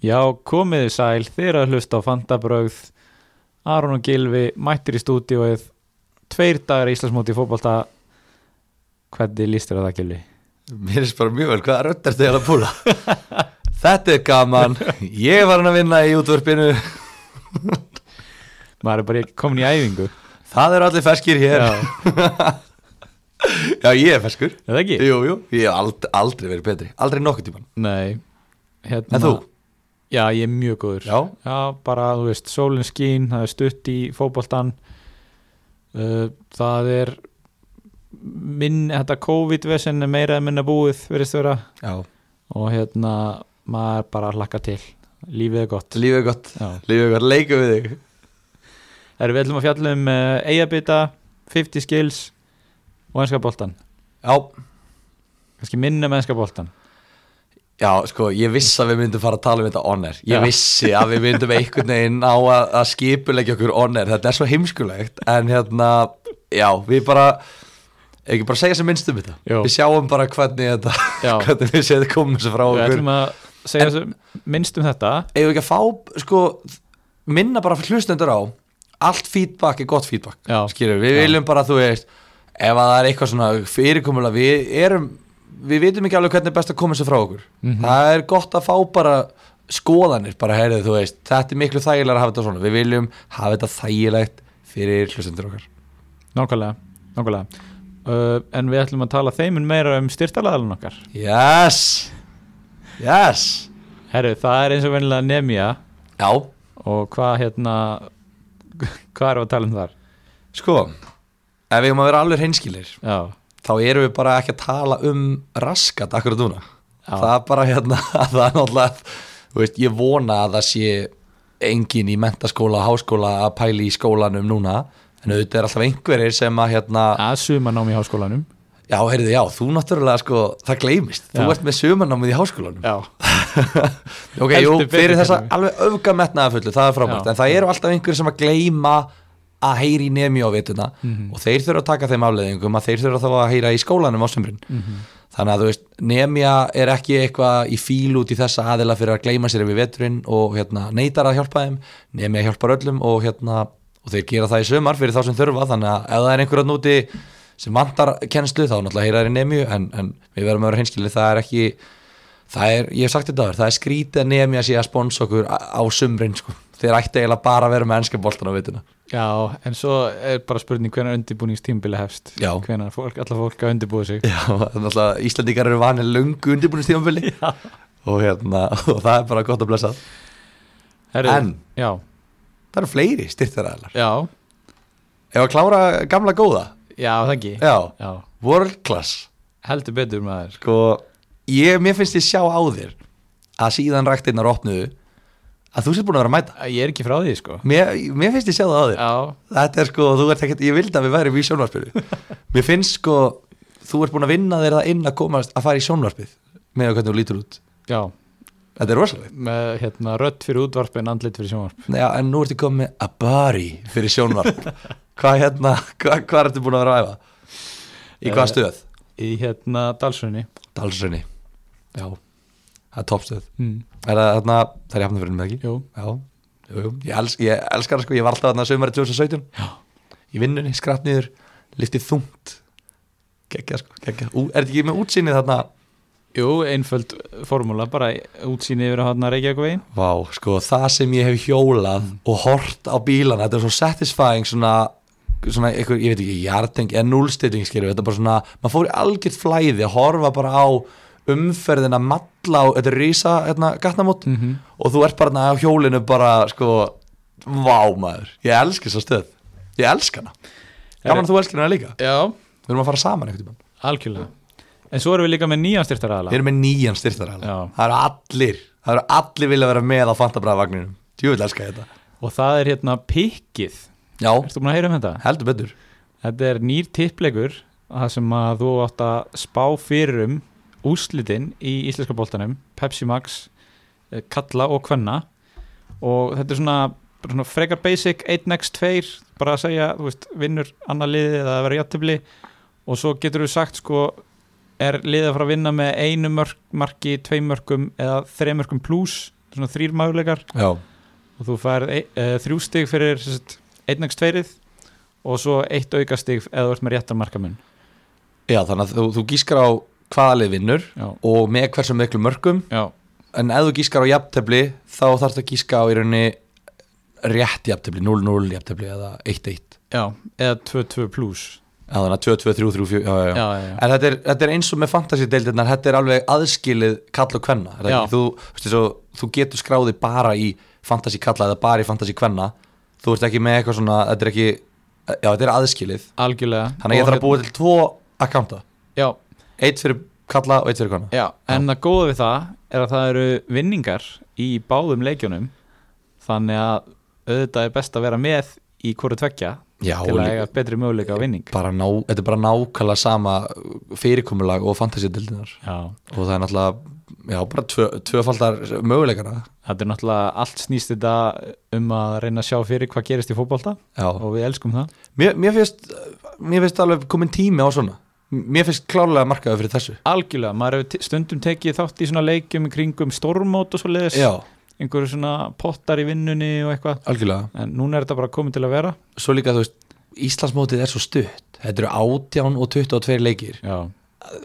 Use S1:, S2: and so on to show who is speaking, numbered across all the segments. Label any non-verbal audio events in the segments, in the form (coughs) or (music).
S1: Já, komiði sæl, þið eru að hlusta á Fantabrögð Aron og Gilvi mættir í stúdíóið Tveir dagar í Íslandsmóti í fótbolta Hvernig líst þér að það, Gilvi?
S2: Mér finnst bara mjög vel, hvaða röddar þið að púla? Þetta er gaman, ég var hann að vinna í útvarpinu,
S1: Maður er bara komin í æfingu
S2: það eru allir ferskir hér.
S1: Já,
S2: Já, ég er ferskur.
S1: er það ekki?
S2: Jú, jú, ég hef ald aldrei verið betri, aldrei nokkuð tíman.
S1: Nei hérna,
S2: En þú?
S1: Já, ég er mjög góður
S2: Já.
S1: bara, þú veist, sólinn skín, það er stutt í fótboltan uh, Það er minn, þetta COVID-vesen er meira en minna búið, verðist vera
S2: Já.
S1: og hérna, maður bara hlakka til Lífið er gott
S2: Lífið er gott,
S1: Já.
S2: lífið er gott, leikum við þig.
S1: Erum við ætlum að fjalla um uh, eigabita, 50 skills og ennska boltan
S2: Já,
S1: kannski minna með ennska boltan
S2: já, sko, ég viss að við myndum fara að tala um þetta on-air. Ég
S1: Já.
S2: vissi að við myndum einhvern veginn á að, að skipulegja okkur on-air, þetta er svo heimskulegt, en hérna, já, við bara, ekki bara segja sem minnstum þetta.
S1: Jó.
S2: Við sjáum bara hvernig þetta...
S1: Já, við
S2: hvernig við séum þetta komið þessu frá okkur
S1: ætlum að segja þessu minnst um þetta
S2: ef við ekki að fá sko, minna bara fyrir hlustendur á allt feedback er gott feedback
S1: Já.
S2: Skilurðu, við
S1: Já.
S2: viljum bara þú veist ef að það er eitthvað svona fyrirkomulega við erum við vitum ekki alveg hvernig er best að koma þessu frá okkur
S1: Mhm.
S2: það er gott að fá bara skoðanir bara heyrðu þú veist þetta er miklu þægilega að hafa þetta svona við viljum hafa þetta þægilegt fyrir hlustendur okkar
S1: Nákvæmlega, nákvæmlega. Uh, en við ætlum að tala þeim mun meira um styrtalaðalun okkar.
S2: yes yes
S1: Herru, það er eins og venilega Nemia
S2: já
S1: og hvað hérna, (laughs) hvað erum við að tala um þar?
S2: sko ef við erum að vera alveg hreinskilir
S1: Já,
S2: þá erum við bara ekki að tala um raskat akkur núna
S1: Já.
S2: það er bara hérna (laughs) það er náttúrulega, þú veist, ég vona að það sé engin í mentaskóla háskóla að pæli í skólanum núna en auðvitað er alltaf einhverjir sem að hérna,
S1: að suma nám í háskólanum.
S2: já, heyrðu, já, þú náttúrulega sko, það gleymist,
S1: Já.
S2: þú ert með sumarnámið í háskólanum
S1: Já.
S2: ok, jú,
S1: Heldur betur
S2: fyrir þessa
S1: gerðum við.
S2: alveg öfgametnaða fullu, það er frábært
S1: Já.
S2: en það eru alltaf einhverjir sem að gleyma að heyri í nemi á vituna
S1: Mhm.
S2: og þeir þurfa að taka þeim afleðingum að þeir þurfa þá að heyra í skólanum á sömbrinn
S1: Mm
S2: þannig að þú veist, nemja er ekki eitthvað í fíl út í þessa aðila fyrir að gleyma sér yfir veturinn og hérna, neytar að hjálpa þeim, nemja hjálpar öllum og, hérna, og þeir gera það í sömar fyrir þá sem þurfa, þannig að ef það er einhverja núti sem vantar kennslu þá náttúrulega heyra þeir í nemju en, en við verðum að vera hinskilið, það er ekki það er, ég hef sagt þetta aður, það er skrítið að nemja sé að sponsa okkur á, á sömrin sko. þeir ætti eiginlega bara að vera með ennska boltan á vituna
S1: Já, en svo er bara spurning hvenar undirbúningstímbili hefst.
S2: Já.
S1: Hvenar fólk, alla fólk að undirbúa sig.
S2: (laughs) Já, þannig að Íslandingar eru vanið löngu undirbúinustífambili
S1: Já.
S2: og, hérna, (laughs) og það er bara gott að blessa
S1: Herru,
S2: En?
S1: Já,
S2: Það eru fleiri styrtaræðlar
S1: já,
S2: Ef að klára gamla góða
S1: já, það ekki.
S2: Já,
S1: Já,
S2: world class
S1: heldur betur maður.
S2: Sko, ég, mér finnst ég sjá á þér að síðan ræktinnar opnuðu að þú sér búin að vera að mæta
S1: Ég er ekki frá því, sko.
S2: Mér, mér finnst ég sjá það á þér
S1: Já,
S2: Þetta er sko, þú ert ekkert, ég vildi að við værum í sjónvarpinu Mér finnst sko, þú ert búin að vinna þér það inn að komast að fara í sjónvarpið með að hvernig þú lítur út
S1: já,
S2: Þetta er rosalegt
S1: með hérna rödd fyrir útvarp en andlit fyrir sjónvarp.
S2: Já, en nú ertu komið með að bari fyrir sjónvarp Hvað hérna, hvað, hvað ertu búin að vera að æfa? Í
S1: Eh,
S2: hvað stöð?
S1: í hérna Dalsunni
S2: Dalsröni Já Það er toppstöð
S1: mm.
S2: Er það þarna, það er jafnafyrir með ekki?
S1: Jú,
S2: Já Jú, jú Ég, els, ég elskar það sko, ég var alltaf þarna sömari 2017 Já Í vinnunni, skratt niður, liftið þungt Gekkja sko, gekkja Ú, Er þetta ekki með útsýnið þarna?
S1: Jú einföld formúla bara útsýni yfir að hana Reykjavík
S2: Vá, sko, það sem ég hef hjólað og hort á bílana Þetta er svo satisfying svona svona einhver, ég veit ekki, jarteng eða núlstilling skilur, þetta er bara svona, maður fór í algjört flæði að horfa bara á umferðina matla á, þetta er rísa hérna, gatnamót
S1: mm -hmm.
S2: og þú ert bara þarna á hjólinu bara sko, vá maður ég elska þessa stöð, ég elska hana gaman að þú elskir hana líka
S1: Já,
S2: við erum að fara saman einhvern tímann
S1: algjörlega En svo erum við líka með nýjan styrtaraðala
S2: við erum með nýjan styrtar
S1: Já.
S2: það eru allir, það eru allir vilja vera með á fantabræðvagninum, djúvill elska ég þetta
S1: Og það er hérna pikkið
S2: já,
S1: Ertu búin að heyra um þetta?
S2: heldur betur
S1: Þetta er nýr tippleikur Það sem að þú átt að spá fyrir um úslitin í íslenska boltanum Pepsi Max, eh, Kalla og Kvenna og þetta er svona, bara svona frekar basic 1x2 bara að segja, þú veist, vinnur annar liðið eða að vera játtifli og svo getur þú sagt sko er liðið að fara að vinna með einu mörk, marki, tvei mörkum eða þrei mörkum pluss svona þrýr möguleikar
S2: já,
S1: og þú færð e, e, þrjú stig fyrir sem sagt, einnægst tveirið og svo eitt auka stig eða þú ert með réttan markamun
S2: já þannig að þú, þú gískar á hvaða lið vinnur
S1: já,
S2: og með hversu miklu mörgum
S1: já,
S2: en ef þú gískar á jafntefli þá þarf það að gíska á í rauninni rétt jafntefli, 0-0 jafntefli eða 1-1
S1: já eða 2-2 pluss
S2: Já, þannig að 2-2-3-3-4 já, já,
S1: já,
S2: já.
S1: já, já,
S2: En þetta er, þetta er eins og með fantasy-deildirnar þetta er alveg aðskilið kall og kvenna er það
S1: Já.
S2: ekki? þú, veistu, svo, þú getur skráði bara í fantasy-kalla eða bara í fantasy-kvenna þú ert ekki með eitthvað svona þetta er ekki, já þetta er aðskilið
S1: algjörlega
S2: þannig að ég
S1: Og
S2: þarf að búa til tvo akkánta
S1: hérna- já,
S2: eitt fyrir kalla og eitt fyrir kvenna
S1: Já, en það góða við það er að það eru vinningar í báðum leikjunum þannig að auðvitað er best að vera með í hverju tveggja
S2: já,
S1: til
S2: og
S1: að
S2: líka
S1: eiga betri möguleika á vinning
S2: bara ná, þetta er bara nákvæmlega sama fyrirkomulag og fantasy-deildirnar
S1: Já,
S2: og það er náttúrulega, já bara tvö, tvöfaldar möguleikana
S1: þetta er náttúrulega allt snýst þetta um að reyna að sjá fyrir hvað gerist í fótbolta
S2: já.
S1: og við elskum það
S2: Mér, mér finnst mér finnst alveg komin tími á svona M- mér finnst klárlega markaður fyrir þessu
S1: Algjörlega, maður hefur te- stundum tekið þátt í svona leikjum í kringum stormót og svo leiðis
S2: já,
S1: einhverju svona pottar í vinnunni og eitthvað
S2: algjörlega
S1: en núna er þetta bara komið til að vera
S2: svo líka þú veist, Íslandsmótið er svo stutt þetta eru 18 og 22 leikir
S1: Já,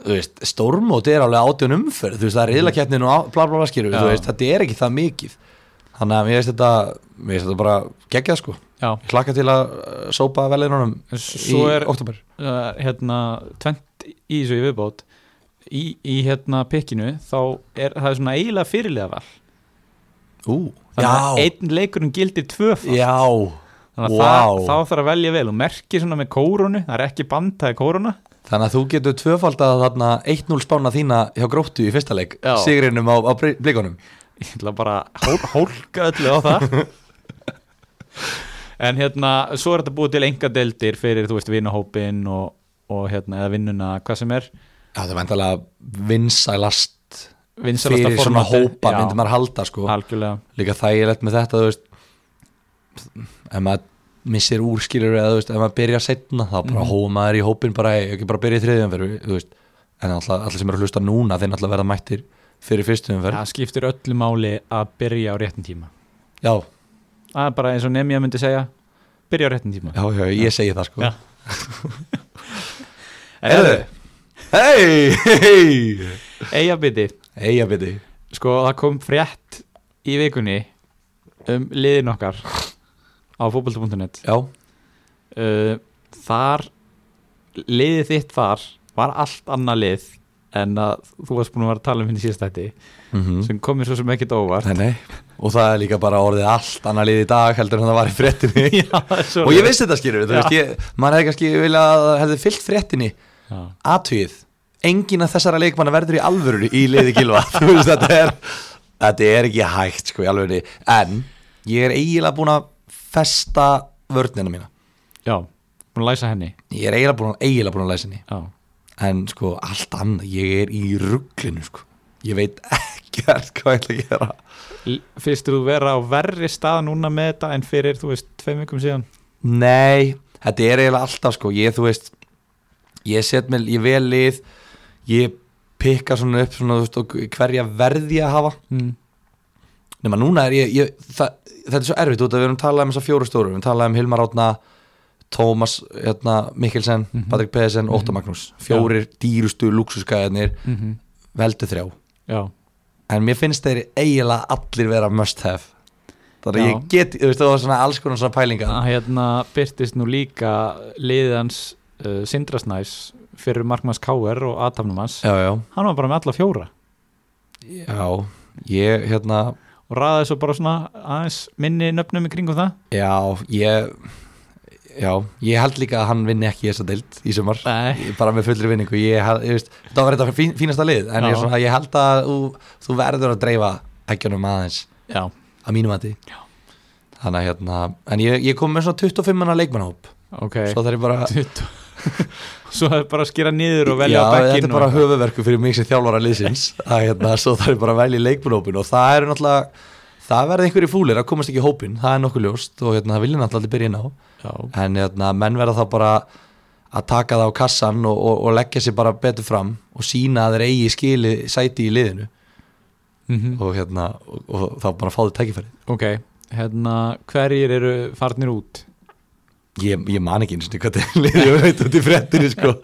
S2: þú veist, stórmótið er alveg 18 umferð þú veist, það er riðlakeppnin og á- bla bla bla skýru
S1: Já.
S2: þú veist, þetta er ekki það mikið þannig að mér finnst þetta, mér finnst þetta bara geggjað sko,
S1: já
S2: Ég hlakka til að uh, sópa velðinunum í
S1: Svo er
S2: oktober
S1: uh, hérna, tvent í þessu í viðbót í, í hérna pikkinu þá er það er svona eiginlega fyrirlega val
S2: Ú,
S1: þannig að
S2: já,
S1: einn leikurinn gildir tvöfald
S2: já
S1: þannig að það,
S2: vá.
S1: þá þarf að velja vel og merki svona með kórunu, það er ekki band það er kóruna
S2: Þannig að þú getur tvöfaldað þarna 1-0 spána þína hjá gróttu í fyrsta leik
S1: Já.
S2: sigrinum á, á Bri- blikunum
S1: ég ætla bara að hól, hólka öllu á það (laughs) en hérna svo er þetta búið til enga deildir fyrir þú veist vinahópin og, og hérna eða vinnuna hvað sem er
S2: Já, það er vandalega vinsælast
S1: Vinsælasta
S2: fyrir svona
S1: formatið.
S2: hópa
S1: Já,
S2: myndi maður halda sko
S1: algjörlega
S2: líka þægilegt með þetta þú veist ef maður missir úrskilur eða þú veist ef maður byrja setna þá bara mm.
S1: Mhm.
S2: maður í hópin bara "Hey, ekki bara byrja í þriðjum fyrir þú veist en alltaf, allir sem eru að hlusta núna þeir náttúrulega verða mættir fyrir fyrstum fyrir
S1: það skiptir öllu máli að byrja á réttin tíma
S2: já,
S1: Það er bara eins og Nemja myndi segja Byrja á réttin tíma
S2: já, já, ég segi það sko
S1: Já.
S2: Erðu? Hei, (laughs) hei
S1: Eyja bytti
S2: Hei, að byrja
S1: Sko það kom frétt í vikunni Um liðin okkar Á fótbolta.net
S2: Já,
S1: uh, Þar Liðið þitt þar Var allt annað lið En að þú varst búin að vera að tala um henni síðastætti
S2: mm
S1: Sem komið svo sem ekkit óvart
S2: Nei, nei. og það er líka bara orðið allt annað lið í dag heldur en það var í fréttinni
S1: (laughs) Já, það er svo
S2: og ég vissi þetta skilur þú
S1: Já.
S2: veist, ég, maður hefði kannski viljað að það hefði fyllt fréttinni
S1: Já.
S2: aðtugið, engin af þessara leikmanna verður í alvöru í liði gilva (laughs) þú veist, þetta er, þetta er ekki hægt sko í alvöru, en ég er eiginlega búin að festa vörnina mína,
S1: Já, búin að læsa henni
S2: ég er eiginlega búin, eiginlega búin að læsa henni,
S1: Já,
S2: en sko allt annað, ég er í rugglinu sko ég veit ekkert hvað ég ætla að gera
S1: L- Finnst þú vera á verri stað núna með þetta En fyrir, þú veist, tveim vikum síðan
S2: Nei, þetta er eiginlega alltaf sko ég, þú veist, ég set mér, ég vel lið ég pikka svona upp svona, þú veist, og hverja verði ég að hafa
S1: mm.
S2: nema núna er ég, ég það, þetta er svo erfitt út að við erum talað um þessa fjóru stóru, við erum talað um Hilmar Átna Tómas hérna, Mikkelsen, mm
S1: Mhm.
S2: Patrik Pedersen, Óttar Magnús fjórir dýrustu luxuskæðarnir
S1: Mm -hmm.
S2: veldu þrjá,
S1: Já,
S2: en mér finnst þeir eiginlega allir vera must have þannig
S1: Já.
S2: að ég get, þú veist, það var svona alls konar svona pælinga
S1: að hérna byrtist nú líka liðans uh, Sindrasnæs fyrir Markmanns Káer og aðtafnum hans
S2: já, já,
S1: hann var bara með alla fjóra
S2: já ég, hérna,
S1: og raðaði svo bara svona aðeins minni nöfnum í kringum það
S2: Já, ég Já, ég held líka að hann vinni ekki þessa deild í sumar,
S1: Nei.
S2: Ég- bara með fullri vinningu ég, held- ég veist, það var þetta fín, fínasta lið en ég, er
S1: Já.
S2: svona, ég held að þú, þú verður að dreifa ekkjunum aðeins
S1: Já,
S2: að mínum að því Þannig að hérna, en ég, ég kom með svona 25 manna leikmannhóp
S1: ok
S2: svo það er bara,
S1: Tuttu- Svo það er bara að skera niður og velja
S2: já,
S1: á
S2: þetta er
S1: bekkinn
S2: bara
S1: og...
S2: höfuverku fyrir mig sem þjálfara liðsins að hérna, svo það er bara að velja leikmannhópin og það eru náttúrulega, það verður einhverju fúlir að komast ekki í hópin, það er nokkuð ljóst og hérna, það vilja náttúrulega allir byrja inn á
S1: Já,
S2: en hérna, menn verða þá bara að taka það á kassan og, og, og leggja sér bara betur fram og sína að þeir eigi skili sæti í liðinu
S1: Mhm.
S2: og, hérna, og, og þá bara fáðu tækifæri
S1: ok, hérna hverjir eru farnir út
S2: ég, ég man ekki eins og hvað þetta (laughs) er liðið, ég veit út í frettinni sko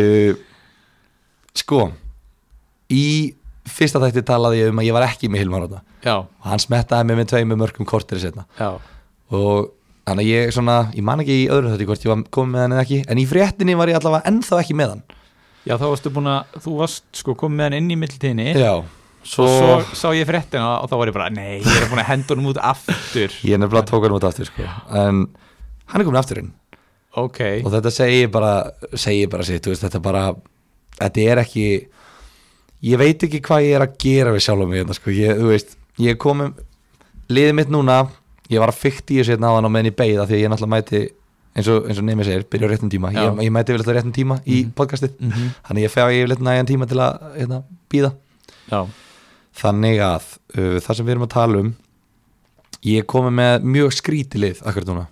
S2: uh, sko í fyrsta þætti talaði ég um að ég var ekki með Hilmar Ráta
S1: já,
S2: og hann smettaði mig með tveimur mörgum kortir setna
S1: já,
S2: og þannig að ég svona ég man ekki í öðru þætti hvort ég var komið með hann eða ekki en í fréttinni var ég allavega ennþá ekki með hann
S1: já þá varstu búin að þú varst sko komið með hann inn í mittiltíðinni
S2: já,
S1: og
S2: svo,
S1: svo sá ég fréttina og þá var ég bara nei, ég er búin að henda honum út aftur
S2: ég nefnilega tók hann út aftur sko. en hann er komin aftur inn
S1: ok,
S2: og þetta segir bara, segir bara sitt, þú veist, þetta bara þetta er ekki ég veit ekki hvað ég er að gera við sjálfum mig hérna, sko. ég, þú veist, ég komum liðið mitt núna, ég var að fykta í þessu hérna áðan á meðan í beigða því að ég náttúrulega mæti eins og, eins og nefnir segir, byrja á réttum tíma ég,
S1: Já.
S2: ég mæti yfirleitt á réttum tíma í
S1: Mhm.
S2: podcastið
S1: mm
S2: þannig ég fæ yfirleitt nægjan tíma til að hérna, býða
S1: já
S2: þannig að uh, það sem við erum að tala um ég er komið með mjög skrítið lið akkur núna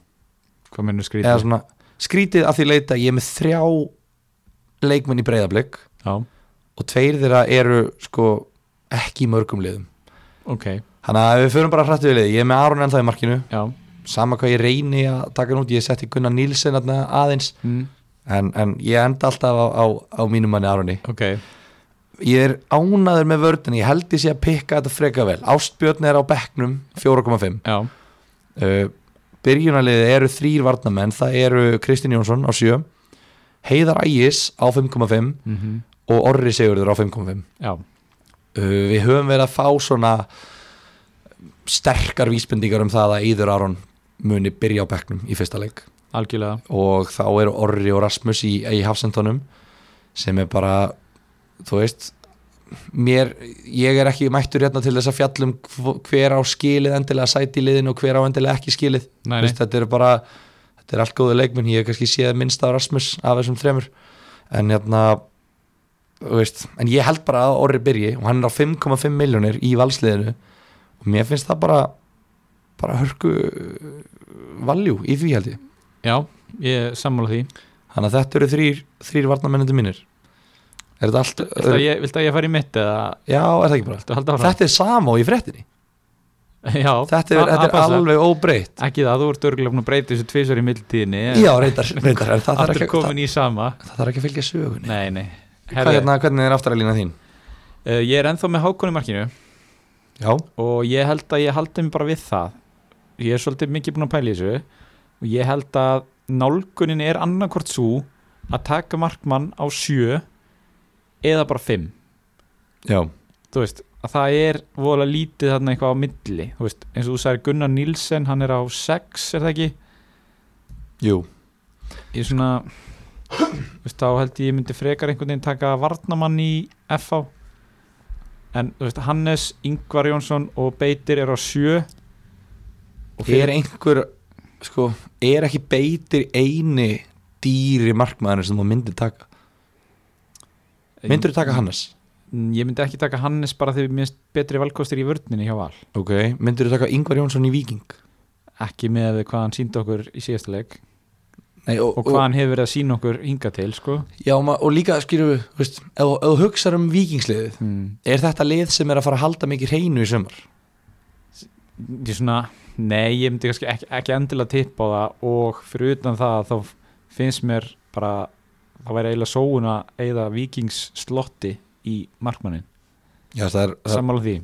S1: hvað mennur
S2: eða
S1: skrítið
S2: svona skrítið að því leita ég er með þrjá leikmenn í breyðablík
S1: já,
S2: og tveir þeirra eru sko ekki í mörgum liðum
S1: ok,
S2: þannig að við förum bara hrættu við liði ég er með Aron ennþá í markinu
S1: já
S2: sama hvað ég reyni að taka hann út ég setti Gunnar Nílsen þarna aðeins
S1: mm.
S2: en, en ég enda alltaf á, á, á mínum manni Aroni
S1: ok,
S2: ég er ánaður með vördin ég held ég sé að pikka þetta freka vel Ástbjörn er á bekknum 4,5
S1: já,
S2: uh, byrjunarliðið eru þrýr varnamenn það eru Kristinn Jónsson á 7 Heiðar Ægis á 5,5
S1: mm
S2: og Orri Sigurður á 5,5 uh,
S1: já
S2: Eh, við höfum verið að fá svona sterkar vísbendingar um það að Íður Aron muni byrja á bekknum í fyrsta leik
S1: algjörlega,
S2: og þá eru Orri og Rasmus í, í hafsendunum sem er bara þú veist mér, ég er ekki mættur hérna til þess að fjallum hver á skilið endilega sæti í liðinu og hver á endilega ekki skilið
S1: nei,
S2: Þú
S1: nei
S2: veist, þetta eru bara þetta er allt góðu leikmenn, ég hef kannski séð minnst af Rasmus af þessum þremur en hérna þú veist, en ég held bara að Orri byrji og hann er á 5,5 miljónir í valsliðinu og mér finnst það bara bara hörku valjú í því held ég
S1: já, ég sammála því
S2: þannig að þetta eru þrýr, þrýr varnamennandi mínir er þetta allt
S1: viltu að ég, viltu að ég fari í mitt eða (laughs)
S2: já, er það ekki
S1: viltu
S2: bara
S1: að halda áfram?
S2: þetta er sama og í frettinni
S1: já,
S2: þetta er,
S1: að-
S2: þetta er
S1: að passa.
S2: alveg óbreytt
S1: ekki það, þú ert örgulega búin að breyta þessu tvisar í mildtíðinni
S2: já, reyndar, reyndar en það þarf
S1: aftur
S2: ekki, það,
S1: komin í sama
S2: það þarf ekki að fylgja sögunni
S1: nei, nei
S2: Hvað,
S1: Herri,
S2: hérna, hvernig er aftaralína þín?
S1: uh, ég er ennþá með hákon í markinu
S2: Já,
S1: og ég held að ég haldi mig bara við það ég er svolítið mikið búin að pæla í þessu og ég held að nálgunin er annarkvort svo að taka markmann á sjö eða bara fimm
S2: já,
S1: þú veist, að það er vola lítið þarna eitthvað á milli, þú veist, eins og þú sagðir Gunnar Nílsen, hann er á 6, er það ekki?
S2: jú
S1: Ég svona, þú veist, þá held ég ég myndi frekar einhvern veginn taka Varnamann í FH en, þú veist, Hannes, Ingvar Jónsson og Beitir er á 7 og
S2: Er
S1: fyrir,
S2: einhver, sko, er ekki beitir eini dýri markmaðurinn sem þú myndir taka? Myndir þú taka Hannes?
S1: Ég myndi ekki taka Hannes bara því minnst betri valkostir í vörninni hjá Val
S2: Ok Myndir þú taka Ingvar Jónsson í Viking?
S1: ekki með hvað hann síndi okkur í síðasta leik
S2: Nei, og,
S1: og hvað hann hefur verið að sína okkur hinga til, sko
S2: já, ma- og líka, skýrðu, veist, ef ef þú hugsar um Vikingsliðið,
S1: hmm.
S2: er þetta lið sem er að fara að halda mikið hreinu í sömur?
S1: ég svona, nei, ég myndi kannski ekki, ekki endilega tippa á það og fyrir utan það þá finnst mér bara, það væri eiginlega sóun að eigða vikings slotti í markmannin,
S2: Já, það er, það
S1: sammála því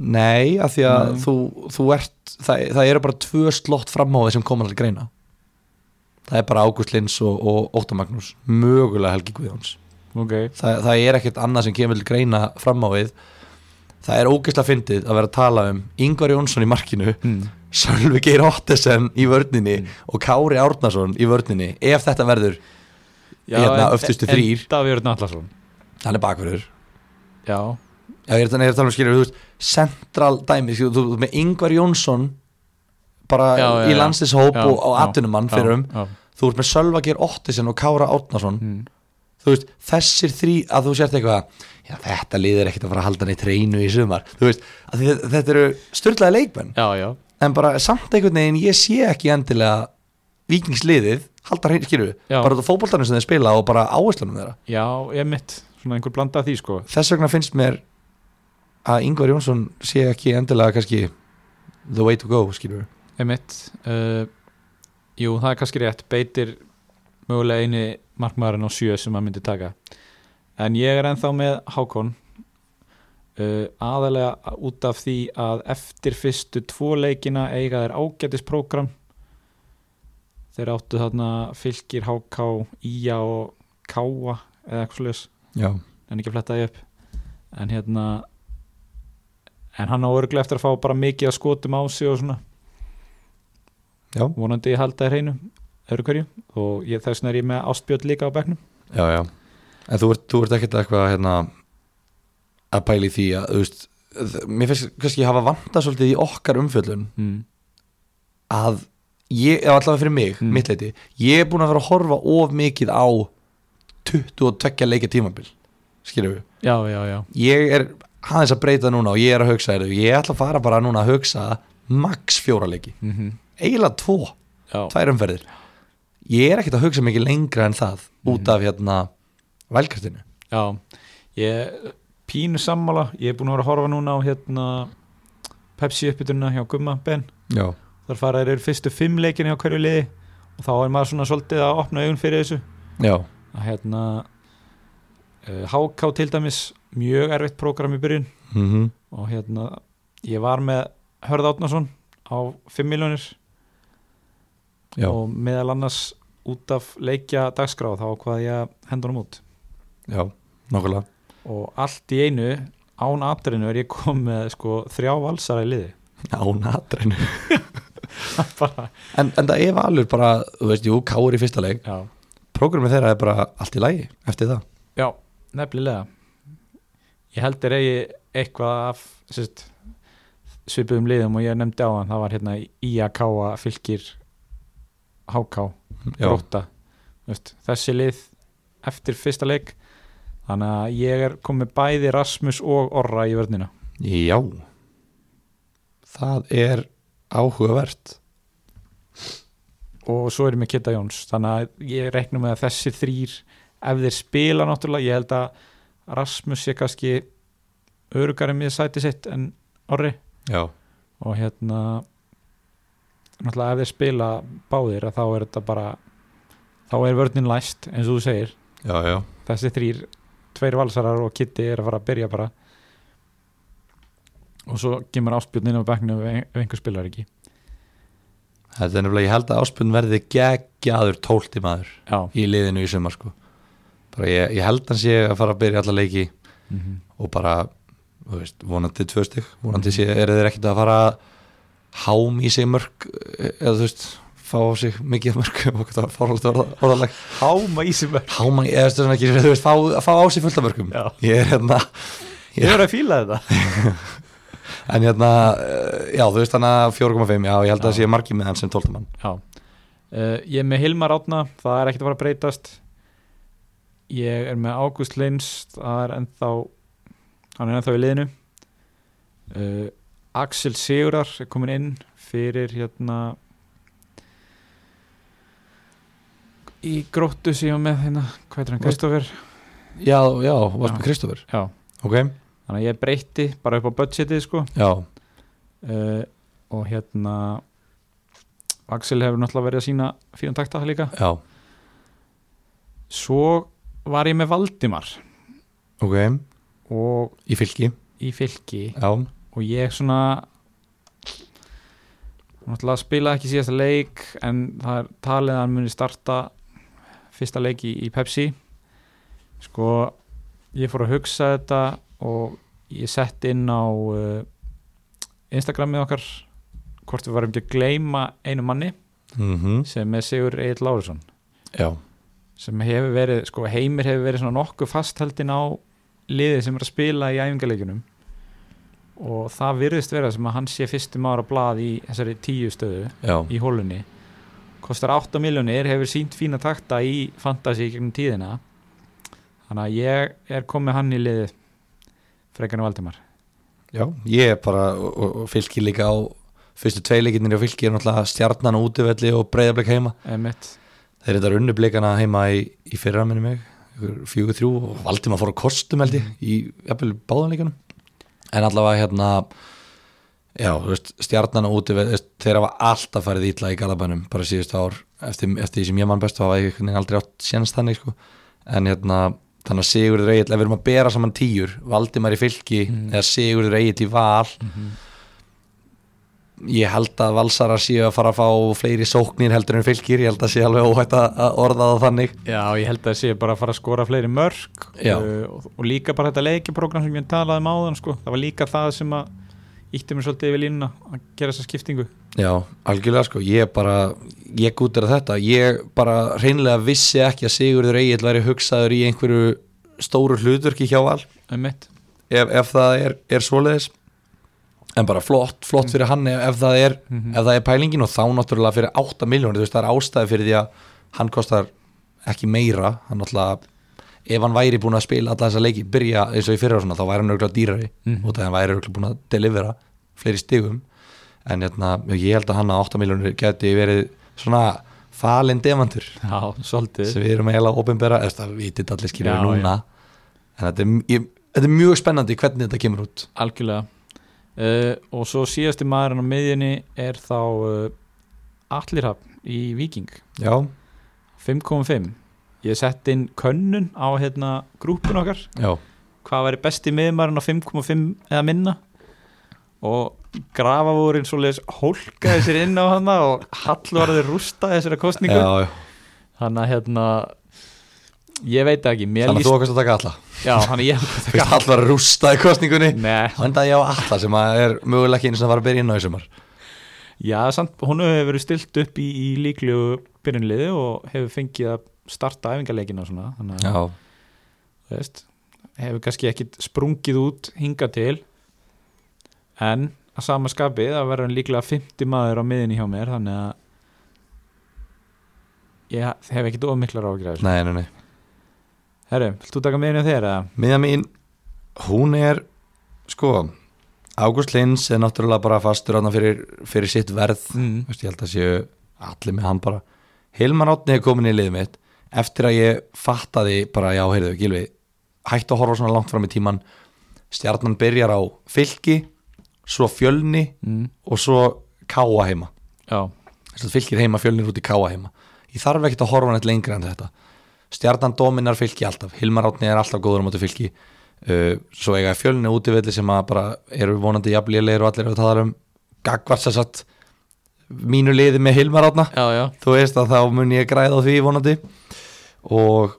S2: nei, af því að
S1: Nei.
S2: þú, þú ert, það, það eru bara tvö slott fram á því sem koma til greina. Það er bara Ágúst Lins og, og Óttar Magnús, mögulega Helgi Guðjóns.
S1: ok,
S2: Þa, það er ekkert annað sem kemur til greina fram á við það er ógeðslega fyndið að vera að tala um Ingvar Jónsson í markinu
S1: hmm.
S2: Sölvi Geir Ottesen í vörninni
S1: Mm.
S2: og Kári Árnason í vörninni ef þetta verður, Hérna, öftustu þrír.
S1: en Davíður Nallarsson
S2: hann er bakverður
S1: já,
S2: Já, ég er þannig að tala um skilur, þú veist, central dæmi, skilur, þú þú- með Ingvar Jónsson bara
S1: Já, já,
S2: í
S1: já.
S2: landslishóp
S1: Já,
S2: og á
S1: já,
S2: atvinnumann fyrir um,
S1: já,
S2: þú ert með Sölva Geir Ottesen og Kára Árnason
S1: hmm.
S2: þú veist, þessir þrý að þú sért eitthvað já, þetta liðir ekkert að fara að halda neitt reynu í sumar, þú veist, að þið, þetta eru styrlaði leikmenn,
S1: já, já,
S2: en bara samt einhvern veginn ég sé ekki endilega vikingsliðið, halda reynu, skilju
S1: Já.
S2: bara þetta fótboltanum sem þeir spila og bara áherslunum þeirra
S1: já, ég mitt svona einhver blanda af því sko
S2: þess vegna finnst mér að Ingvar Jónsson sé ekki endilega kannski the way to go skilur við
S1: Emitt uh, Jú, það er kannski rétt Beitir mögulega eini markmaðurinn á sjö sem maður myndi taka En ég er ennþá með Hákon uh, aðalega út af því að eftir fyrstu tvo leikina eiga þeir ágætis prógram Þeir áttu þarna fylgir HK, IA og KA eða eitthvað slags
S2: já,
S1: en ekki að fletta því upp en hérna en hann á örglega eftir að fá bara mikið að skotum á sig og svona
S2: já,
S1: vonandi ég halda þér hreinu öðru hverju og ég, þess vegna er ég með ástbjörn líka á bekknum
S2: já, já. en þú ert, þú ert ekkert eitthvað hérna, að pæli því að þú veist, þ- mér finnst kannski hafa vanda svolítið í okkar umfjöllun
S1: mm.
S2: að ég, eða allavega fyrir mig,
S1: Mm.
S2: mitt leiti ég er búin að vera að horfa of mikið á 22 leika tímabil skilur við,
S1: já, já, já,
S2: ég er aðeins að breyta núna og ég er að hugsa þér, ég ætla að fara bara núna að hugsa max fjóra leiki,
S1: mm
S2: eiginlega tvo
S1: já.
S2: tvær umferðir ég er ekkert að hugsa mikið lengra en það út af hérna velkartinu
S1: já. ég pínu sammála, ég er búin að vera að horfa núna á hérna Pepsi uppbytuna hjá Gumma Ben
S2: já,
S1: þar fara þeir eru fyrstu fimm leikin hjá hverju liði og þá er maður svona svolítið að opna augun fyrir þessu
S2: já,
S1: að hérna eh, HK til dæmis mjög erfitt prógram í byrjun
S2: mm -hmm.
S1: og hérna ég var með Hörð Átnason á 5 miljónir
S2: já.
S1: og meðal annars út af leikja dagskráð þá hvað ég að henda honum út
S2: já, nokkulega
S1: og allt í einu án atrinu er ég kom með sko þrjá valsara í liði (laughs)
S2: á natrænu
S1: bara,
S2: en, en það er valur bara, þú veist, jú, káur í fyrsta leik
S1: já.
S2: prógrumið þeirra er bara allt í lagi eftir það
S1: já, nefnilega ég held er eigi eitthvað af sérst, svipuðum liðum og ég nefndi á hann það var hérna IAK fylgir HK
S2: já,
S1: gróta Veist, þessi lið eftir fyrsta leik þannig að ég er komið bæði Rasmus og Orra í vörnina
S2: já. það er áhugavert
S1: og svo erum við Kitta Jóns þannig að ég reiknum með að þessir þrýr ef þeir spila náttúrulega ég held að Rasmus sé kannski örugari með sæti sitt en Orri
S2: já,
S1: og hérna náttúrulega ef þeir spila báðir að þá er þetta bara þá er vörnin læst eins og þú segir
S2: já, já
S1: þessi þrýr, tveir valsarar og Kitty er að fara að byrja bara og svo kemur áspjörn inn á bekknu ef ein- ef einhver spilar ekki
S2: þetta er nefnilega, ég held að áspunn verði geggjaður tólti maður
S1: já,
S2: í liðinu í sumar sko bara ég, ég held hans ég að fara að byrja alla leiki
S1: mm
S2: og bara þú veist, vonandi tvö stygg vonandi sé, eru þeir ekkert að fara að hám í sig mörg eða þú veist, fá á sig mikið mörg (laughs) og hvað það var fárhald orða, orðalag
S1: háma í sem verð
S2: háma, eða þú veist, ekki, þú veist fá, fá á sig fullt af mörgum
S1: Já.
S2: ég er hérna
S1: ég er að fíla þetta
S2: en hérna, eh, já þú veist hann að 4,5, já ég held að það
S1: Já.
S2: sé margið með hann sem 12 mann
S1: já. Uh, ég er með Hilmar Átna það er ekkert að fara að breytast ég er með Ágúst Lins það er ennþá hann er ennþá í liðinu uh, Axel Sigurar er komin inn fyrir hérna í gróttu sem ég var með hérna, hvað er hann,
S2: Veist-
S1: Kristoffer
S2: já, já, varst
S1: Já.
S2: með Kristofur
S1: Já,
S2: ok,
S1: þannig að ég breytti bara upp á budgetið sko
S2: já,
S1: uh, og hérna Axel hefur náttúrulega verið að sína fínan takta líka.
S2: já,
S1: Svo var ég með Valdimar
S2: ok
S1: og
S2: í fylki,
S1: í fylki
S2: já,
S1: og ég svona náttúrulega spilaði ekki síðasta leik en það er talið að hann muni starta fyrsta leik í, í Pepsi sko ég fór að hugsa þetta og ég sett inn á uh, Instagramið okkar hvort við varum ekki að gleyma einu manni
S2: mhm
S1: sem er Sigur Egil Lárusson
S2: já,
S1: sem hefur verið, sko heimir hefur verið svona nokkuð fasthaldin á liðið sem er að spila í æfingarleikunum og það virðist vera sem að hann sé fyrstum ára blað í þessari tíu stöðu
S2: já,
S1: í hólunni kostar 8 miljónir, hefur sínt fína takta í fantasy í gegnum tíðina þannig að ég er komið hann í liðið frekarinn Valdimar
S2: Já, ég er bara og, og- og fylki líka á fyrstu tvei leikinnir og fylki er náttúrulega stjarnan á útivelli og breyðablik heima.
S1: Emmett,
S2: Þeir reyndar unnu blikana heima í, í fyrra minni mig fjögur þrjú og Valdimar fór að kostum held ég í jafnvel báðanleikunum en allavega hérna já, þú veist, stjarnana úti við- þú veist, þeir hafa alltaf farið ítla í galabænum bara síðustu ár, eftir, eftir því sem ég mann bestu hafa ég einhvern veginn aldrei átt sénst þannig sko. en hérna, þannig að Sigurður Egil ef við erum að bera saman tíur, Valdimar í fylki
S1: Mhm.
S2: eða Sigurður Egil í val ég held að valsarar séu að fara að fá fleiri sóknir heldur en fylgir, ég held að sé alveg óhætt að að orða það þannig
S1: Já, ég held að það sé bara að fara að skora fleiri mörg
S2: Já.
S1: og, og líka bara þetta leikiprógram sem ég talaði um áðan sko. það var líka það sem að ítti mér svolítið yfir línuna að gera þessa skiptingu
S2: Já, algjörlega sko, ég bara ég gútir að þetta, ég bara reynlega vissi ekki að Sigurður Egil væri hugsaður í einhverju stóru hlutverki hjá val,
S1: um mitt
S2: ef, ef það er, er svoleiðis en bara flott, flott fyrir hann ef, ef það er
S1: mm
S2: ef það er pælingin og þá náttúrulega fyrir 8 miljónir, þú veist, það er ástæði fyrir því að hann kostar ekki meira hann náttúrulega, ef hann væri búin að spila alla þessa leiki, byrja eins og í fyrra og svona, þá væri hann auðvitað dýrari,
S1: Mhm.
S2: út af því hann væri auðvitað búin að delivera fleiri stigum en hérna, ég held að hann að 8 miljónir geti verið svona falin demantur
S1: Já, svolítið
S2: sem við erum eiginlega opinbera, eða það vitið allir skilur
S1: Já,
S2: núna en þetta er, ég, þetta er mjög spennandi hvernig þetta kemur út
S1: algjörlega uh, og svo síðasti maðurinn á miðjunni er þá uh, Allirhafn í Viking
S2: Já,
S1: 5.5 ég sett inn könnun á hérna grúpun okkar
S2: já,
S1: hvað væri besti miðmarinn á 5.5 eða minna og grafavúrin svoleiðis hólkaði sér inn á hana og hallvarði rústaði þessara kostningu
S2: já, já.
S1: hann að hérna ég veit það ekki, mér
S2: þannig að þú okkar að taka alla
S1: já, hann að ég (laughs)
S2: Þú veist, allar rústaði kostningunni
S1: Nei,
S2: Þá endaði ég á alla sem að er mögulega ekki eins og að fara að byrja inn á í sumar
S1: já, samt hún hefur verið stilt upp í, í líklegu byrjunliði og hefur fengið að starta æfingarleikina og svona, þannig að þú veist, hefur kannski ekkit sprungið út hinga til en að sama skapið að verður hann líklega 50 maður á miðinni hjá mér þannig að ég hef ekkit ómiklar ágræður
S2: Nei, nei, nei
S1: Herru, vilt þú taka miðinni á þér eða?
S2: Miða mín, hún er sko, Ágúst Lins er náttúrulega bara fastur ána fyrir, fyrir sitt verð
S1: Mm.
S2: Vist, Ég held að séu allir með hann bara Hilmar Átni er komin í liðið mitt eftir að ég fattaði bara, já, heyrðu, Gilvi hættu að horfa svona langt fram í tíman Stjarnan byrjar á fylki svo fjölni
S1: Mm.
S2: og svo káa heima
S1: Já,
S2: Þess að fylgir heima fjölnir út í káa heima ég þarf ekkert að horfa neitt lengra en þetta stjarnan dominar fylgi alltaf Hilmar Átni er alltaf góður á móti fylgi uh, svo eiga fjölni útivilli sem að bara eru vonandi jafnlélegir og allir eru að tala um gagvart sér satt mínu liði með Hilmar Átna
S1: já, já
S2: þú veist að þá mun ég græða á því vonandi og,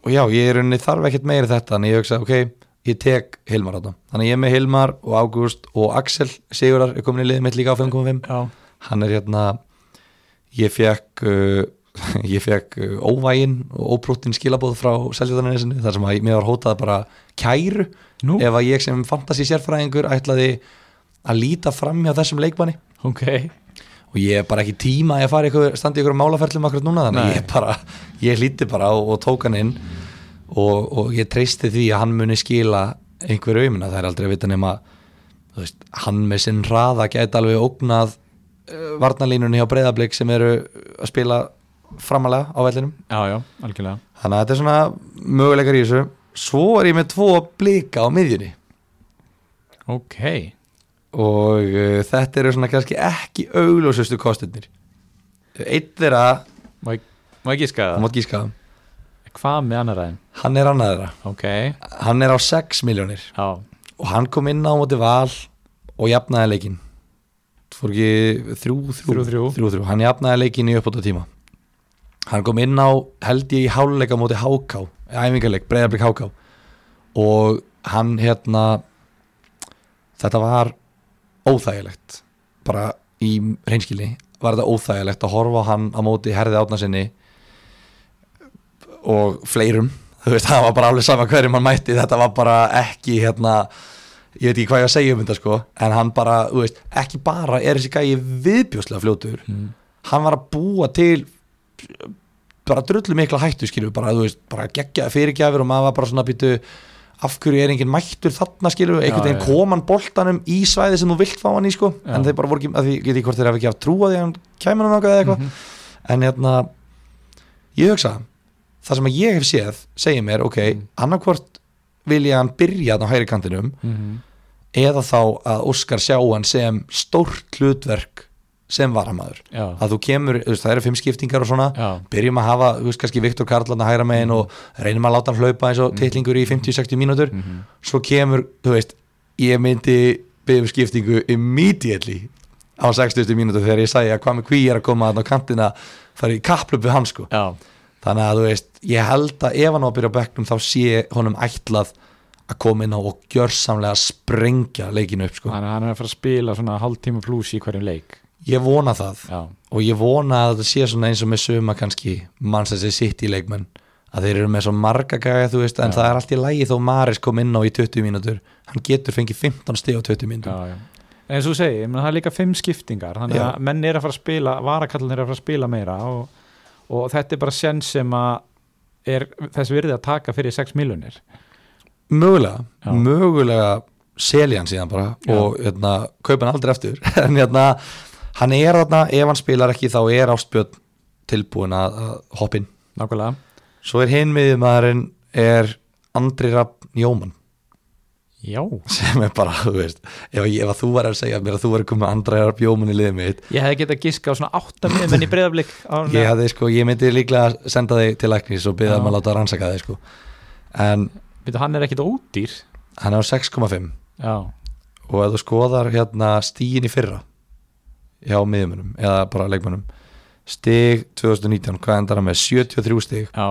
S2: og já, ég er unni þarf ekkert meiri þetta en ég hugsa, ok, ég tek Hilmar Átna þannig að ég er með Hilmar og Ágúst og Axel Sigurar er komin í liðið mitt líka á 5.5
S1: Já,
S2: hann er hérna ég fekk uh, (laughs) ég fekk uh, óvægin og óprúttin skilabóð frá seljadaninnesinu þar sem að ég- mér var hótað bara kæru
S1: nú,
S2: ef að ég sem fantasi sérfræðingur ætlaði að líta fram hjá þessum leikmanni
S1: ok
S2: og ég er bara ekki tíma í að fara ykkur, standa í ykkur málaferlum akkur núna þannig
S1: Nei.
S2: að ég bara, ég hlíti bara og, og tók hann inn og, og ég treysti því að hann muni skila einhverju auðmuna, það er aldrei að vita nema þú veist, hann með sinn hraða gæti alveg ógnað uh, varnalínunni hjá breyðablík sem eru að spila framalega á vellinum
S1: Já, já, algjörlega
S2: þannig að þetta er svona möguleikar í þessu svo er ég með tvo blika á miðjunni
S1: Ok,
S2: og uh, þetta eru svona kannski ekki augljósustu kostinir eitt þeirra,
S1: má ég, má ég gíska
S2: það
S1: það?
S2: mátt gíska það
S1: Hvað með annaræðin?
S2: Hann er annað þeirra
S1: Ok,
S2: Hann er á 6 miljónir
S1: já,
S2: og hann kom inn á móti val og jafnaði leikin fór ekki 3-3
S1: 3-3.
S2: 3-3. hann jafnaði leikin í uppbóta tíma hann kom inn á held ég í háluleika móti HK æfingarleik, breyðarblik HK og hann hérna þetta var óþægilegt bara í reynskilni var þetta óþægilegt að horfa á hann á móti herði átnasinni og fleirum þú veist, það var bara alveg sama hverjum hann mætti þetta var bara ekki hérna ég veit ekki hvað ég á að segja um þetta sko en hann bara, þú veist, ekki bara er þessi gæi viðbjóslega fljótur
S1: mm.
S2: hann var að búa til bara drullu mikla hættu skilur bara, þú veist, bara geggjaði fyrirgjafir og maður var bara svona býtu af hverju er enginn mættur þarna skilur, einhvern
S1: Já,
S2: veginn
S1: já.
S2: kom hann boltanum í svæði sem þú vilt fá hann í sko en
S1: Já.
S2: þeir bara voru ekki, að því, ég veit ekki hvort þeir hafi ekki
S1: Mhm.
S2: haft trú á því að hann kæmur hann ákveð eða eitthvað en hérna ég hugsa það sem að ég hef séð segir mér, ok,
S1: Mm.
S2: mm. annarkvort vil ég hann byrja þarna á hægri kantinum
S1: Mhm.
S2: eða þá að Óskar sjá hann sem stórt hlutverk sem varamaður
S1: já,
S2: að þú kemur, þú veist, það eru fimm skiptingar og svona
S1: já,
S2: byrjum að hafa, þú veist, kannski Viktor Karlarna hægra megin og reynum að láta hann hlaupa eins og titlingur í 50-60 mínútur
S1: Mhm.
S2: svo kemur, þú veist, ég myndi byrjum skiptingu immediately á 60 mínútur þegar ég sagði að hvað með kví er að koma þarna á kantina fara í kapplup við hann sko
S1: já,
S2: þannig að þú veist, ég held að ef hann á að byrja á bekknum þá sé honum ætlað að koma inn á og gjörsamlega sprengja leikinu upp sko
S1: þannig að hann er að fara að spila svona hálftíma pluss í hverjum leik
S2: ég vona það
S1: já,
S2: og ég vona að þetta sé svona eins og með suma kannski mannsessi sitt í leikmenn að þeir eru með svo marga gæja þú veist en
S1: Já.
S2: það er allt í lægi þó Maris kom inn á í 20 mínútur hann getur fengið 15 stig á 20
S1: já,
S2: mínútur
S1: já en eins og þú segir, ég meina, það er líka fimm skiptingar þannig
S2: Já.
S1: að menn er að fara að spila, varakallin er að fara að spila meira og, og þetta er bara senn sem að er þess virði að taka fyrir 6 miljonir
S2: mögulega,
S1: Já.
S2: mögulega selja hann síðan bara
S1: Já.
S2: og hérna, kaupa hann aldrei eftir (laughs) en hérna, hann er þarna ef hann spilar ekki þá er Ástbjörn tilbúin að, að hoppin
S1: nákvæmlega,
S2: svo er hinn miðjumæðurinn er Andri Rapp Jóman
S1: já
S2: sem er bara, þú veist ef, ég, ef að þú var að segja mér að þú var að koma með Andra Rapp Jóman í liðið mitt
S1: ég hefði getað giska á svona 8 miljonir menn í breyðablík
S2: ég, hefði, sko, ég myndi líklega senda þig til læknis og
S1: Já.
S2: byrða um að láta rannsaka þig sko. en
S1: hann er ekkit ódýr
S2: hann er á 6,5
S1: já,
S2: og ef þú skoðar hérna stígin í fyrra hjá miðjumunum eða bara leikmunum stig 2019, hvað endar hann með 73 stig,
S1: já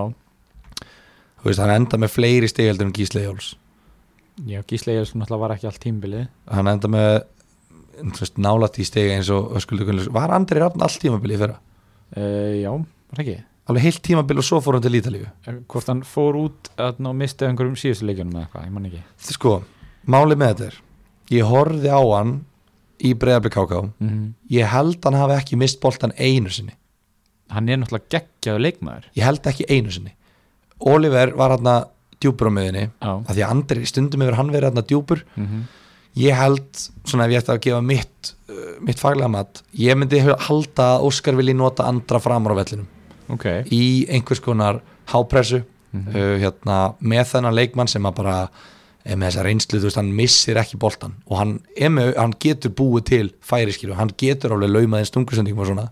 S2: þú veist hann endar með fleiri stig heldur en Gísli Jóls
S1: Já, Gísli Egilsson alltaf var ekki allt tímbilið
S2: hann endar með þú veist, nálætt í stig eins og öskuldu Gunnlaugs var Andri Rafn allt tímabili í fyrra
S1: uh, Já, var ekki
S2: alveg heilt tímabili og svo fór hann til Ítalíu
S1: Eh, Hvort hann fór út þarna og misti einhverjum síðustu leikjunum eða eitthvað, ég man ekki
S2: Þetta er sko, máli með þetta er ég horfði á hann í breyðabli káká
S1: mm
S2: ég held hann hafi ekki mist boltan einu sinni
S1: Hann er náttúrulega geggjaðu leikmaður
S2: ég held ekki einu sinni Oliver var hann að djúpur á miðinni
S1: Já,
S2: að því að Andri stundum hefur hann verið hérna djúpur
S1: mm
S2: ég held, svona ef ég ætti að gefa mitt uh, mitt faglega mat, ég myndi halda að Óskar vilji nota andra framar á vellinum
S1: ok
S2: í einhvers konar hápressu uh, hérna, með þennan leikmann sem að bara er með þessa reynslu, þú veist, hann missir ekki boltan og hann, er með, hann getur búið til færiskilu, hann getur alveg laumað einn stungusendingum og svona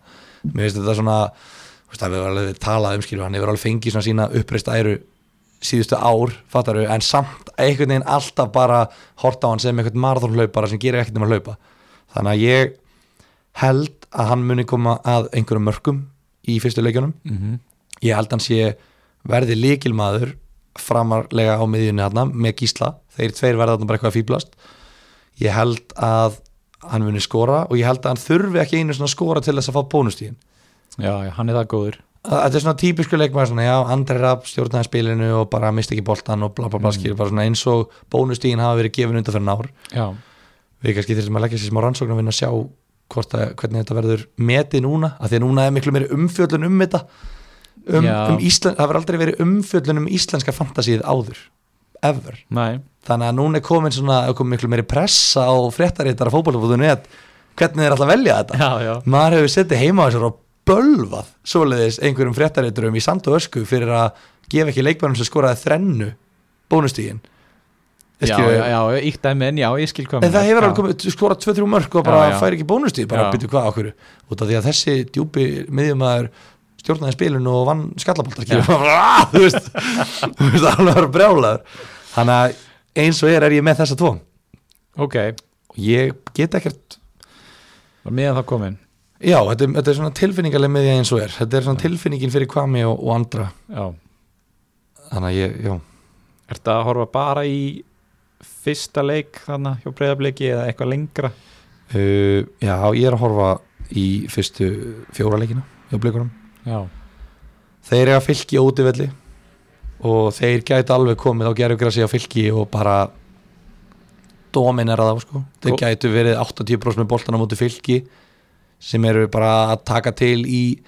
S2: mér finnst þetta svona, þú veist, það hefur alveg talað um skilu, hann hefur alveg fengið svona sína uppreist æru síðustu ár, fattaru en samt einhvern veginn alltaf bara horta á hann sem einhvern marathonhlaupara sem gerir ekkert um að hlaupa, þannig að ég held að hann muni koma að einhverjum mörkum í fyrstu leikjunum
S1: mm
S2: ég held hann sé verði líkilmaður framarlega á miðjunni hann með gísla, þeir tveir verða þarna bara eitthvað að fýblast ég held að hann muni skora og ég held að hann þurfi ekki einu svona skora til þess að fá bónustíðin
S1: Já, já, hann er það góður
S2: þetta er svona típisku leikmaður svona, já, Andri Rapp stjórnaði spilinu og bara misti ekki boltan og bla bla bla
S1: Mm.
S2: skilur bara svona eins og bónustíðin hafa verið gefin undan fyrir nár
S1: Já,
S2: við kannski þurfum að leggja sér smá rannsóknum að sjá hvort að, hvernig þetta verður metið núna, af því að núna er miklu meiri umfjöllun um þetta um,
S1: Já.
S2: um Ísland, það verður aldrei verið umfjöllun um íslenska fantasíð áður ever,
S1: næ,
S2: þannig að núna er komin svona, er komin miklu meiri pressa á fréttaréttar af fótbollabúðunni hvernig þeir alltaf velja þetta
S1: já, já
S2: maður hefur setið heima á þessar og bölvað svoleiðis einhverjum fréttarétturum í sand og ösku fyrir að gefa ekki leikmennum sem skoraði þrennu bónustígin
S1: Já, já, já, íkt dæmi en já, ég skil hvað
S2: En það hefur alveg
S1: komið
S2: komið, þú skorað 2-3 mörg og bara
S1: Já, já.
S2: fær ekki bónustið, bara
S1: Já.
S2: byrju hvað okkur út af því að þessi djúpi miðjumæður stjórnaði spilinu og vann skallaboltar skilur, bara, (laughs) "Ah!" þú veist þú veist, alveg að vera brjálaður þannig að eins og er er ég með þessa tvo
S1: Ok,
S2: og ég get ekkert
S1: var miðan þá komin
S2: já, þetta er, þetta er svona tilfinningarlega miðja eins og er þetta er svona tilfinningin fyrir kvami og, og andra
S1: Já,
S2: þannig að ég, já,
S1: ertu að horfa bara í fyrsta leik þannig hjá breyðabliki eða eitthvað lengra
S2: uh, já, ég er að horfa í fyrstu fjóra leikina hjá blikunum
S1: Já,
S2: þeir eiga fylki á útivelli og þeir gæti alveg komið á gerðugrasi á fylki og bara dominera það sko. þeir
S1: Gó-
S2: gætu verið 80% með boltan á móti fylki sem eru bara að taka til í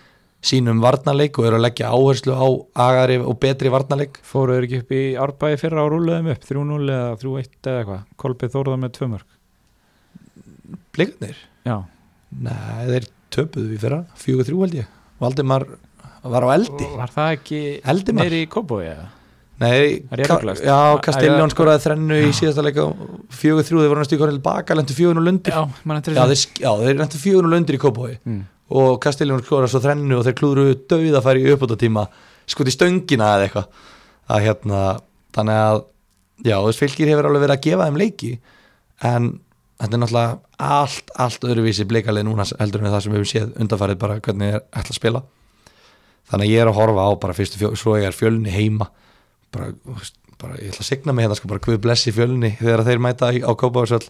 S2: sínum varnarleik og eru að leggja áherslu á agari og betri varnarleik
S1: Fóruður ekki upp í árbæði fyrra og rúluðum upp 3-0 eða 3-1 eða eitthvað Kolbið Þórða með tvö mörg
S2: blikarnir,
S1: Já,
S2: nei þeir töpuðu við fyrra, 4-3 held ég Valdimar var á eldi
S1: Var það ekki
S2: Eldimar?
S1: neyri í Kópói eða?
S2: Nei,
S1: Er ég
S2: Ka-
S1: ruglast?
S2: já,
S1: Er
S2: Castellón
S1: ég-
S2: skoraði þrennu í síðasta leika fjögur þrjú, þeir voru næstu í kornil baka lendu fjögur og lundir já,
S1: Já, mann eftir
S2: þeir, sk- já, þeir lendu fjögur og lundir í Kópói
S1: Mm.
S2: og Castellón skoraði svo þrennu og þeir klúðru döið að fara í uppbótatíma skot í stöngina eða eitthvað að hérna, þannig að já, þess fylgir hefur alveg verið að gefa þeim leiki en þetta er náttúrulega allt, allt öðruvísi blikalið núna heldur en það sem við höfum séð undanfarið bara hvernig er ætla að spila þannig að ég er að horfa á bara fyrstu fjö, svo ég er fjölni heima bara, þú veist, bara ég ætla að signa mig hérna sko bara guð blessi fjölni þegar þeir mæta í- á Kópavarsöll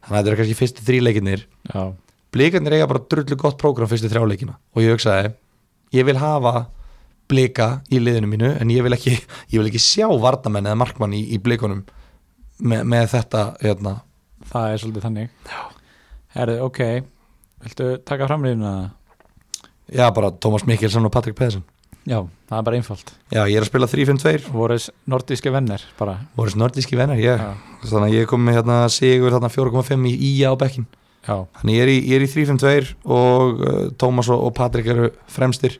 S2: þannig að þetta eru kannski fyrstu þríleikinir
S1: Já,
S2: blikarnir eiga bara drullu gott prógram fyrstu þrjáleikina og ég hugsaði ég vil hafa blika í liðinu mínu en ég vil ekki, (laughs) ég vil ekki sjá varnamenn eða markmann í, í blikunum með, með þetta hérna.
S1: það er svolítið þannig Já Herðu, ok, viltu taka framlýðina?
S2: já bara Tómas Mikkelsen og Patrik Pedersen
S1: Já, það er bara einfalt
S2: já ég er að spila 3-5-2
S1: Voruðs nordíske venner bara
S2: voru snortíski vennar ég,
S1: Já,
S2: þannig að ég kom með hérna, sigur þarna 4,5 í ía á bekkin
S1: já,
S2: Þannig ég er í, ég er í 3-5-2 og uh, Tómas og, og Patrik eru fremstir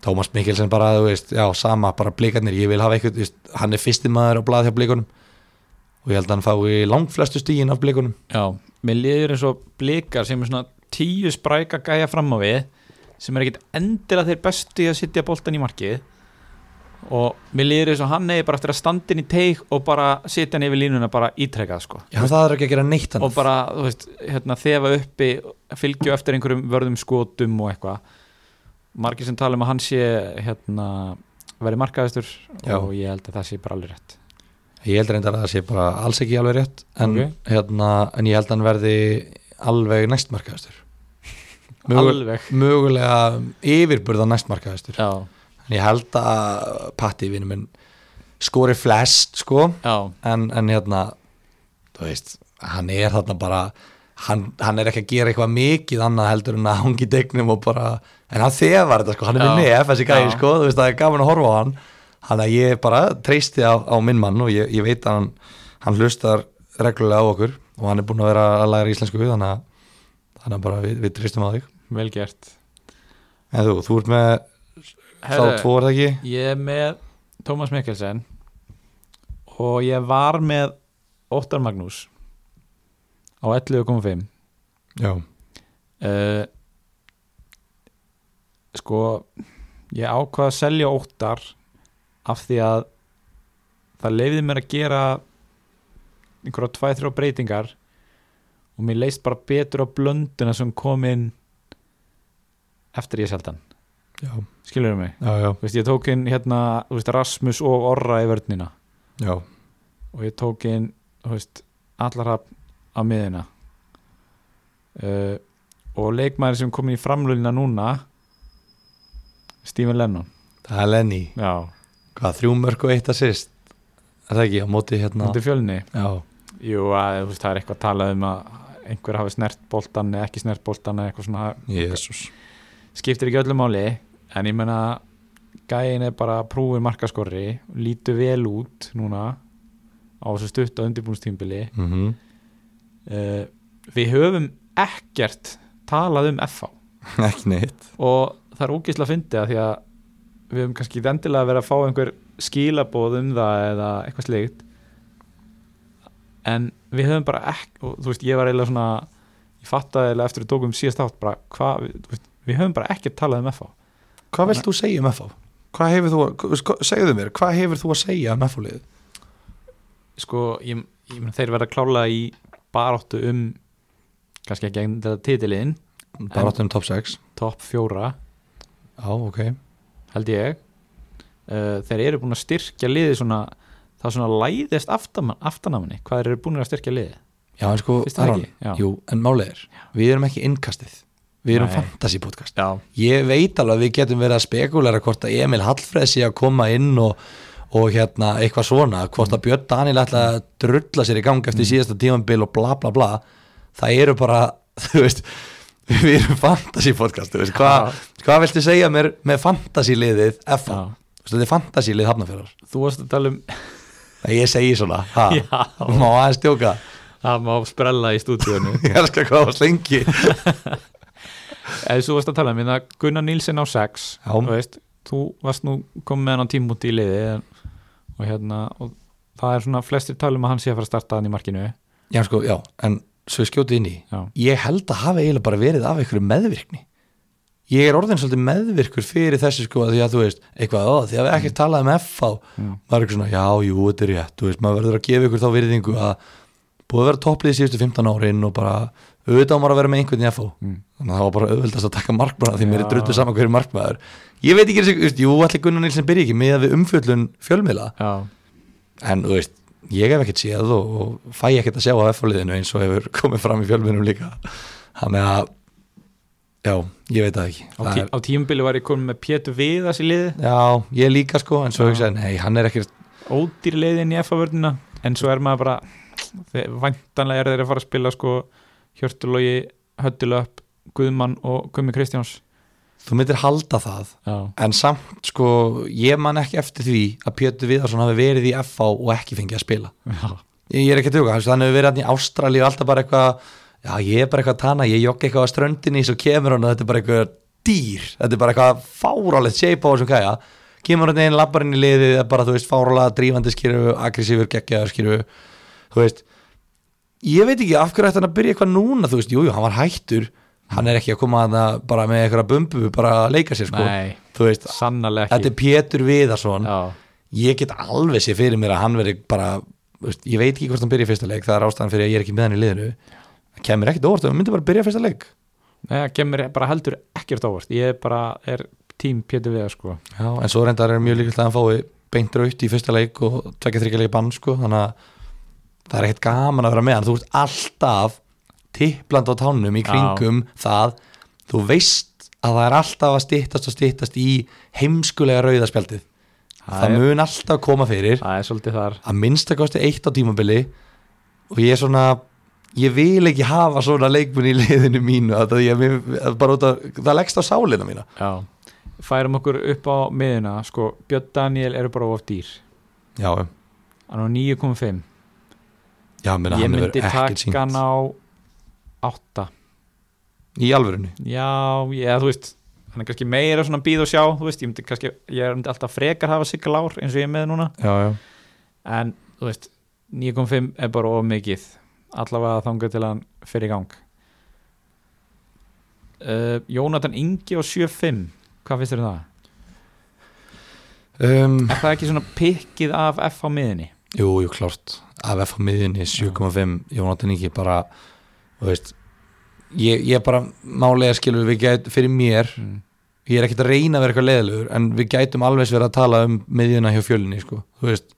S2: Tómas Mikkelsen bara, þú veist, já, sama, bara blikarnir ég vil hafa eitthvað, þú veist, hann er fyrsti maður á blað hjá blikunum og ég held að hann fái langflestu stígin af blikunum
S1: já Mér líður eins og blikar sem er svona tíu spræka gæja fram á við sem er ekkit endilega þeir bestu í að sitja boltan í markið og mér líður eins og hann eigi bara eftir að standa inn í teik og bara sitja hann yfir línuna bara ítrekað sko
S2: Já, það er ekki að gera neitt hann
S1: og bara, þú veist, hérna, þefa uppi fylgju eftir einhverjum vörðum skotum og eitthvað margir sem tala um að hann sé hérna, verið markaðistur
S2: Já.
S1: og ég held að það sé bara alveg rétt
S2: Ég held reyndar að það sé bara alls ekki alveg rétt en,
S1: Ok.
S2: hérna, en ég held að hann verði alveg
S1: (laughs)
S2: næstmarkaðastur
S1: alveg
S2: Mögulega yfirburða næstmarkaðastur
S1: já,
S2: En ég held að Patti vinnu minn skori flest sko
S1: já,
S2: en, en hérna þú veist, hann er þarna bara hann, hann er ekki að gera eitthvað mikið annað heldur en að hangi degnum og bara en hann þefar þetta sko, hann er
S1: Já.
S2: með nef þessi gæði
S1: Já.
S2: sko, þú veist, það er gaman að horfa á hann hann að ég bara treysti á, á minn mann og ég, ég veit að hann hann hlustar reglulega á okkur og hann er búin að vera að læra íslensku þannig að, þannig að bara við, við treystum á þig
S1: vel gert
S2: en þú, þú ert með þá tvo er það ekki
S1: ég er með Tómas Mikkelsen og ég var með Óttar Magnús á 11.5
S2: Já,
S1: uh, sko ég ákvað að selja óttar af því að það leiði mér að gera einhverja tvæ, þrjá breytingar og mér leist bara betur á blönduna sem kom inn eftir ég seldan
S2: já,
S1: skilur mig,
S2: já, já,
S1: Þú veist, ég tók inn hérna, þú veist, Rasmus og Orra í vörnina
S2: já.
S1: og ég tók inn þú veist, allarhafn á miðina uh, og leikmaður sem kom í framlunina núna Stephen Lennon
S2: það er Lenny
S1: já,
S2: hvað, þrjú mörg og eitt assist er það ekki, á móti hérna
S1: mútið fjölni
S2: já,
S1: jú, að, þú veist, það er eitthvað að tala um að einhver hafi snert boltan eða ekki snert boltan eða eitthvað svona,
S2: jésus
S1: skiptir ekki öllu máli en ég menna gæin er bara prúið markaskorri lítur vel út núna á þessu stutta undirbúnstímbili
S2: mm -hmm.
S1: uh, við höfum ekkert talað um FH
S2: (laughs) ekki neitt
S1: og það er ógeðslega að fyndi að því að við höfum kannski vendilega verið að fá einhver skilabóð um það eða eitthvað slikt en við höfum bara ekki og þú veist, ég var eiginlega svona ég fattaði eiginlega eftir við tókum síðast átt bara hvað, við- þú veist, við höfum bara ekki talað um FH
S2: hvað vilt þú segja um FH? hvað hefur þú, að- sko- segðu mér, hvað hefur þú að segja um FH-lið?
S1: sko, ég, ég meina þeir verða klála í baráttu um kannski ekki eginn þetta titiliðin
S2: bara áttum top 6
S1: topp fjóra,
S2: já, ok,
S1: held ég uh, þeir eru búin að styrkja liðið svona það svona læðist aftan, aftanamanni hvað þeir eru búin að styrkja liðið
S2: já, en sko,
S1: Fyrst það
S2: Aron
S1: ekki? Já.
S2: jú, en málið er, við erum ekki innkastið við erum
S1: Nei.
S2: fantasy podcast
S1: Já,
S2: ég veit alveg að við getum verið að spekulera hvort að Emil Hallfreð sé að koma inn og, og hérna eitthvað svona hvort að Björn Daniel ætla að drulla sér í gang
S1: Mm.
S2: eftir síðasta tímanbil og bla bla bla það eru bara, (laughs) þú veist við erum fantasy podcast þú veist, hvað hva viltu segja mér með fantasy liðið FA
S1: Já.
S2: Þú veist, þetta er fantasy lið hafnafjörðar
S1: þú varst að tala um
S2: Nei, ég segi svona, ha,
S1: (laughs) Já.
S2: má aðeins djóka (laughs)
S1: að má sprella í stúdíunum (laughs)
S2: ég elskar hvað það var slengi
S1: eða þú varst að tala um hérna, Gunnar Nílsen á 6
S2: Já.
S1: þú veist, þú varst nú komið með hann á tímúti í liði en, og hérna og það er svona flestir talum að hann sé að fara að starta hann í markinu
S2: já, sko, já, en svo ég skjótið inn í
S1: Já.
S2: ég held að hafa eiginlega bara verið af einhverju meðvirkni ég er orðin svolítið meðvirkur fyrir þessu sko að því að þú veist eitthvað, ó, því að við ekkert talað um FH
S1: Mm.
S2: maður er eitthvað svona, já, jú, þetta er rétt þú veist, maður verður að gefa ykkur þá virðingu að búið að vera topplið síðustu 15 árin og bara auðvitað á maður að vera með einhvern í FH
S1: Mm.
S2: þannig að það var bara auðvitað að taka markmanna því mér er
S1: Já.
S2: drullu saman hverju markmaður ég veit ekki, þessi- þú veist, jú, allir Gunnar Nilsen byrja ekki með við umfjöllun fjölmiðla
S1: Já,
S2: en þú veist, ég hef ekkert séð og, og fæ ekkert að sjá á F-liðinu eins og hefur (laughs) komið fram í fjölmiðnum líka þannig að já, ég veit það ekki
S1: á,
S2: Það
S1: tí,
S2: er,
S1: á tímubili var ég komin með Pétur Viðas í liði
S2: já, ég líka sko en svo
S1: Já.
S2: hugsaði, nei, hann er ekkert
S1: ódýr leiðin í F-vörnina en svo er maður bara þeir- væntanlega er þeir að fara að spila sko Hjörtulogi, Höttulöp Guðmann og Gummi Kristjáns
S2: þú myndir halda það,
S1: Já,
S2: en samt sko ég man ekki eftir því að Pétur Viðarsson hafi verið í FH og ekki fengið að spila
S1: (laughs) já,
S2: ég er ekki að tjóka, hann hefur verið hann í Ástralíu og alltaf bara eitthvað, já ég er bara eitthvað að tana, ég jogg eitthvað á ströndinni svo kemur hann og þetta er bara eitthvað dýr þetta er bara eitthvað fárálegt shape á þessum kæja kemur hann einn labbarinn í liðið það er bara þú veist fárálega drífandi skýru aggressífur geggjaður skýru þú veist, ég veit ekki af hverju ætti hann að byrja eitthvað núna, þú veist, jújú, jú, hann var hættur hann er ekki að koma að það bara með eitthvað bumbu, bara að leika sér sko
S1: nei,
S2: þú veist,
S1: sannarlega
S2: þetta
S1: ekki
S2: er Pétur Viðarsson
S1: Já,
S2: ég get alveg sér fyrir mér að hann veri bara, þú veist, ég veit ekki hvort hann byrja í fyrsta leik, það er ástæðan fyrir að ég er ekki með hann í liðinu það kemur ekkert óvart ef hann myndi bara byrja í fyrsta leik
S1: nei, það kemur bara heldur ekkert ávart ég er bara er tím Pétur Viðas sko
S2: Já, en svo reyndar er mjög líkvægt að hann fái beint raut í fyrsta leik og tvekja þryggja leik bann sko, þannig að það er ekkert gaman að vera með hann, þú ert alltaf tippland á tánum í
S1: Já.
S2: kringum það, þú veist að það er alltaf að styttast og styttast í heimskulega rauðaspjaldið
S1: Það
S2: það
S1: er-
S2: mun alltaf koma fyrir
S1: það er svolítið þar
S2: að minnsta kosti eitt á tímabili og ég er svona ég vil ekki hafa svona leikmun í liðinu mínu að það, ég, mér- að bara út að það leggst á sálina mína
S1: Já, færum okkur upp á miðuna sko, Björn Daniel eru bara of dýr
S2: já,
S1: hann á 9,5
S2: já meina,
S1: ég
S2: hann hefur
S1: myndi
S2: ekkert
S1: taka hann
S2: sínt
S1: á 8
S2: í alvörinu
S1: Já, ég, eða þú veist hann er kannski meira svona býð og sjá þú veist, ég myndi kannski, ég er myndi alltaf frekar hafa sig lár eins og ég er með núna
S2: já, já.
S1: en þú veist, 9.5 er bara of mikið allavega þangur til hann fyrir í gang uh, Jónatan Ingi og 7.5 hvað finnst þér um það?
S2: Um,
S1: Er það ekki svona pikkið af F á miðinni?
S2: jú, jú, klárt af F á miðinni 7,5 Jónatan Ingi bara þú veist ég, ég bara málega skilur við gæt fyrir mér
S1: Mm.
S2: ég er ekkert að reyna að vera eitthvað leðilegur en við gætum alveg verið að tala um miðjuna hjá fjölinni sko, þú veist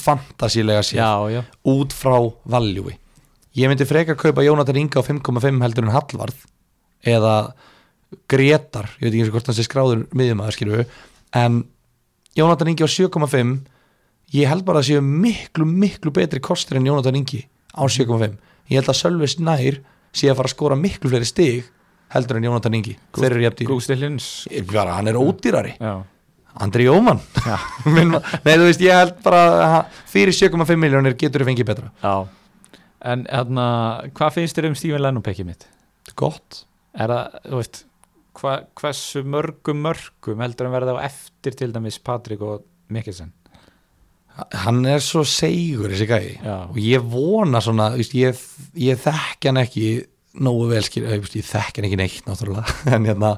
S2: fantasílega sér
S1: Já, já,
S2: út frá valjúi ég myndi frekar kaupa Jónatan Inga á 5,5 heldur en Hallvarð eða Gretar, ég veit ekki eins og hvort hann sé skráður miðjumæður skilur við en Jónatan Ingi á 7,5 ég held bara að séu miklu miklu betri kostur en Jónatan Ingi á 7,5 ég held að Sölvi Snær sé að fara að skora miklu fleiri stig heldur en Jónatan Ingi þeir eru jafn dýr
S1: Gústi Hlins
S2: Ég- bara, hann er ódýrari
S1: Já,
S2: Andri Jóman
S1: já,
S2: (laughs) Minn ma- nei þú veist ég held bara að hann- fyrir 7,5 miljónir getur þú fengið betra
S1: já. En hérna, hvað finnst þér um Stífin Lennupekkið mitt?
S2: gott
S1: er það, þú veist hva, hversu mörgum mörgum heldur hann verða á eftir til dæmis Patrik og Mikkelsen
S2: hann er svo segur þessi gæði
S1: Já.
S2: og ég vona svona þú veist, ég, ég þekk hann ekki nógu vel skil, ég, ég þekk hann ekki neitt náttúrulega (laughs) en hérna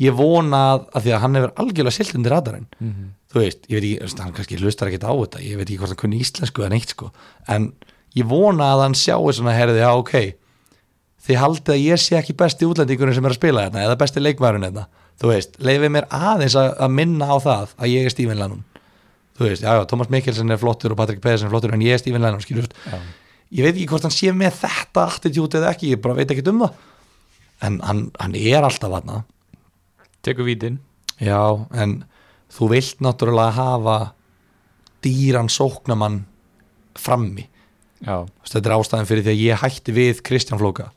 S2: ég vona að, að því að hann hefur algjörlega silt undir radarinn
S1: mm
S2: þú veist, ég veit ekki, þú veist, hann kannski hlustar ekkert á þetta ég veit ekki hvort hann kunni íslensku eða neitt sko en ég vona að hann sjáu svona herði, já ok þið haldið að ég sé ekki besti útlendingunum sem er að spila hérna eða besti leikmærun hérna þú veist, leifið mér aðeins að, að minna á það að ég er Stephen Lennon þú veist, já já, Thomas Mikkelsen er flottur og Patrick Pedersen er flottur en ég er Stephen Lennon, skilur þú veist.
S1: Já.
S2: ég veit ekki hvort hann sé með þetta attitude eða ekki, ég bara veit ekki um það en hann, hann er alltaf aðna
S1: tekur vítin
S2: Já, en þú vilt náttúrulega hafa dýran sóknamann frammi.
S1: já,
S2: Þú veist, Þetta er ástæðan fyrir því að ég hætti við Kristján Flóka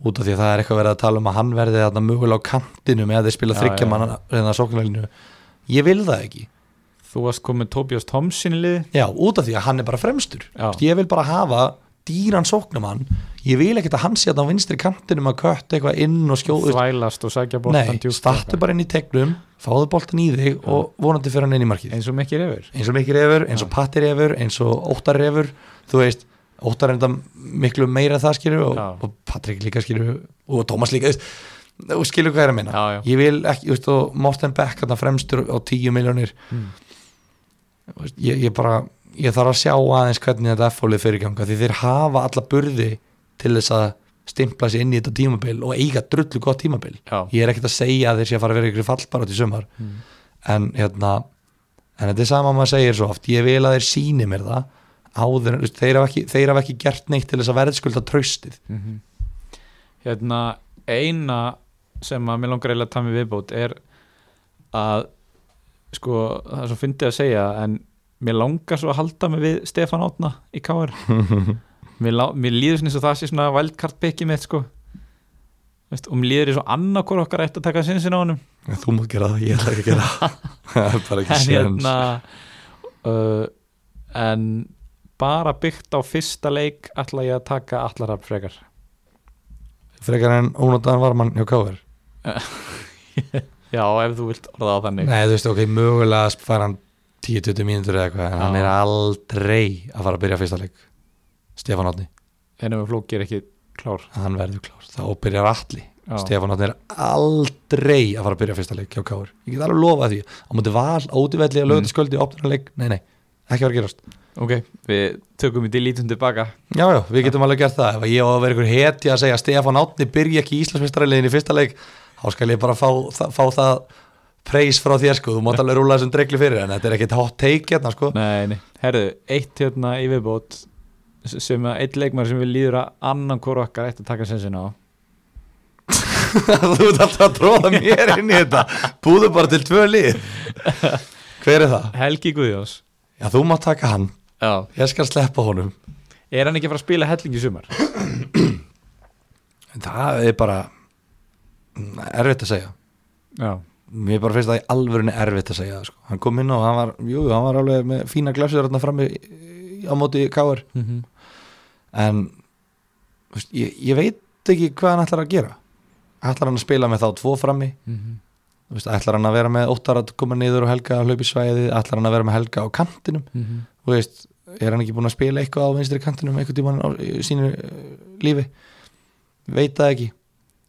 S2: út af því að það er eitthvað verið að tala um að hann verði þarna mögulega á kantinum eða þeir spila
S1: Já,
S2: þryggja
S1: já.
S2: mann reyna sóknarlinu. Ég vil það ekki.
S1: þú varst komið Tobias Thompson í lið
S2: Já, út af því að hann er bara fremstur.
S1: Já.
S2: Þú veist, Ég vil bara hafa dýran sóknumann ég vil ekkert að hann sé að á vinstri kantinum að kött eitthvað inn og skjóðu
S1: þvælast og sækja boltan
S2: nei,
S1: sko.
S2: startu bara inn í tegnum fáðu boltan í þig og vonandi fyrir hann inn í markið
S1: eins og mikið reyfur
S2: eins og Mikki Refur, eins og Patti Refur eins og Óttar Refur, þú veist Óttar er þetta miklu meira en það skilur og,
S1: Já.
S2: og Patrik líka skilur og Tómas líka, þú veist, og skilur hvað ég er að minna
S1: Já, já.
S2: ég vil ekki, þú veist, og Morten Beck þarna fremstur á 10 miljónir
S1: Mm.
S2: Þú veist, ég, ég bara ég þarf að sjá aðeins hvernig þetta F-fólið fyrirganga því þeir hafa alla burði til þess að stimpla sér inn í þetta tímabil og eiga drullu gott tímabil
S1: Já.
S2: ég er ekkert að segja að þeir sé að fara að vera ykkur fallbar átt í sumar
S1: Mm.
S2: en hérna en þetta er sama að maður segir svo oft ég vil að þeir síni mér það áður, þú veist, þeir, hafa ekki, þeir hafa ekki gert neitt til þess að verðskulda traustið
S1: Mhm. Hérna, eina sem að mér langar eiginlega að taða mig viðbót er að sko, það er svo fyndið að segja en mér langar svo að halda mig við Stefán Átna í KR mér, lá, mér líður svona eins og það sé svona wildcard picki mitt sko Veist, og mér líður eins og annarkor okkar ætti að taka sinnsinn á honum
S2: (laughs) þú mútt gera það, ég ætla ekki að gera (laughs) það það er bara ekki
S1: en
S2: séns
S1: hérna uh, en bara byggt á fyrsta leik ætla ég að taka allarab frekar
S2: frekar en ónótaðan varmann hjá Káver
S1: já, ef þú vilt orða á þannig
S2: Nei, þú veist, ok, mögulega fær hann 10-20 mínútur eða eitthvað
S1: Já.
S2: en hann er aldrei að fara að byrja fyrsta leik Stefán Átni,
S1: Hennar með flóki er ekki klár
S2: hann verður klár þá byrjar allir,
S1: Já.
S2: Stefán Átni er aldrei að fara að byrja fyrsta leik hjá Káur ég get alveg lofað því, á múti val
S1: Mm.
S2: ótivelli að lögða sköldi, opnur leik, nei, nei ekki var að gerast,
S1: Ok, við tökum þetta í lítum tilbaka
S2: já, já, við getum alveg gert það ef ég á að vera ykkur heti að segja að Stefán Átni byrja ekki í Íslandsmeistaraliðin í fyrsta leik þá skal ég bara fá, þa fá það preys frá þér sko, þú mátt alveg rúla þessum dregli fyrir en þetta er ekkit hot take hérna sko
S1: Nei, nei, herðu, eitt hérna yfirbót sem að eitt leikmar sem við líður að annan hvora okkar ætti að taka sensin á
S2: (laughs) þú ert alltaf að tróða mér inn í þetta búðu bara til tvö lið hver er það?
S1: Helgi Guðjóns
S2: Já, þú mátt taka hann,
S1: Já.
S2: ég skal sleppa honum
S1: Er hann ekki að fara að spila helling í sumar?
S2: það er bara mm, erfitt að segja
S1: Já,
S2: mér bara finnst það í alvörunni erfitt að segja það, sko. hann kom inn og hann var, jú, hann var alveg með fína glasur þarna frammi í- á móti káar
S1: mm -hmm.
S2: en þú veist, ég, ég veit ekki hvað hann ætlar að gera ætlar hann að spila með þá tvo frammi
S1: mhm,
S2: Þú veist, ætlar hann að vera með óttar að koma niður og helga að hlaupi svæði ætlar hann að vera með helga á kantinum
S1: mhm.
S2: þú veist, er hann ekki búinn að spila eitthvað á vinstri kantinum eitthvað tímann á í sínu eh, lífi veit það ekki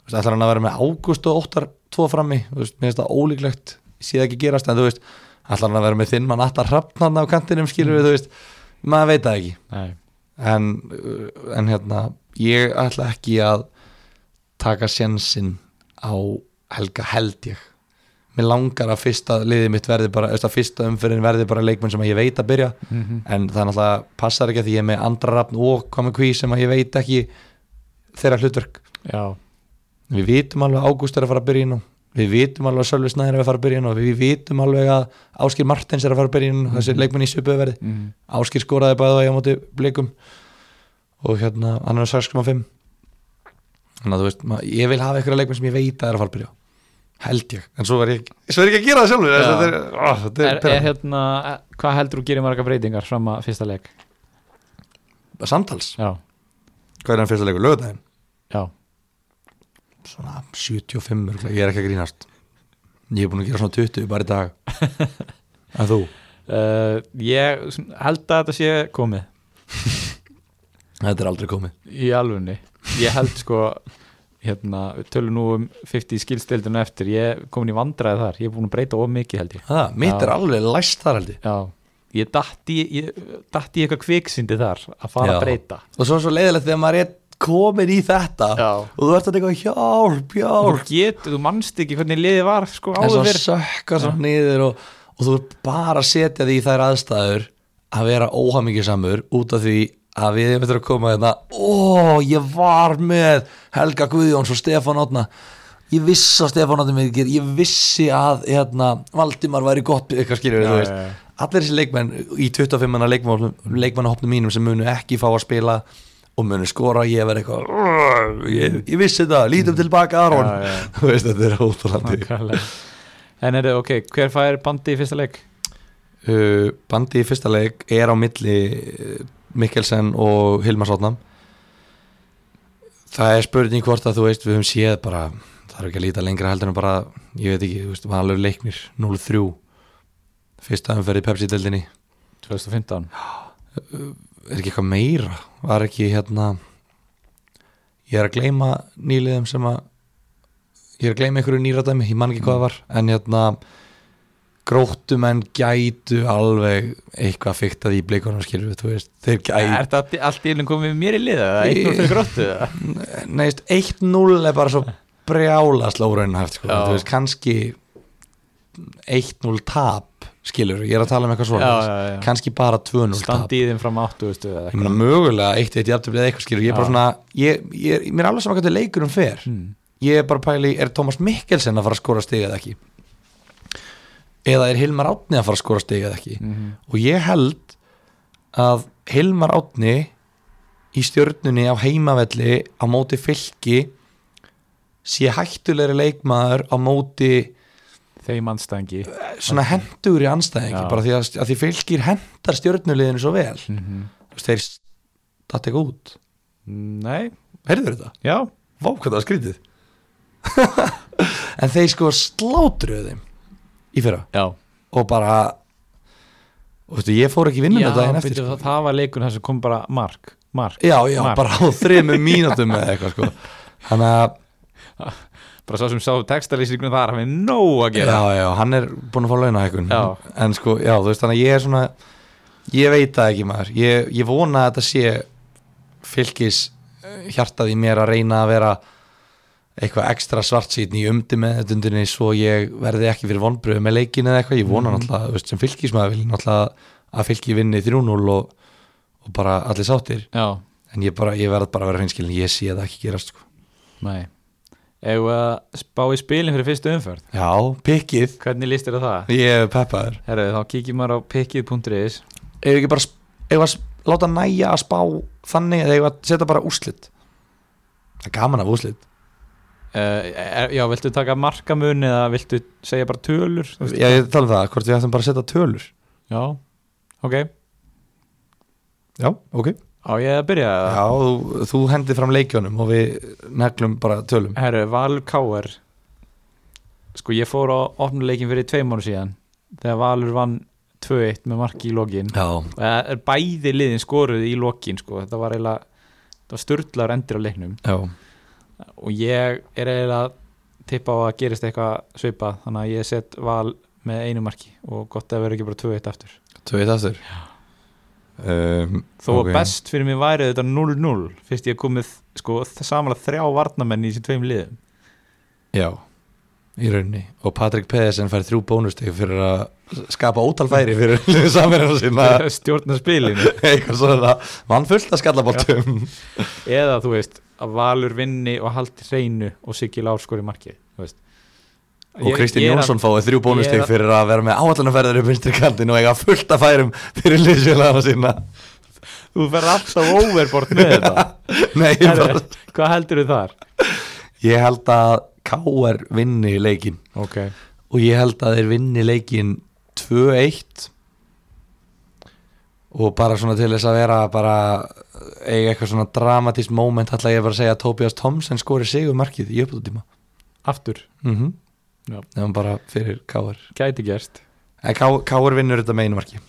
S2: Þú veist, ætlar hann að vera með ágúst og óttar tvo frammi, þú veist, mér finnst það ólíklegt sé það ekki gerast, en þú veist ætlar hann að vera með þinn mann alltaf hrafnarna á kantinum skilur við, þú veist, maður veit það ekki
S1: Nei,
S2: en, uh, en hérna ég ætla ekki að taka sjensin á helga held ég mér langar að fyrsta liðið mitt verði bara, þú veist, að fyrsta umfyrin verði bara leikmenn sem að ég veit að byrja
S1: Mhm.
S2: en það náttúrulega passar ekki að því ég er með andra rafn og komi kví sem að ég veit ekki þeirra hlutverk
S1: já,
S2: við vitum alveg að Ágúst er að fara að byrja inn á við vitum alveg að Sölvi Snæður er að fara að byrja inn á við vitum alveg að Áskir Martins er að fara að byrja inn á
S1: Mhm.
S2: þessi leikmenn í svipuverði
S1: mm
S2: Áskir skoraði bæði og ég á móti blikum og hérna hann er á 6.5 þannig að þú veist, mað, ég vil hafa einhverja leikmenn sem ég veit að er að fara að byrja á. held ég, en svo er ég, svo er ég ekki að gera það sjálfur
S1: Já.
S2: þetta er, ó, þetta
S1: er,
S2: er,
S1: er
S2: er,
S1: hérna, hvað heldur þú gerir marga breytingar fram að fyrsta leik?
S2: samtals,
S1: Já,
S2: hvað er hann fyrsta leikur, lögudaginn
S1: já,
S2: svona 75 örugglega, ég er ekki að grínast ég er búin að gera svona 20 bara í dag
S1: (laughs)
S2: en þú?
S1: uh, ég svona, held að þetta sé komið
S2: Þetta er aldrei komið
S1: í alfunni ég held sko hérna, við tölum nú um 50 skilstildinu eftir ég er komin í vandræði þar, ég er búin að breyta of mikið held ég
S2: ha, mitt
S1: Já.
S2: er alveg læst þar held ég
S1: já, ég datt í, ég, datt í eitthvað kviksindi þar að fara
S2: Já.
S1: að breyta
S2: og svo er svo leiðilegt þegar maður er komin í þetta
S1: Já.
S2: og þú ert að teka hjálp,
S1: þú
S2: hjálp
S1: getur, þú manst ekki hvernig liðið var sko
S2: en svo
S1: áður fyrr
S2: sökka svo niður og, og þú er bara að setja því í þær aðstæður að vera óhamingisamur út af því að við erum eftir að koma þetta ó, ég var með Helga Guðjóns og Stefán Átna ég vissi að Stefán Átna mér ger ég vissi að hérna, Valdimar væri gott eitthvað skilur,
S1: Já,
S2: þú veist
S1: já, já.
S2: allir þessi leikmenn í 25. leikmannahopnum leikmannahopnum mínum sem munu ekki fá að spila og munu skora, ég verði eitthvað ég, ég vissi þetta, lítum tilbaka Aron
S1: Mm. Já, já.
S2: þú veist, þetta er ótrúlandi
S1: Nákvæmlega. en er ok, hver fær bandi í fyrsta leik?
S2: Eh, uh, bandi í fyrsta leik er á milli uh, Mikkelsen og Hilmar Sotnam það er spurning hvort að þú veist við höfum séð bara, það er ekki að líta lengra heldur en bara, ég veit ekki, þú veist, vanlegur leiknir 0-3 fyrsta umferði Pepsi-deldinni
S1: 2015
S2: er ekki eitthvað meira var ekki hérna ég er að gleyma nýliðum sem að ég er að gleyma einhverju nýradæmi ég man ekki
S1: Mm.
S2: hvað það var en hérna gróttumenn gætu alveg eitthvað fiktað í blikunum skilur við, þú veist þeir gætu
S1: Er þetta allt í einu komið mér í liða? eða Eitt úr fyrir gróttu? eða?
S2: neist 1-0 er bara svo brjála slóraunhæft sko.
S1: Já.
S2: þú veist kannski 1-0 tap skilur, ég er að tala um eitthvað
S1: Já,
S2: svona
S1: já, já.
S2: kannski bara 2-0 tap
S1: Standi í þeim fram áttu veistu, eða
S2: ég
S1: eitthvað.
S2: meina mögulega eitt eitt jafntöflið eða eitthvað skilur ég er bara
S1: Já.
S2: svona, ég, ég, er- mér er alveg saman hvað þetta leikur um fer
S1: Hmm.
S2: ég er bara að pæli, er Tómas Mikkelsen að fara að skora stig eða ekki eða er Hilmar Átni að fara að skora stig eða ekki
S1: Mhm.
S2: og ég held að Hilmar Átni í stjörnunni á heimavelli á móti fylki sé hættulegri leikmaður á móti
S1: Þeim anstæðingi
S2: svona hendur í anstæðingi
S1: Já.
S2: bara því að, að því fylgir hendar stjörnuliðinu svo vel
S1: mm
S2: Þú veist, þeir datt ekki út
S1: Nei,
S2: heyrður þetta?
S1: já
S2: Vá hvað það var skrítið (laughs) En þeir sko slátruðu þeim í fyrra
S1: Já,
S2: og bara og veistu, ég fór ekki í vinnuna daginn eftir
S1: byrju,
S2: sko.
S1: það, það var leikurinn þar sem kom bara mark Mark,
S2: Já, já,
S1: Mark.
S2: bara á þremur mínútum eða eitthvað sko Þannig að,
S1: bara sá sem sá textalýsingunum þar hafið nóg að
S2: já,
S1: gera
S2: já, hann er búin að fá launa hækkun
S1: Já.
S2: En sko, já, þú veist, þannig að ég er svona ég veit það ekki maður ég, ég vona að þetta sé fylgis eh, hjartað í mér að reyna að vera eitthvað ekstra svartsýtn í umdi með dundinni svo ég verði ekki fyrir vonbröðu með leikinu eða eitthvað, ég vona
S1: Mhm.
S2: náttúrulega þú veist, sem fylgismæður vil ég náttúrulega að fylgi vinni 3-0 og, og bara allir sáttir
S1: Já,
S2: en ég, bara, ég verð bara að vera hreinskilin, ég sé það ekki gerast sko.
S1: nei Ef að spá í spilin fyrir fyrstu umferð
S2: Já, pikkið,
S1: Hvernig líst þér að það?
S2: ég hef peppaður
S1: Herru, þá kíkjum maður á pikkið.is
S2: Ef ekki bara, sp- ef að s- láta næja að spá þannig eða ef að setja bara úslit Það er gaman af úslit
S1: uh, er- Já, viltu taka markamun eða viltu segja bara tölur? Þú veist?
S2: Já, ég tala um það, hvort við ættum bara að setja tölur
S1: Já, ok
S2: Já, ok
S1: Á ég að byrja það?
S2: Já, þú, þú hendið fram leikjónum og við neglum bara tölum
S1: Herru, Valur Káar Sko, ég fór á opnuleikin fyrir tveim ára síðan þegar Valur vann 2-1 með marki í lokin
S2: Já,
S1: Það er bæði liðin skoruð í lokin sko. þetta var eiginlega þetta var sturdlar endur á leiknum
S2: já,
S1: og ég er eiginlega að tippa á að gerist eitthvað svipað þannig að ég set val með einu marki og gott að vera ekki bara 2-1 aftur
S2: tveið aftur um,
S1: þó að
S2: Ok.
S1: best fyrir mér væri þetta 0-0 fyrst ég komið sko, samanlega þrjá varnamenn í þessum tveim liðum
S2: Já, í rauninni Og Patrik Pedersen fær þrjú bónusteg fyrir að skapa ótalfæri fyrir (laughs) samverðan (laughs) sinna
S1: stjórna spilinu
S2: eitthvað svona vann fullt að skallaboltum
S1: eða þú veist að Valur vinni og haldi hreinu og Siggi Lár skori markið þú veist.
S2: og
S1: Ég-
S2: Kristinn
S1: ég er að-
S2: Jónsson fáið þrjú bónusteg
S1: ég er að-
S2: fyrir að vera með áallanumferðar upp vinstri kandin og eiga fullt að færum fyrir liðsjölaðana sína (laughs)
S1: þú fer alltaf overbort með þetta
S2: Nei, (laughs) ég, bara,
S1: Herre, hvað heldur þú þar?
S2: ég held að K.R. vinni leikin
S1: ok,
S2: og ég held að þeir vinni leikin 2-1 og bara svona til þess að vera bara eiga eitthvað svona dramatískt moment ætla ég bara að segja að Tobias Thompson skori sigur markið í uppbúttíma
S1: aftur,
S2: mm
S1: Mhm. Já.
S2: nefnum bara fyrir K.R.
S1: gæti gerst
S2: En K- K.R. vinnur þetta með einu marki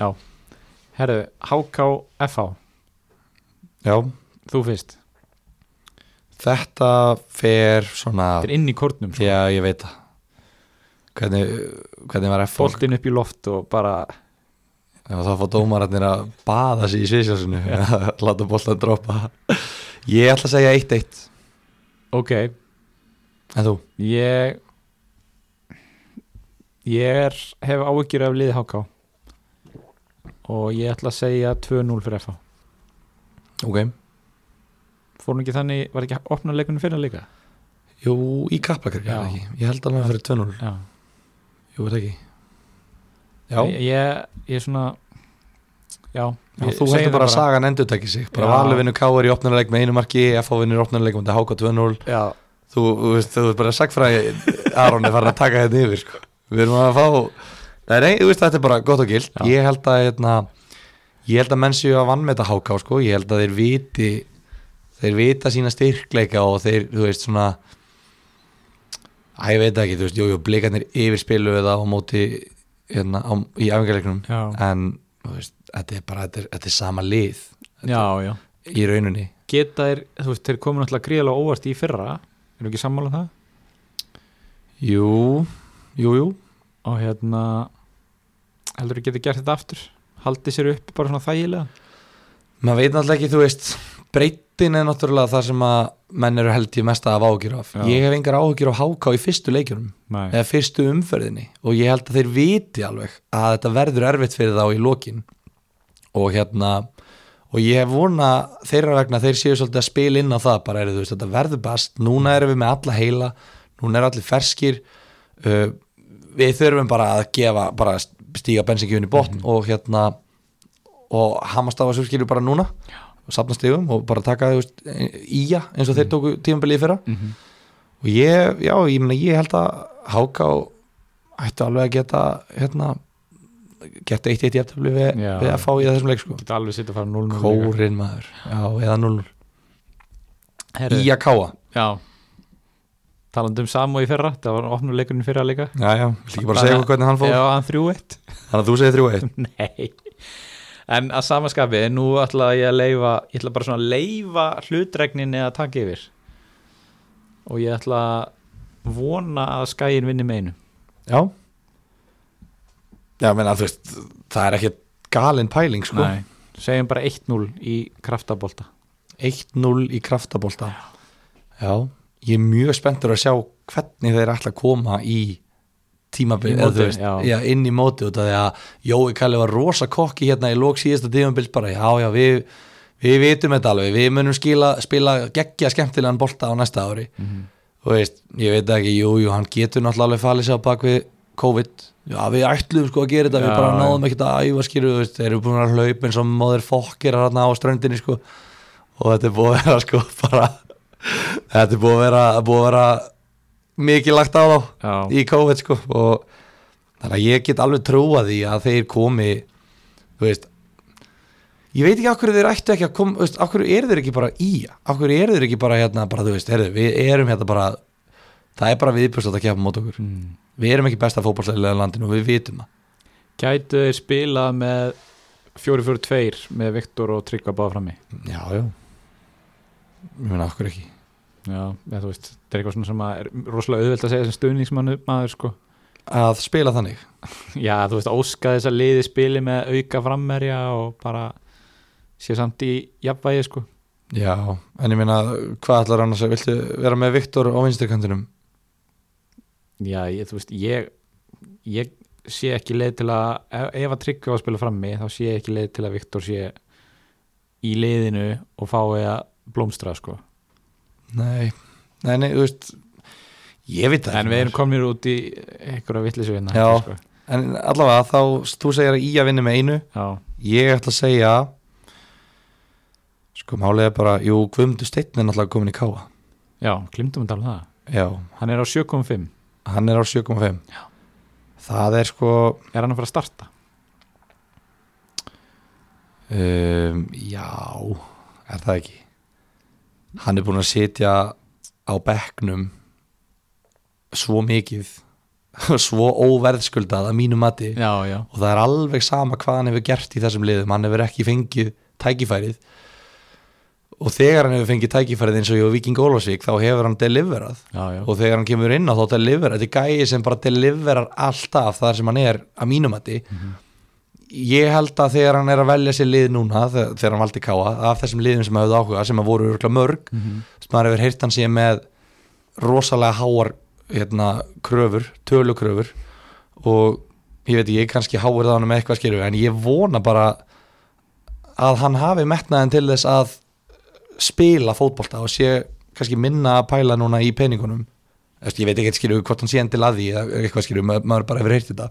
S1: herru, HKFH,
S2: Já,
S1: þú fyrst
S2: þetta fer svona
S1: þetta er inn í kórnum, sko.
S2: Já, ég veit það Hvernig, hvernig var F
S1: boltinn upp í loft og bara,
S2: Já, þá fá dómararnir að baða sig í sviðsjálfsinu (laughs) Láta boltan droppa Ég ætla að segja 1-1
S1: ok
S2: En þú?
S1: ég ég er, hef áhyggjur af liði HK og ég ætla að segja 2-0 fyrir FH
S2: Ok
S1: fór hún ekki þannig, var ekki opna leikunum fyrir líka?
S2: Jú, í kaplakar
S1: Já.
S2: Ég held alveg að fyrir 2-0
S1: Já,
S2: Jú, er það ekki Já,
S1: Ég, ég, ég er svona já,
S2: Já,
S1: ég
S2: þú
S1: segi
S2: heldur
S1: það
S2: bara að sagan endurtæki sig bara
S1: Já.
S2: valur vinnur K.R. í opnarleik með einu marki F.O. vinnur opnarleik með HK 2-0
S1: já,
S2: Þú, þú veist, þú veist bara sagfræði Aron er farin að taka þetta yfir sko. Við erum að fá Nei, nei, þú veist, þetta er bara gott og gild
S1: Já.
S2: Ég held að, hérna ég held að menn séu að vann með þetta háká sko. ég held að þeir viti þeir vita sína styrkleika og þeir, þú veist, svona að ég veit það ekki, þú veist, jú, jú, blikarnir yfirspiluðu það á móti hérna, á, í æfingarleiknum
S1: Já,
S2: en, þú veist, þetta er bara þetta er, þetta er sama lið
S1: já, já.
S2: í rauninni
S1: Geta þeir, þú veist, þeir komu náttúrulega gríðalega óvart í fyrra Erum ekki sammála um það?
S2: jú, jú, jú
S1: Og hérna, heldur við geta gert þetta aftur Haldið sér upp bara svona þægilega
S2: maður veit náttúrulega ekki, þú veist breytin er náttúrulega það sem að menn eru held ég mest af ágjur af
S1: Já.
S2: ég hef engar ágjur af háká í fyrstu leikjunum
S1: Nei,
S2: eða fyrstu umferðinni og ég held að þeir viti alveg að þetta verður erfitt fyrir þá í lokin og hérna og ég hef vona þeirra vegna að þeir séu svolítið að spila inn á það bara er þú veist þetta verður best, núna erum við með alla heila núna eru allir ferskir uh, við þurfum bara að gefa bara stíga bensinkjöfun í botn og hérna og hamast á að surskilju bara núna og safna stigum og bara taka þú veist, í ja eins og þeir tóku tímabilið í fyrra
S1: Mhm.
S2: og ég, já, ég meina ég held að Háká ættu alveg að geta hérna geta eitt eitt jæftabli við,
S1: Já.
S2: við að fá í þessum leik sko
S1: geta alveg sitt að fara 0-0 líka.
S2: Kórin maður, já, eða 0
S1: Herðu,
S2: í að káa,
S1: Já Talandi um Samu í fyrra, það var opnur leikurinn í fyrra líka
S2: já, já, vil ekki bara segja okkur hvernig hann fór,
S1: Já, hann
S2: (laughs)
S1: 3-1
S2: þannig að þú segir 3-1
S1: Nei En að samaskapi, nú ætla ég að leifa Ég ætla bara svona að leifa hlutregninni að taka yfir Og ég ætla að vona að skæin vinni meinu
S2: já já, menna, þú veist, það er ekki galin pæling sko,
S1: Nei, segjum bara 1-0 í kraftabolta
S2: 1-0 í kraftabólta já, ég er mjög spenntur að sjá hvernig þeir ætla að koma í
S1: Í
S2: tímabilið,
S1: mótið,
S2: eða þú veist,
S1: já.
S2: já, inn í móti út af því að Jói Kalli var rosa kokki hérna í lók síðasta tímabils bara, já, já, við við vitum þetta alveg, við munum skila, spila geggja skemmtilegan bolta á næsta ári þú veist, ég veit það ekki, jú, jú, hann getur náttúrulega alveg falið sér á bak við COVID, já, við ætluðum sko að gera þetta, við
S1: Já,
S2: bara
S1: já.
S2: náðum ekkert að æfa skýru, þú veist, þeir eru búin að hlaupa eins og móðir fokkir hérna á ströndinni, sko og þetta er búið að vera, (laughs) sko, bara þetta er búið að vera, búið að vera mikið lagt á þá
S1: Já,
S2: í COVID, sko og þannig að ég get alveg trúa því að þeir komi, þú veist ég veit ekki af hverju þeir ættu ekki að koma, þú veist, af hverju eru þeir ekki bara í af hverju eru þeir ekki bara hérna, bara, þú veist, herðu, við erum hérna bara það er bara viðbjörst að keppa mót okkur
S1: mm.
S2: við erum ekki besta fótballslega landinu og við vitum það
S1: Gætu þeir spila með 4-4-2 með Viktor og Tryggva báða frammi
S2: já, já ég meina, af hverju ekki
S1: Já, eða, þú veist, það er eitthvað svona sem að er rosalega auðvelt að segja sem stuðningsmannu maður sko
S2: að spila þannig
S1: Já, þú veist, óska þess að liði spili með auka frammerja og bara sé samt í jafnvægi, sko.
S2: já, en ég meina, hvað ætlar annars að viltu vera með Viktor á vinsturkantinum
S1: Já, ég, þú veist, ég, ég sé ekki leið til að, ef, ef að tryggja að spila frammi, þá sé ég ekki leið til að Viktor sé í liðinu og fái að blómstra, sko.
S2: nei, nei, nei, þú veist ég veit það
S1: En
S2: ekki,
S1: við
S2: maður.
S1: erum komin út í einhverja vittlisu hérna.
S2: Já.
S1: Sko.
S2: en allavega, þá, þú segir að í að vinna með einu
S1: Já,
S2: ég ætla að segja sko málið er bara jú, Guðmundur Steinn er náttúrulega komin í káa
S1: já, glimtum að tala um það.
S2: já,
S1: Hann er á 7.5.
S2: hann er á 7.5 það er sko
S1: Er hann að fara að starta?
S2: um, já er það ekki hann er búin að sitja á bekknum svo mikið (laughs) svo óverðskuldað að mínu mati
S1: Já, já.
S2: og það er alveg sama hvað hann hefur gert í þessum liðum, hann hefur ekki fengið tækifærið og þegar hann hefur fengið tækifærið eins og ég og Viking Ólafsvík þá hefur hann deliverað
S1: Já, já.
S2: og þegar hann kemur inn á þá deliverar þetta er gæi sem bara deliverar alltaf þar sem hann er að mínumati mm ég held að þegar hann er að velja sér lið núna, þe- þegar hann valdi káa af þessum liðum sem hafði áhuga, sem að voru örgulega mörg, mm -hmm. sem maður hefur heyrt hann sé með rosalega háar hérna, kröfur, tölukröfur og ég veit ekki, kannski háir það hann með eitthvað skeru, en ég vona bara að hann hafi metnaðin til þess að spila fótbolta og sé kannski minna að pæla núna í peningunum Eftir, ég veit ekki skilju hvort hann sé endil að því eða eitthvað skilju, maður, maður bara hefur heyrt þetta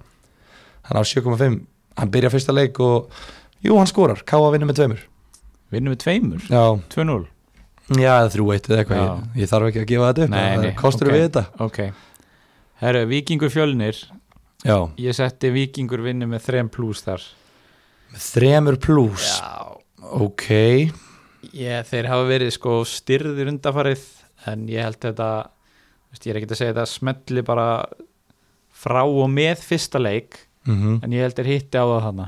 S2: hann á 7.5, hann byrja fyrsta leik og jú, hann skorar, ká að vinna með tveimur
S1: Vinnum við tveimur?
S2: já,
S1: 2-0?
S2: já þrjú eitt eða eitthvað, ég, ég þarf ekki að gefa þetta upp
S1: Nei,
S2: það
S1: nei,
S2: kostur
S1: ok.
S2: við þetta
S1: Ok. Herru, Víkingur Fjölnir
S2: já,
S1: Ég setti Víkingur vinni með 3 plus þar
S2: Þremur plús
S1: Já,
S2: Ok,
S1: ég, þeir hafa verið sko styrðir undafarið en ég held þetta veist, ég er ekkert að segja þetta smetli bara frá og með fyrsta leik
S2: mm
S1: en ég held þeir hitti á það þarna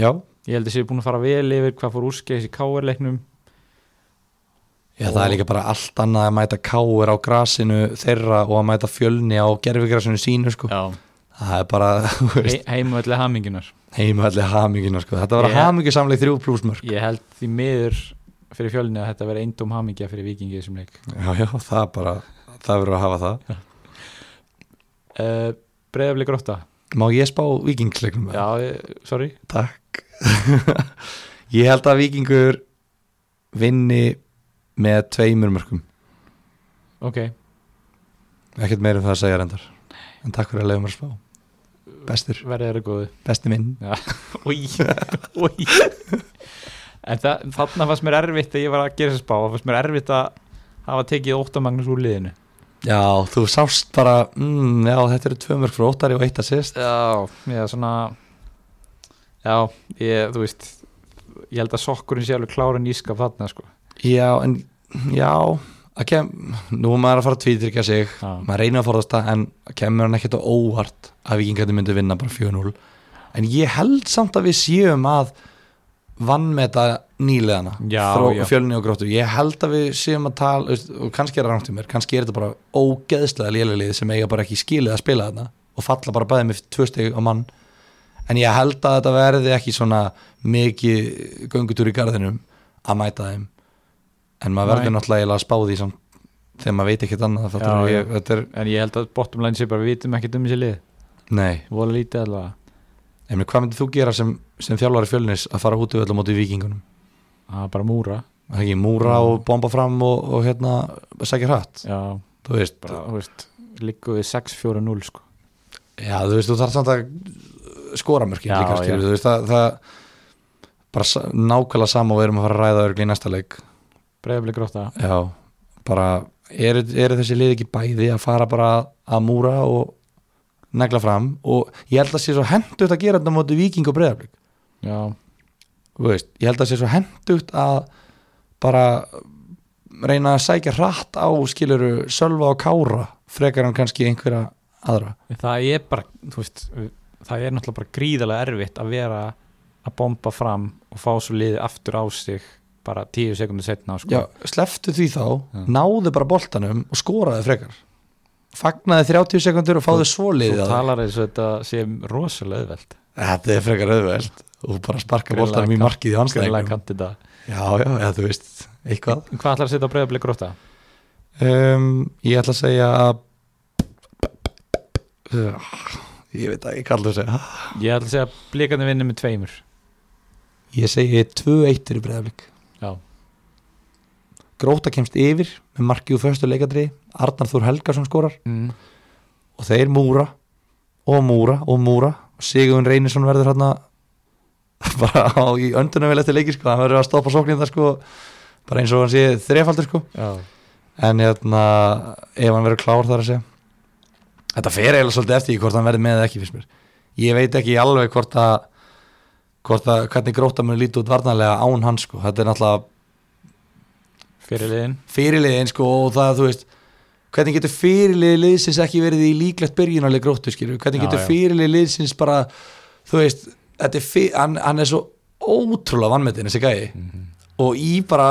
S2: já
S1: ég held þeir séu búin að fara vel yfir hvað fór úrskeiðis í káverleiknum
S2: Já, það er líka bara allt annað að mæta káur á grasinu þeirra og að mæta fjölni á gerfigrasinu sínu sko.
S1: Já.
S2: það er bara (laughs) þú
S1: He,
S2: veist, Sko.
S1: heimöldi hamingunar
S2: heimallið hamingina sko. þetta var
S1: Ég-
S2: yeah. hamingjusamleg þrjú plúsmörk
S1: ég held því miður fyrir fjölinni að þetta verið eindum hamingja fyrir vikingi í þessum leik
S2: Já, já, það er bara, það verður að hafa það
S1: uh, Breiðafli gróta
S2: Má ég spá vikingsleiknum?
S1: Já, eh, sorry
S2: Takk (laughs) Ég held að vikingur vinni með tveimur mörkum
S1: Ok,
S2: ekkert meir um það að segja reyndar en takk fyrir að leiðum að spá Bestur,
S1: verðið eru góðu
S2: besti minn
S1: Új, új En það, þarna fannst mér erfitt að ég var að gera þess spá, það fannst mér erfitt að hafa tekið óttamagnus úr liðinu
S2: Já, þú sást bara mm, Já, þetta eru tvö mörk frá óttari og eitt að sýst
S1: Já, já, svona Já, ég, þú veist ég held að sokkurinn sé alveg klára nýskap þarna, sko
S2: Já, en já að kem, Nú er maður að fara að tvítryggja sig
S1: Já,
S2: maður reynir að forðast það en kemur hann ekkert á óvart að vikingandi myndi vinna bara 4-0 en ég held samt að við séum að vannmeta nýleðana
S1: Já, já.
S2: fjölni og gróttu ég held að við séum að tala veist, og kannski er það rangt í mér, kannski er þetta bara ógeðslega lélegið sem eiga bara ekki skilið að spila þarna og falla bara bæði með tvö steg á mann en ég held að þetta verði ekki svona mikið göngutúr í garðinum að mæta þeim en maður verður
S1: Nei.
S2: náttúrulega eiginlega að spá því samt þegar maður veit ekkert annað
S1: Já,
S2: já,
S1: já.
S2: ég, þetta er
S1: en ég held að bottom line sé bara við vitum ekkert um þessi lið,
S2: Nei,
S1: vola lítið allavega
S2: ég meina, hvað myndir þú gera sem, sem þjálfari fjölnis að fara út í öll á móti vikingunum?
S1: Það er bara múra
S2: Það er ekki múra
S1: Mm.
S2: og bomba fram og, og hérna, sækja hratt,
S1: Já,
S2: þú veist
S1: bara, þú veist, líku við 6-4-0, sko
S2: Já, þú veist, þú þarf samt að skora mörkin
S1: Já,
S2: líka, skilur,
S1: já.
S2: þú veist, það, það bara sa- nákvæmlega sama og við erum að fara að ræða örgli í næsta leik,
S1: Breiðafli gróta
S2: já, bara eru, eru þessi lið ekki bæði að fara bara að múra og negla fram og ég held að sé svo hendugt að gera þetta á móti viking og breyðarblik
S1: Já,
S2: Þú veist, ég held að það sé svo hendugt að bara reyna að sækja hratt á skiluru sölva og kára frekar hann kannski einhverja aðra
S1: það er bara þú veist, það er náttúrulega bara gríðarlega erfitt að vera að bomba fram og fá svo liðið aftur á sig bara tíu sekundu setna sko.
S2: Já, sleftu því þá,
S1: Já.
S2: náðu bara boltanum og skoraðu frekar fagnaði 30 sekundur og fáðu svo liðið
S1: þú
S2: að
S1: talar eins og þetta sé rosalega auðvelt
S2: þetta er frekar auðveld og bara sparka
S1: Greinilega
S2: boltanum í
S1: kann-
S2: markið í
S1: greinlega
S2: anstæðingum
S1: kanti þetta
S2: Já, já, eða þú veist, eitthvað
S1: hvað ætlar að setja á breyðabli gróta?
S2: Um, ég ætla að segja að ég veit ekki hvað það að segja
S1: ég ætla að segja að blikandi vinni með tveimur
S2: Ég segi 2-1 fyrir breyðaflik
S1: já,
S2: Gróta kemst yfir með marki úr föstu leikadri Arnar Þór Helgarsson skorar
S1: mm.
S2: og þeir múra og múra og múra og Sigurðun Reynisson verður hérna (laughs) bara á, í öndunum vel eftir leiki sko, hann verður að stoppa sóknir það sko bara eins og hann sé þrefaldur sko
S1: já.
S2: en hérna ef hann verður klár þar að segja þetta fer eiginlega svolítið eftir í hvort hann verður með eða ekki fyrst mér ég veit ekki alveg hvort að hvort að hvernig gróta mun líti út varnarlega án hans sko, þetta er náttúrulega
S1: fyrir liðin
S2: fyrirliðin sko og það þú veist hvernig getur fyrirliði liðsins ekki verið í líklegt byrjunarleg gróttu skilur hvernig
S1: Já,
S2: getur
S1: já.
S2: fyrirliði liðsins bara þú veist, þetta er fyr, hann, hann er svo ótrúlega vannmetin þessi gæi
S1: Mhm.
S2: og í bara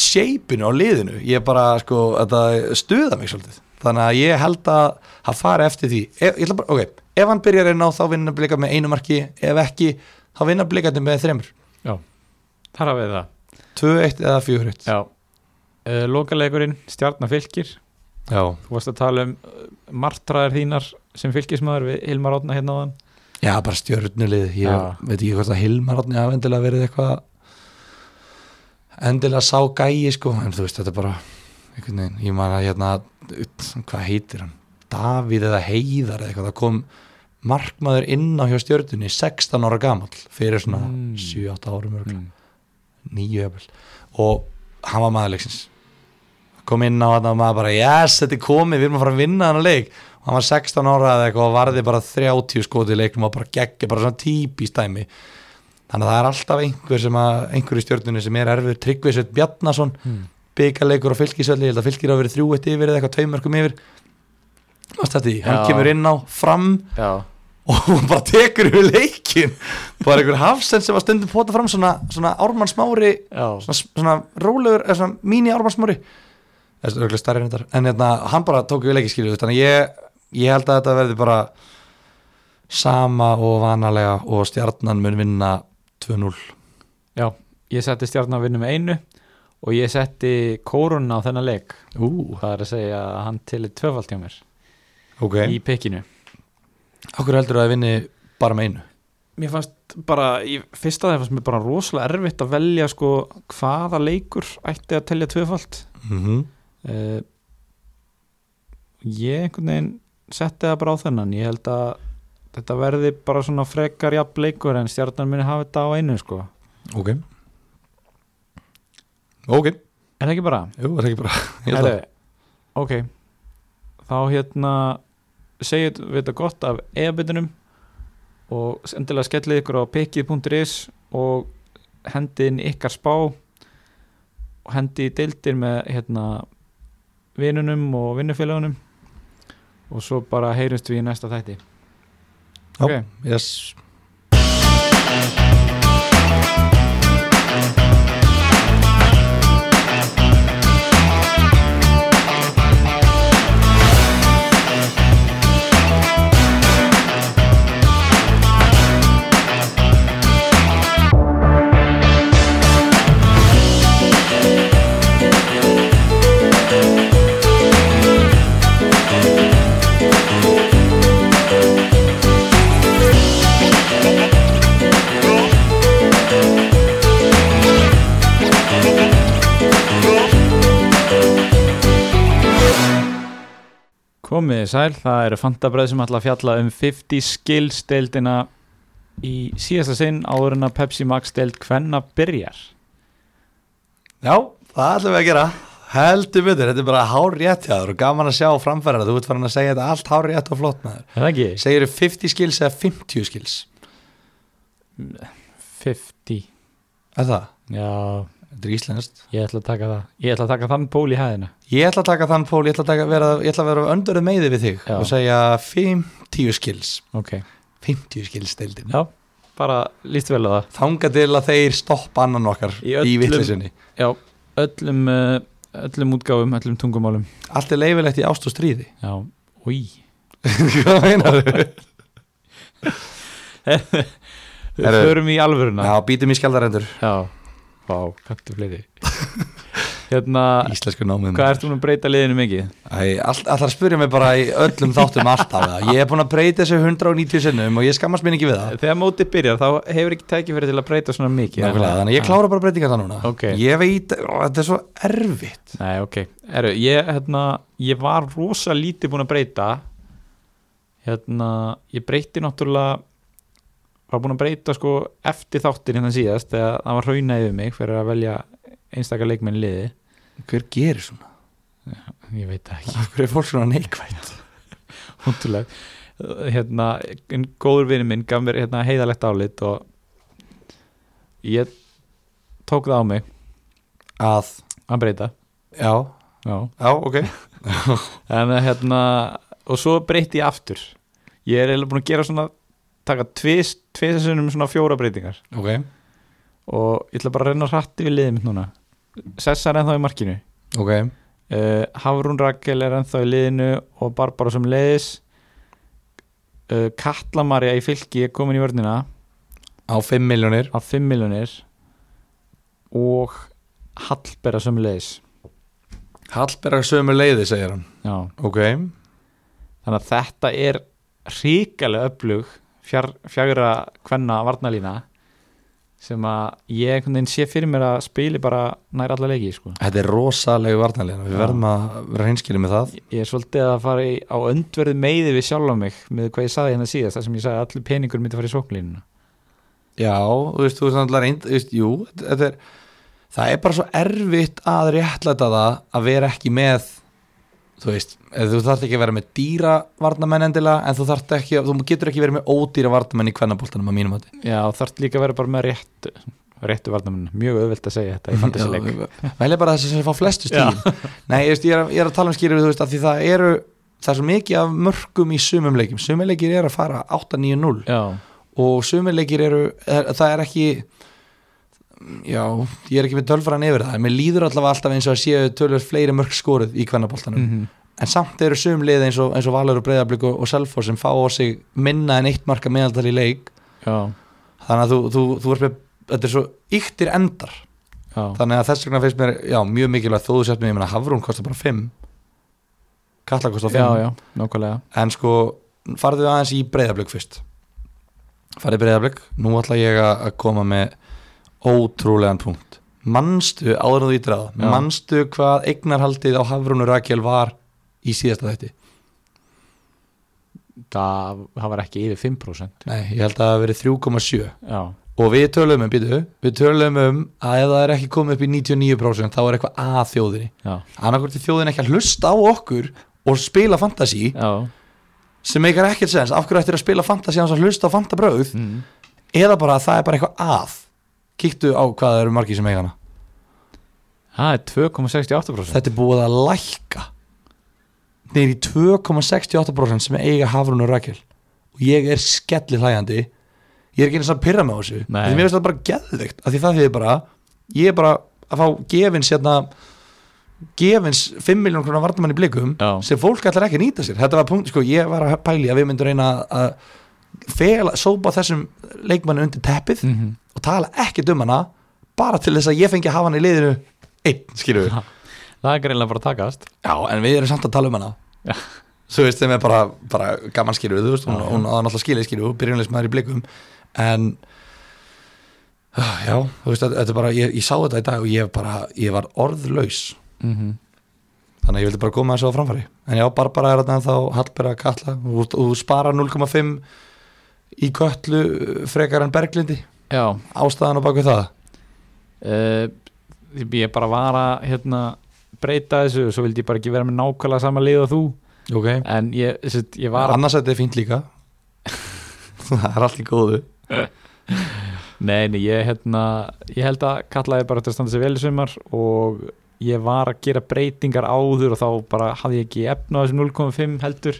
S2: shapeinu á liðinu ég bara sko, þetta stuða mig svolítið þannig að ég held að það fara eftir því ef, ég ætla bara, ok, ef hann byrjar einn á þá vinna blika með einu marki, ef ekki þá vinna blikandi með þremur,
S1: þar hafið þið það
S2: 2-1 eða 4-1
S1: já. Uh, lokalegurinn, stjarnafylkir
S2: já.
S1: þú varst að tala um uh, martraðar þínar sem fylkismæður við Hilmar Átna hérna á þann
S2: Já, bara stjörnulið, ég
S1: Já.
S2: veit ekki hvort að Hilmar átni hafa endilega verið eitthvað endilega sá gæi sko, en þú veist, þetta er bara einhvern veginn, ég man að hérna ut, hvað heitir hann, Davíð eða Heiðar eða eitthvað, það kom markmaður inn á hjá stjörnunni 16 ára gamall fyrir svona
S1: Mm.
S2: 7-8 árum mm.
S1: mm.
S2: nýju öfnil og hann var maðurleiksins kom inn á hann og maður bara yes, þetta er komið, við erum að fara að vinna hann að leik og hann var 16 ára eða eitthvað og varði bara 30 skoti í leiknum og bara geggja, bara svona típist dæmi þannig að það er alltaf einhver sem að einhver í stjórnunni sem er erfur Tryggvisveit Bjarnason
S1: Hmm.
S2: byggarleikur á fylgisvelli, ég held að fylgir hafa verið þrjú eitt yfir eða eitthvað tveimörkum yfir Mást þetta því, hann
S3: Já.
S2: kemur inn á fram
S3: já,
S2: og hún bara tekur yfir leikin bara einhver hafsend sem var stundum pota fram svona, svona Ármann Smári
S3: já,
S2: svona, svona rólegur, eða svona míni Ármann Smári þessi er örgulega starri reyndar en hérna, hann bara tók yfir leikin skilur þannig að ég, ég held að þetta verði bara sama og vanalega og stjarnan mun vinna 2-0
S1: ég setti stjarnan að vinna með einu og ég setti kórun á þennan leik
S2: Ú,
S1: það er að segja að hann til er tvöfald hjá mér
S2: ok,
S1: í pikkinu
S2: okkur heldur að vinni bara með einu
S1: mér fannst bara, í fyrsta það fannst mér bara rosalega erfitt að velja sko hvaða leikur ætti að telja tvöfald
S2: mm -hmm.
S1: uh, ég einhvern veginn setti það bara á þennan ég held að þetta verði bara svona frekar jafn leikur en stjarnan muni hafa þetta á einu sko
S2: ok ok,
S1: er það ekki bara?
S2: jú, það er ekki bara ég held að-
S1: Herðu, ok þá hérna segjum við þetta gott af eðabitunum og endilega skellið ykkur á pikið.is og hendi inn ykkar spá og hendi í deildir með hérna vinunum og vinnufélagunum og svo bara heyrumst við í næsta þætti
S2: Já.
S1: ok,
S2: yes.
S1: komið þið sæl það eru fantabræð sem ætla að fjalla um 50 skills deildina í síðasta sinn áður en að Pepsi Max deild hvenna byrjar
S2: Já, það ætlum við að gera Heldur betur, þetta er bara hár rétt hjá þér og gaman að sjá framfærana, þú ert farin að segja þetta allt hár rétt og flott maður.
S1: Er það ekki?
S2: Segir 50 skils eða 50 skils?
S1: 50
S2: Er það?
S1: Já,
S2: Þetta er íslenskt.
S1: ég ætla að taka það Ég ætla að taka þann pól í hæðina
S2: Ég ætla að taka þann pól, ég ætla að, taka, vera, ég ætla að vera öndurð meði við þig
S1: Já.
S2: og segja 50 skils.
S1: Ok
S2: 50 skils deildin.
S1: Já, bara líst vel á það
S2: Þanga til að þeir stoppa annan okkar
S1: Í
S2: í,
S1: öllum-
S2: í vitlisinni.
S1: Já, öllum, eh, öllum útgáfum, öllum tungumálum
S2: Allt er leifilegt í ást og stríði. (laughs)
S1: Já, új (laughs)
S2: Hvað meinar þau?
S1: Við
S2: Herru.
S1: förum í alvöruna
S2: Já, býtum í skjaldarendur.
S1: Já. vá, kanntu fleiri (laughs) Hérna,
S2: Íslensku námið.
S1: hvað ert þú að breyta liðinu mikið?
S2: Æ, all, alltaf að spyrja mig bara í öllum þáttum alltaf það. Ég er búin að breyta þessu 190 sinnum og ég skammast mér ekki við það.
S1: Þegar mótið byrjar, þá hefur ekki tækifæri til að breyta svona mikið
S2: Nákvæmlega, þannig að ég klára bara breytingar það núna.
S1: Ok.
S2: Ég veit, ó, þetta er svo erfitt.
S1: Nei, ok. Eru, ég, hérna, ég var rosa lítið búin að breyta hérna, ég breyti náttúrulega var búin að breyta sko eftir þáttin hérna síðast þegar það var hrauna yfir mig fyrir að velja einstakar leikmenn í liði
S2: Hver gerir svona?
S1: ég veit það ekki, (laughs)
S2: Hver er fólk svona neikvægt?
S1: hóttulega hérna, en góður vinur minn gaf mér hérna, heiðalegt álit og ég tók það á mig
S2: Að,
S1: að breyta
S2: já,
S1: já
S2: já, ok.
S1: en að, hérna og svo breyti ég aftur ég er eiginlega búin að gera svona taka tvis, tvisinsunum svona fjóra breytingar
S2: Ok,
S1: og ég ætla bara að reyna hrætti við liðið mitt núna Sessar er ennþá í markinu
S2: ok.
S1: uh, Hafrún Rakel er ennþá í liðinu og Barbara sem leiðis uh, Kallamarja í fylki er komin í vörnina
S2: Á 5 miljónir.
S1: af 5 miljonir og Hallberga sem leiðis
S2: Hallberg sömu leiði, segir hann.
S1: já
S2: Ok,
S1: þannig að þetta er ríkalega öflug fjár, fjagra hvenna varnalína sem að ég einhvern veginn sé fyrir mér að spili bara nær alla leiki sko.
S2: þetta er rosalegu varnarlega. Við
S1: Já.
S2: verðum að vera hinskilið með það.
S1: ég er svolítið að fara í, á öndverðu meiði við sjálf á mig með hvað ég saði hérna síðast þar sem ég sagði að allir peningur myndi að fara í sóknlínuna
S2: Já, þú veist, þú veist, náttúrulega reynd, þú veist, jú, þetta er, það er bara svo erfitt að réttlæta það að vera ekki með þú veist, eh, þú þarft ekki að vera með dýra varnamenn endilega en þú, þarft ekki, að- þú getur ekki verið með ódýra varnamenn í kvennaboltanum að mínum að
S1: Já, þarf líka að vera bara með réttu réttu varnamenn, mjög auðvelt að segja þetta í fantasy-leik
S2: velja bara þessi sem fá flestu
S1: Já.
S2: stíl (laughs) nei, ég, veist, ég, er, að- ég er að tala um skýrur þú veist, að því það eru það er svo mikið af mörgum í sumum leikjum sumum leikir eru að fara 8-9-0
S1: Já,
S2: og sumir leikir eru er, það er ekki já, ég er ekki með tölfran yfir það en mér líður allavega alltaf eins og að séu tölvöld fleiri mörg skoruð í kvennaboltanum
S1: mhm,
S2: en samt eru sum liði eins og, eins og Valur og Breiðablík og, og Selfos sem fá á sig minna en eitt marka meðaldal í leik
S1: já,
S2: þannig að þú, þú, þú ert með þetta er svo yktir endar
S1: já
S2: þannig að þess vegna finnst mér já, mjög mikilvægt þó þú sért mér, ég meina Hafrún kostar bara 5 Katla kostar 5
S1: Já, já, nákvæmlega
S2: en sko farðu aðeins í breyðablögg fyrst farðu í breyðablögg nú ætla ég a- að koma með ótrúlegan punkt manstu áður en þú ítir á það,
S1: Já.
S2: manstu hvað eignarhaldið á Hafrúnu Rakel var í síðasta þætti
S1: Það, það var ekki yfir 5%
S2: nei, ég held að það hafi verið 3,7
S1: Já,
S2: og við tölum um, býtu, við tölum um að ef það er ekki komið upp í 99% þá er eitthvað að þjóðinni
S1: já,
S2: annarkvort er þjóðin ekki að hlusta á okkur og spila fantasy
S1: já
S2: sem meikar ekkert sens, af hverju ættir að spila fantasy hans að hlusta á fantabröð
S1: mm.
S2: eða bara að það er bara eitthvað að kíktu á hvað það eru margir sem eiga hana
S1: Það er 2,68%
S2: þetta er búið að lækka neyri 2,68% sem eiga Hafrún og Rakel og ég er skellið hlægandi ég er ekki eins að pyrra með þessu
S1: Nei.
S2: því mér finnst þetta bara geðveikt af því það þýðir bara ég er bara að fá gefins hérna gefins 5 miljón krónar varnamann í blikum
S1: Já.
S2: sem fólk ætlar ekki að nýta sér þetta var punkt, sko, ég var að pæli að við myndum reyna að fela, sópa þessum leikmanni undir teppið
S1: mm
S2: og tala ekkert um hana bara til þess að ég fengi að hafa hana í liðinu einn, skilur við
S1: Það er greinlega bara að takast
S2: já, en við erum samt að tala um hana
S1: Já.
S2: svo veist þeim er bara, bara gaman skilur við, þú veist, hún,
S1: Já, já.
S2: hún aðan alltaf skilur skilur við, byrjunleismæður í blikum en ah, já, þú veist, þetta er bara ég, ég sá þetta í dag og ég bara, ég var orðlaus
S1: mm
S2: þannig að ég vildi bara koma þessu á framfæri en já, Barbara er þarna þá Hallberg að kalla og þú þú sparar 0,5 í köllu frekar en Berglindi
S1: Já,
S2: ástæðan og baku það
S1: uh, ég bara var að hérna, breyta þessu og svo vildi ég bara ekki vera með nákvæmlega sama lið og þú
S2: okay.
S1: en ég, sitt, ég var
S2: Var...
S1: að
S2: Annars þetta er fínt (laughs) líka Það er allt í góðu
S1: Nei, nei, ég, hérna, ég held að kallaði bara til að standa sér vel í sumar og ég var að gera breytingar áður og þá bara hafði ég ekki efna á þessum 0,5 heldur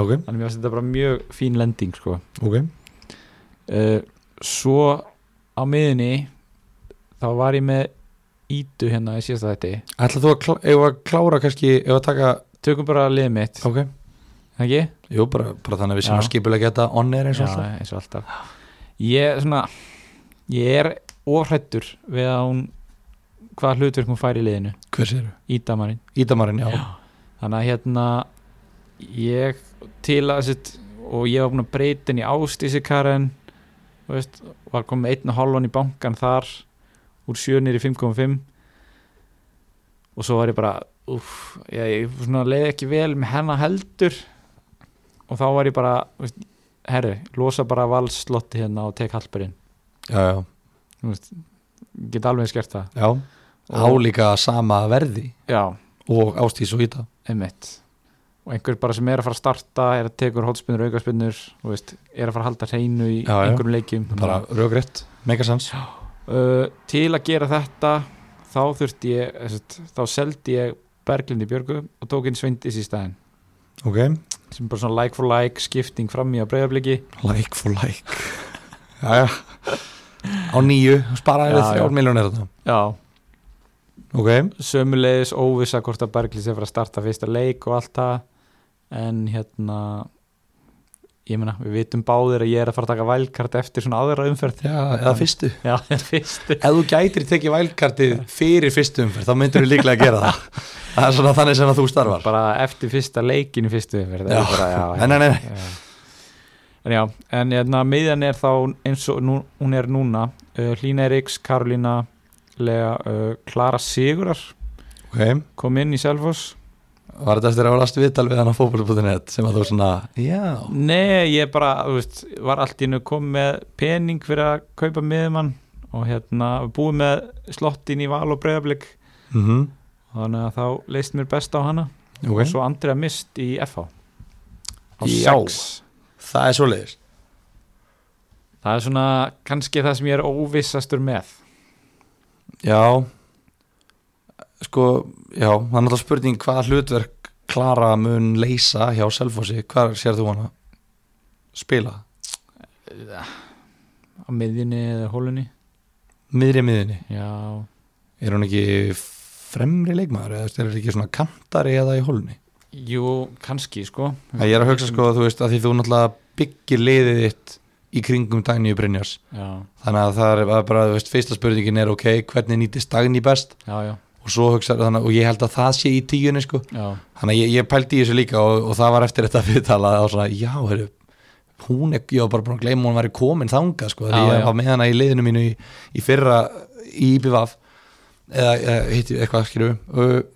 S2: Ok,
S1: þannig að mér finnst þetta bara mjög fín lending sko.
S2: ok
S1: uh, Svo á miðunni þá var ég með ítu hérna í síðasta þætti
S2: Ætla þú að, klá, ef að klára kannski Ef að taka,
S1: Tökum bara liðið mitt,
S2: ok
S1: ekki?
S2: Jú, bara, bara þannig að við séum
S1: Já.
S2: að skipulega geta On air eins og alltaf
S1: Já, eins og alltaf Ég, svona, ég er ofrættur við að hún hvað hlutverk hún fær í liðinu
S2: Hver séru?
S1: Ídamarinn
S2: Ídamarinn, já,
S1: þannig að hérna ég til að sitt, og ég var búin að breyta henni ástísi Karen þú veist, var komið einn og hálfan í bankan þar úr 7 niður í 5,5 og svo var ég bara uff, ég, ég svona leið ekki vel með hennar heldur og þá var ég bara þú veist, herru, losa bara valslotti hérna og tek halperinn
S2: já, já,
S1: get alveg eins gert það
S2: já. Álíka sama verði
S1: já,
S2: Og ástís og íta
S1: einmitt og einhver bara sem er að fara að starta er að tekur hotspinnur, aukaspinnur og veist, er að fara að halda hreinu í
S2: Já, já.
S1: einhverjum leikjum
S2: Bara rögrétt, megasens
S1: uh, til að gera þetta þá þurfti ég sem sagt, þá seldi ég Berglindi Björgu og tók inn Sveindis í staðinn
S2: Ok,
S1: sem er bara svona like for like skipting fram í að breyðabliki
S2: like for like (laughs) Já, já Á nýju, sparaði við
S1: Já, já.
S2: þrjár miljónir þetta
S1: já,
S2: Ok,
S1: sömulegis óvissa hvort að Berglind sé að fara að starta fyrsta leik og allt það en hérna ég meina, við vitum báðir að ég er að fara að taka vælkart eftir svona aðra umferð
S2: já, eða fyrstu
S1: já, fyrstu
S2: ef þú gætir tekið vælkartið fyrir fyrstu umferð þá myndur þú líklega að gera (laughs) það það er svona þannig sem að þú starfar
S1: bara eftir fyrsta leikin í fyrstu umferð
S2: Já.
S1: er bara, já, já,
S2: Nei, nei, nei.
S1: já. en já, en hérna, miðjan er þá eins og nú, hún er núna uh, Hlína Eriks, Karolína Lea, uh, Klara Sigurar
S2: ok,
S1: kom inn í Selfoss
S2: var þetta eftir að vera last viðtal við hann á fókbólubúðinett sem að þú svona, já
S1: nei, ég bara, þú veist, var allt í nú kom með pening fyrir að kaupa miðjumann og hérna, búið með slottin í val og breyðablik
S2: mm
S1: þannig að þá leist mér best á hana
S2: Ok.
S1: og svo Andrea Mist í FH á
S2: Já.
S1: 6
S2: það er svoleiðis
S1: það er svona kannski það sem ég er óvissastur með
S2: Já sko, já, það er náttúrulega spurning hvaða hlutverk Klara mun leysa hjá Selfossi, hvað sér þú hana spila
S1: á miðjunni eða hólunni
S2: miðri miðinni,
S1: já,
S2: er hún ekki fremri leikmaður eða þú veist, er ekki svona kantari eða í holunni
S1: jú, kannski sko
S2: ég er að hugsa sko, þú veist, að því þú náttúrulega byggir liðið þitt í kringum Dagníu Brynjars,
S1: já,
S2: þannig að það er bara, þú veist, fyrsta spurningin er ok, hvernig nýtist Dagní best
S1: já, já,
S2: og svo hugsa, þannig, að- og ég held að það sé í tíunni sko,
S1: já.
S2: Þannig að ég, ég pældi í þessu líka og, og það var eftir þetta viðtala að það var svona, já, heru, hún er, ég var bara búin að gleyma að hún væri komin þangað, sko, því
S1: Já,
S2: ég
S1: já.
S2: var með hana í liðinu mínu í, í fyrra í IBVF eða, eða hitti eitthvað skilju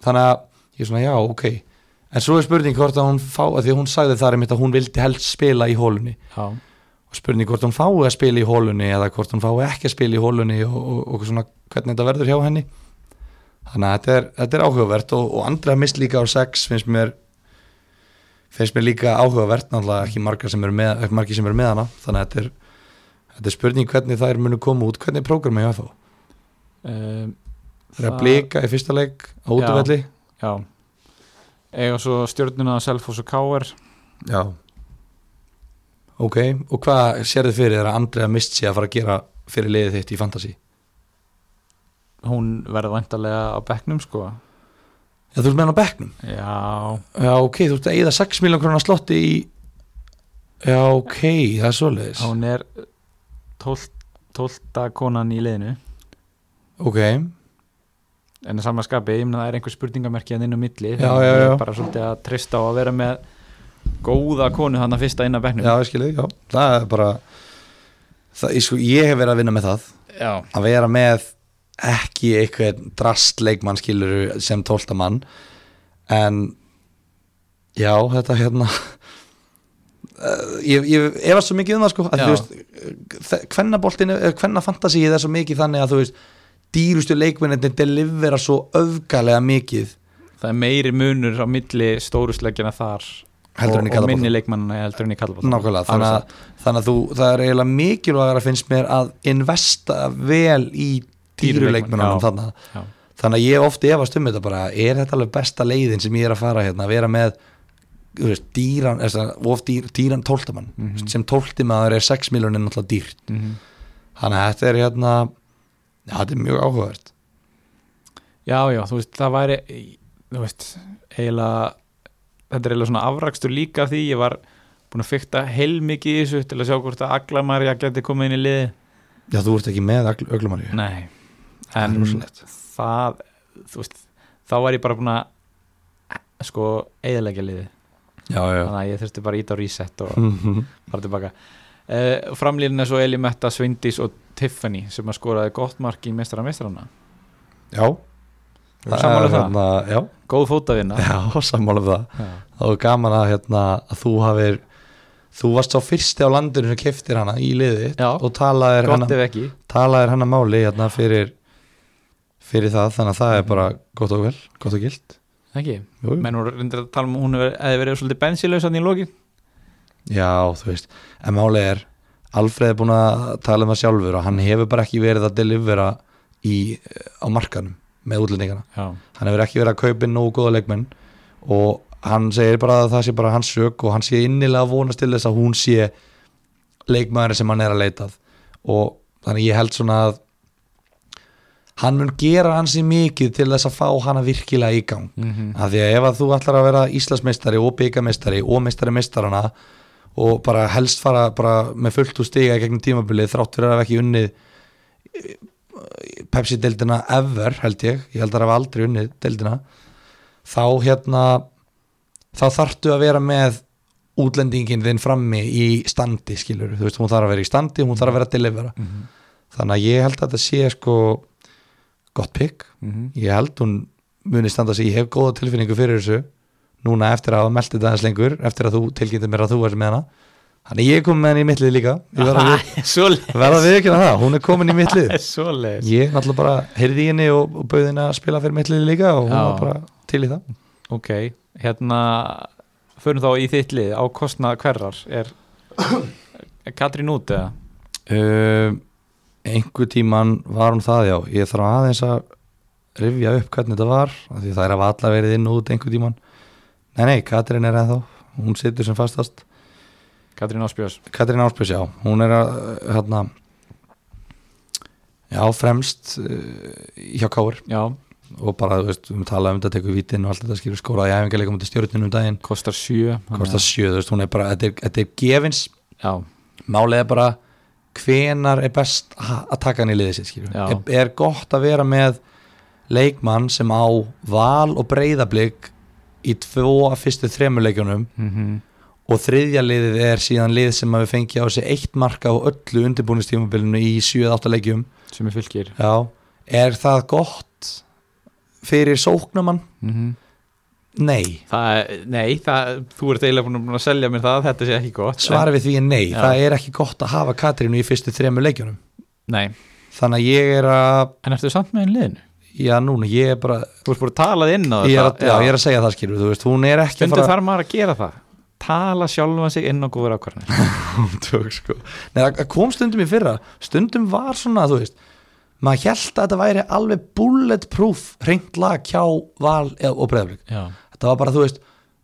S2: þannig að ég er svona, já, ok en svo er spurning hvort að hún fá að því að hún sagði þar einmitt að hún vildi helst spila í hólunni
S1: já.
S2: og spurning hvort hún fái að spila í hólunni eða hvort hún fái ekki að spila í hólunni og, og, og svona hvernig þetta verður hjá henni þannig að þetta er, þetta er áhugavert og, og andra mist líka á sex finnst mér finnst mér líka áhugavert náttúrulega ekki margar sem eru með, ekki margir sem eru með hana þannig að þetta er, þetta er spurning hvernig þær munu koma út, hvernig er prógrami hjá þá
S1: Um,
S2: þeir eru að blika í fyrsta leik á útvelli
S1: já eiga svo stjórnuna Selfoss og Káar
S2: já ok, og hvað sérðu fyrir þér að andra mist sé að fara að gera fyrir liðið þitt í fantasy?
S1: hún verður vantarlega á bekknum sko
S2: Já, þú ert með hann á bekknum?
S1: já,
S2: Já, ok, þú ert að eyða 6 miljón krónar slotti í Já, ok, það er svoleiðis
S1: hún er 12, 12 konan í liðinu
S2: Ok,
S1: en að sama skapi, ég meina það er einhver spurningamerki hann inn á milli,
S2: Já,
S1: þannig að
S2: já,
S1: ég
S2: já.
S1: er bara svolítið að treysta á að vera með góða konu hann að fyrsta inn að
S2: já,
S1: bekknum
S2: ég skilði, já Það er bara það, ég, sko, ég hef verið að vinna með það
S1: já,
S2: Að vera með ekki eitthvað drastleikmann skilur sem tóltamann En Já, þetta hérna eh, Ég, ég efast svo mikið um það sko að
S1: Já.
S2: þú veist Kvennaboltinu, kvennafantasíið er svo mikið þannig að þú veist dýrustu leikminni delivera svo öfgalega mikið
S1: það er meiri munur á milli stóruslegjana þar
S2: heldur
S1: og, og
S2: henni
S1: minni
S2: kallabóta
S1: leikmannina heldur henni kallabóta
S2: Nákvæmlega, þannig að, þannig að þú, það er eiginlega mikilvægar að finnst mér að investa vel í
S1: Dýru leikmenn, já.
S2: dýruleikmennunum þannig,
S1: Já.
S2: að- þannig að ég ofti efast um þetta bara, er þetta alveg besta leiðin sem ég er að fara hérna, að vera með þú veist, dýran, er það, of dýr, dýran tóltamann, mm
S1: Mhm.
S2: sem tóltimaður er 6 miljonir náttúrulega dýrt,
S1: mm
S2: þannig að þetta er hérna, já, þetta er mjög áhugavert
S1: já, já, þú veist, það væri þú veist, eiginlega þetta er eiginlega svona afrakstur líka af því ég var búin að fykta heilmikið í þessu til að sjá hvort að Aglamarja geti komið inn í liði
S2: Já, þú ert ekki með öglumari
S1: nei,
S2: Það er
S1: en
S2: rosalegt.
S1: það þú veist, þá var ég bara búin að sko, eiginlega liði
S2: Já, já
S1: þannig að ég þurfti bara að íta á reset og
S2: Mhm.
S1: fara tilbaka uh, framlýrinn er svo Eli Metta, Svindís og Tiffany sem að skoraði gott mark í mestara mestrarana
S2: (laughs) Já,
S1: Erum sammála um það?
S2: hérna, já,
S1: góð fótavinna
S2: já, sammála um það
S1: Já.
S2: þá er gaman að, hérna, að þú hafir þú varst sá fyrsti á landinu sem keftir hana í liði
S1: Já.
S2: og talaðir hérna-
S1: gott
S2: hana,
S1: ef ekki
S2: talaðir hana máli hérna, fyrir, fyrir það þannig að það er bara gott og vel gott og gilt
S1: ekki,
S2: Jú, jú.
S1: menn hún reyndir að tala um að hún hefur- hefði verið svolítið bensilaus hann í lokin
S2: já, þú veist, en máli er Alfreð er búin að tala um það sjálfur og hann hefur bara ekki verið að delivera í, á markanum með útlendingana
S1: já,
S2: hann hefur ekki verið að kaupa inn nógu góða leikmenn og hann segir bara að það sé bara hans sök og hann sé innilega að vonast til þess að hún sé leikmæður sem hann er að leitað og þannig ég held svona að hann mun gera hans í mikið til þess að fá hana virkilega í gang
S1: mm
S2: af því að ef að þú ætlar að vera Íslandsmeistari og byggameistari og meistari meistarana og bara helst fara bara með fullt úr stiga gegnum tímabilið þrátt fyrir að hafa ekki unnið eh, Pepsi-deildina ever held ég, ég held að það hafa aldrei unnið deildina, þá hérna þá þarftu að vera með útlendingin þinn frammi í standi skilur, þú veist hún þarf að vera í standi hún þarf að vera að delivera,
S1: Mhm.
S2: þannig að ég held að þetta sé sko gott pick
S1: Mhm. (laughs)
S2: ég held hún muni standa sig, ég hef góða tilfinningu fyrir þessu núna eftir að hafa meldi þetta aðeins lengur eftir að þú tilkynnti mér að þú ert með hana þannig ég er komin með hana í mittlið líka ég verð að (laughs) við-
S1: svoleið
S2: verð að viðkynna það, hún er komin í (laughs) mittlið
S1: svoleið
S2: ég náttúrulega bara heyrði í henni og, og bauði henni að spila fyrir mittlið líka og hún
S1: Já.
S2: var bara til í það
S1: ok, hérna förum þá í þitt lið á kostna hverrar er, (coughs) er Katrín út eða?
S2: uh, einhver tíman var hún það já ég þarf aðeins að rifja upp hvernig þetta var af því það er að alla verið inn og út einhver tíman nei nei, Katrin er ennþá hún situr sem fastast
S1: Katrín Áspjós
S2: Katrin Áspjörs, já, hún er að uh, hérna já, fremst uh, hjá Káur
S1: já,
S2: og bara, þú veist, við höfum talað um þetta tekur vítin og allt þetta skilur skóraði æfingarleikum til stjórnum um daginn,
S1: kostar 7
S2: kostar sjö, þú veist, hún er bara þetta er, þetta er gefins,
S1: já,
S2: málið er bara hvenar er best ha- að taka hann í liðið sér skilur
S1: Já.
S2: er, er gott að vera með leikmann sem á val og breyðablík í tvo af fyrstu þremur leikjunum
S1: mm
S2: og þriðja liðið er síðan lið sem hafi fengið á sig eitt marka á öllu undirbúinistímabilinu í 7-8 leikjum
S1: sem er fylgir
S2: Já. er það gott fyrir sóknumann?
S1: mm
S2: Nei
S1: það, er- nei, það, þú ert eiginlega búin að selja mér það að þetta sé ekki gott
S2: svarið við því er nei,
S1: Já.
S2: það er ekki gott að hafa Katrínu í fyrstu þremur leikjunum
S1: en, nei,
S2: þannig að ég er að,
S1: en ertu samt með einn liðinu?
S2: já núna ég er bara,
S1: þú ert búin að tala inn á
S2: ég er,
S1: þetta
S2: að, já, ég er að segja það skilur, þú veist, hún er ekki að
S1: stundu
S2: fara
S1: þarf maður að gera það tala sjálfan sig inn á góður ákvarðanir
S2: tök, sko. Nei, það það kom stundum í fyrra stundum var svona, þú veist maður held að þetta væri alveg bulletproof reynd lag hjá val eða- og breyðablik,
S1: já,
S2: þetta var bara, þú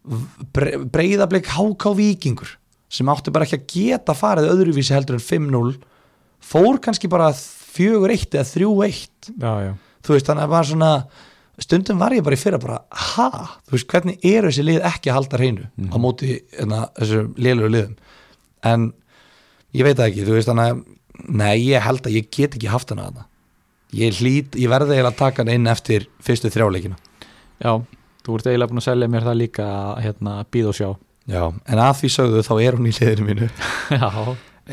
S2: veist breyðablik háká vikingur sem átti bara ekki að geta farið öðruvísi heldur en 5-0 fór kannski bara 4-1 eða 3-1
S1: já, já
S2: þú veist, þannig að var svona stundum var ég bara í fyrra bara ha, þú veist, hvernig eru þessi lið ekki að halda hreinu á móti enna, þessu liðlegu liðum en ég veit það ekki, þú veist, þannig að nei, ég held að ég get ekki haft hana þarna ég hlýt, ég verði eiginlega að taka hana inn eftir fyrstu þrjáleikina
S1: Já, þú ert eiginlega búin að selja mér það líka að hérna, býð og sjá
S2: já, en að því sögðu þá er hún í liðinu mínu
S1: (laughs) Já,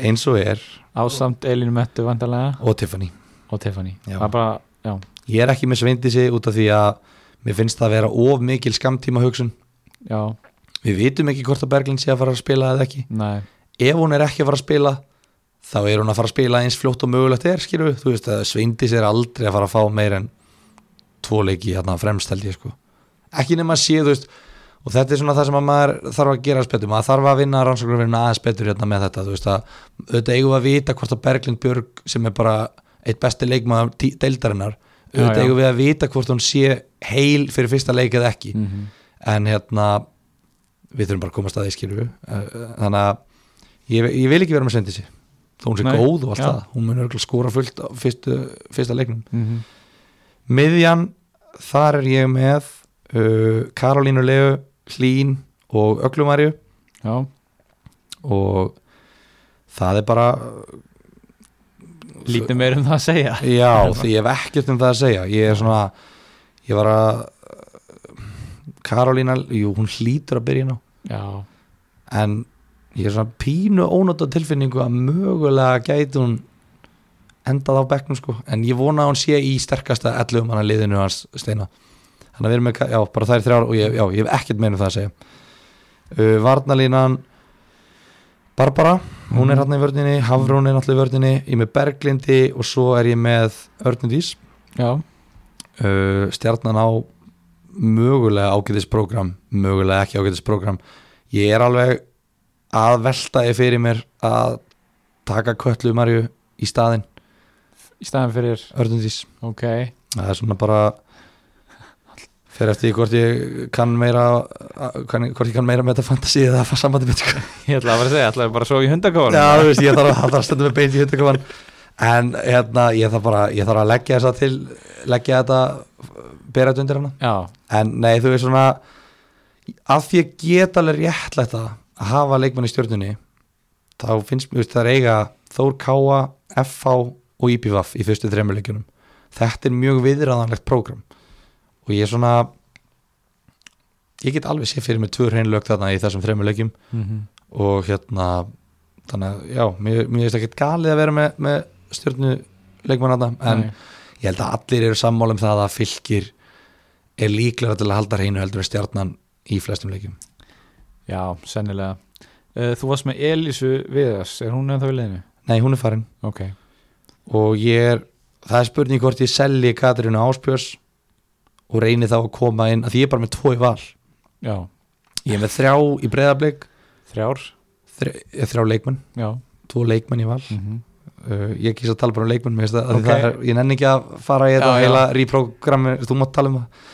S2: eins og er,
S1: ásamt Elinu Mettu vandalega
S2: og Tiffany
S1: og Tiffany
S2: Já.
S1: Það er bara, já,
S2: ég er ekki með Sveindísi út af því að mér finnst það að vera of mikil skamtíma hugsun
S1: já,
S2: við vitum ekki hvort að Berglind sé að fara að spila eða ekki
S1: nei
S2: ef hún er ekki að fara að spila þá er hún að fara að spila eins fljótt og mögulegt er skilur við, þú veist að Sveindis er aldrei að fara að fá meir en tvo leiki hérna fremst held ég sko ekki nema að sé þú veist og þetta er svona það sem að maður þarf að gera aðeins betur maður þarf að vinna rannsóknarvinna aðeins betur hérna með þetta þú veist að auðvitað eigum við að vita hvort að Berglind Björg sem er bara eitt besti leikmaður tí- deildarinnar
S1: Já,
S2: auðvitað
S1: já.
S2: eigum við að vita hvort hún sé heil fyrir fyrsta leik eða ekki
S1: mm
S2: en hérna við þurfum bara að komast að því skilur við þannig að ég, ég vil ekki vera með sendisi þó hún sé
S1: Nei,
S2: góð og allt
S1: já.
S2: það hún mun örgulega skora fullt á fyrstu, fyrsta leiknum
S1: mhm,
S2: miðjan, þar er ég með uh, Karolínu Leu Hlín og Öglumarju
S1: Já,
S2: og það er bara
S1: lítið meir um það að segja
S2: já, því ég hef ekkert um það að segja ég er svona ég var að Karolína, jú, hún hlýtur að byrja ná
S1: Já,
S2: en ég er svona pínu ónóta tilfinningu að mögulega gæti hún endað á bekknum sko en ég vona að hún sé í sterkasta 11 manna liðinu hans steina þannig að við erum með, Ka- já, bara þær þrjár og ég, já, ég hef ekkert meina það að segja uh, Varnalínan Barbara, hún er
S1: Mhm.
S2: hérna í vörninni Hafrún er náttúrulega í vörninni, ég er með Berglindi og svo er ég með Örnudís
S1: já,
S2: uh, stjarnan á mögulega ágætisprogram mögulega ekki ágætisprogram ég er alveg að velta ég fyrir mér að taka Köllu Marju í staðinn
S1: í staðan fyrir,
S2: Örnundís,
S1: ok
S2: það er svona bara fer eftir því hvort ég kann meira kann, hvort ég kann meira með þetta fantasi eða að fara sambandi betur
S1: Ég ætla að vera að segja, ætlaði bara að sofa í hundakóðan
S2: Já, þú veist, ég þarf að, þarf að stunda með beint í hundakofan En hérna, ég þarf bara ég þarf að leggja þess að til leggja þetta, bera þetta undir hana
S1: já,
S2: en nei þú veist svona að því að geta alveg réttlætt það að hafa leikmann í stjórnunni þá finnst mér þú veist, það er eiga Þór Káa, FH og IPVAF í fyrstu þremur leikjunum þetta er mjög viðræðanlegt prógram og ég er svona ég get alveg sé fyrir mig tvö hreinlög þarna í þessum þremur leikjum
S1: mhm,
S2: og hérna þannig að já, mér, mér finnst ekkert galið að vera með, með stjórnu leikmann þarna en
S1: nei.
S2: ég held að allir eru sammála um það að fylgir er líklega til að halda hreinu heldur en stjarnan í flestum leikjum
S1: já, sennilega uh, Þú varst með Elísu Viðars, er hún ennþá í leiðinu?
S2: nei, hún er farin
S1: Ok,
S2: og ég er, það er spurning hvort ég selji Katrínu Áspjörs og reyni þá að koma inn, að því ég er bara með tvo í val
S1: já,
S2: Ég er með þrjá í breyðablik
S1: þrjár
S2: þrjá, eh, þrjá leikmenn,
S1: já,
S2: tvo leikmenn í val
S1: mm -hmm.
S2: uh, Ég kýs að tala bara um leikmenn mér finnst það, af því
S1: Ok.
S2: það er, Ég nenni ekki að fara í þetta
S1: Já, já.
S2: heila reprogrammi, þú mátt tala um það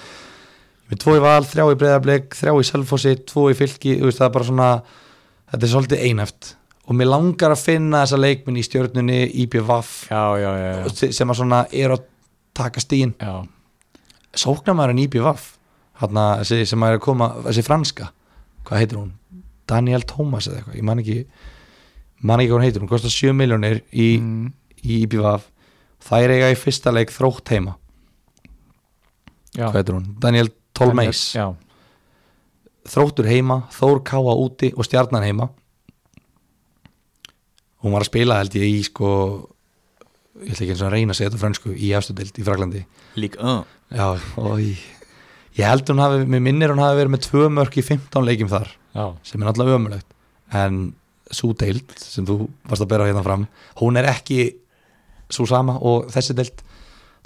S2: Ég er með tvo í val, þrjá í breyðablik þrjá í selfossi, tvo í fylki þú veist, það er bara svona, þetta er svolítið einhæft og mér langar að finna þessa leikmenn í stjörnunni, IPVAF
S1: já, já, já, já,
S2: sem að svona er að taka stíin
S1: já.
S2: sóknarmæðurinn IPVAF hérna, þessi sem er að koma, þessi franska hvað heitir hún? Daniel Thomas eða eitthvað, ég man ekki man ekki hvað hún heitir, hún kostar 7 miljónir í,
S1: Mm.
S2: í IPVAF það er eiga í fyrsta leik þrótt heima
S1: já.
S2: hvað heitir hún? Daniel Tolmeis
S1: já,
S2: þróttur heima, Þór Káa úti og Stjarnan heima hún var að spila held ég í sko ég ætla ekki eins og að reyna að segja þetta á frönsku í efstudeld í Fraklandi
S3: Lík uh.
S2: Já, oi. ég held hún hafi, mér minnir hún hafi verið með tvö mörk í 15 leikjum þar
S1: já,
S2: sem er náttúrulega ömulegt en svo deild sem þú varst að bera hérna fram hún er ekki svo sama og þessi deild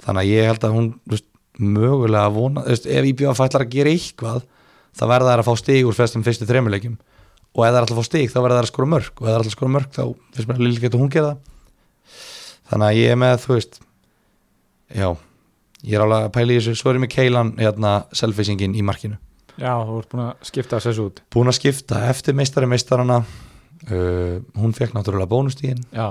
S2: þannig að ég held að hún þú veist, mögulega að vona þú veist, ef IBF ætlar að gera eitthvað þá verða þær að fá stig úr flestum fyrstu þremuleikjum og ef það er alltaf að fá stig þá verða þær að skora mörk og ef það er alltaf að skora mörk þá finnst mér að lilla getur hún gera það þannig að ég er með þú veist já, ég er alveg að pæla í þessu svo er ég með Keilan hérna selfisingin í markinu
S1: já, þú ert búin að skipta þessu út
S2: búin að skipta eftir meistari meistarana uh, hún fekk náttúrulega bónustíðin
S1: já,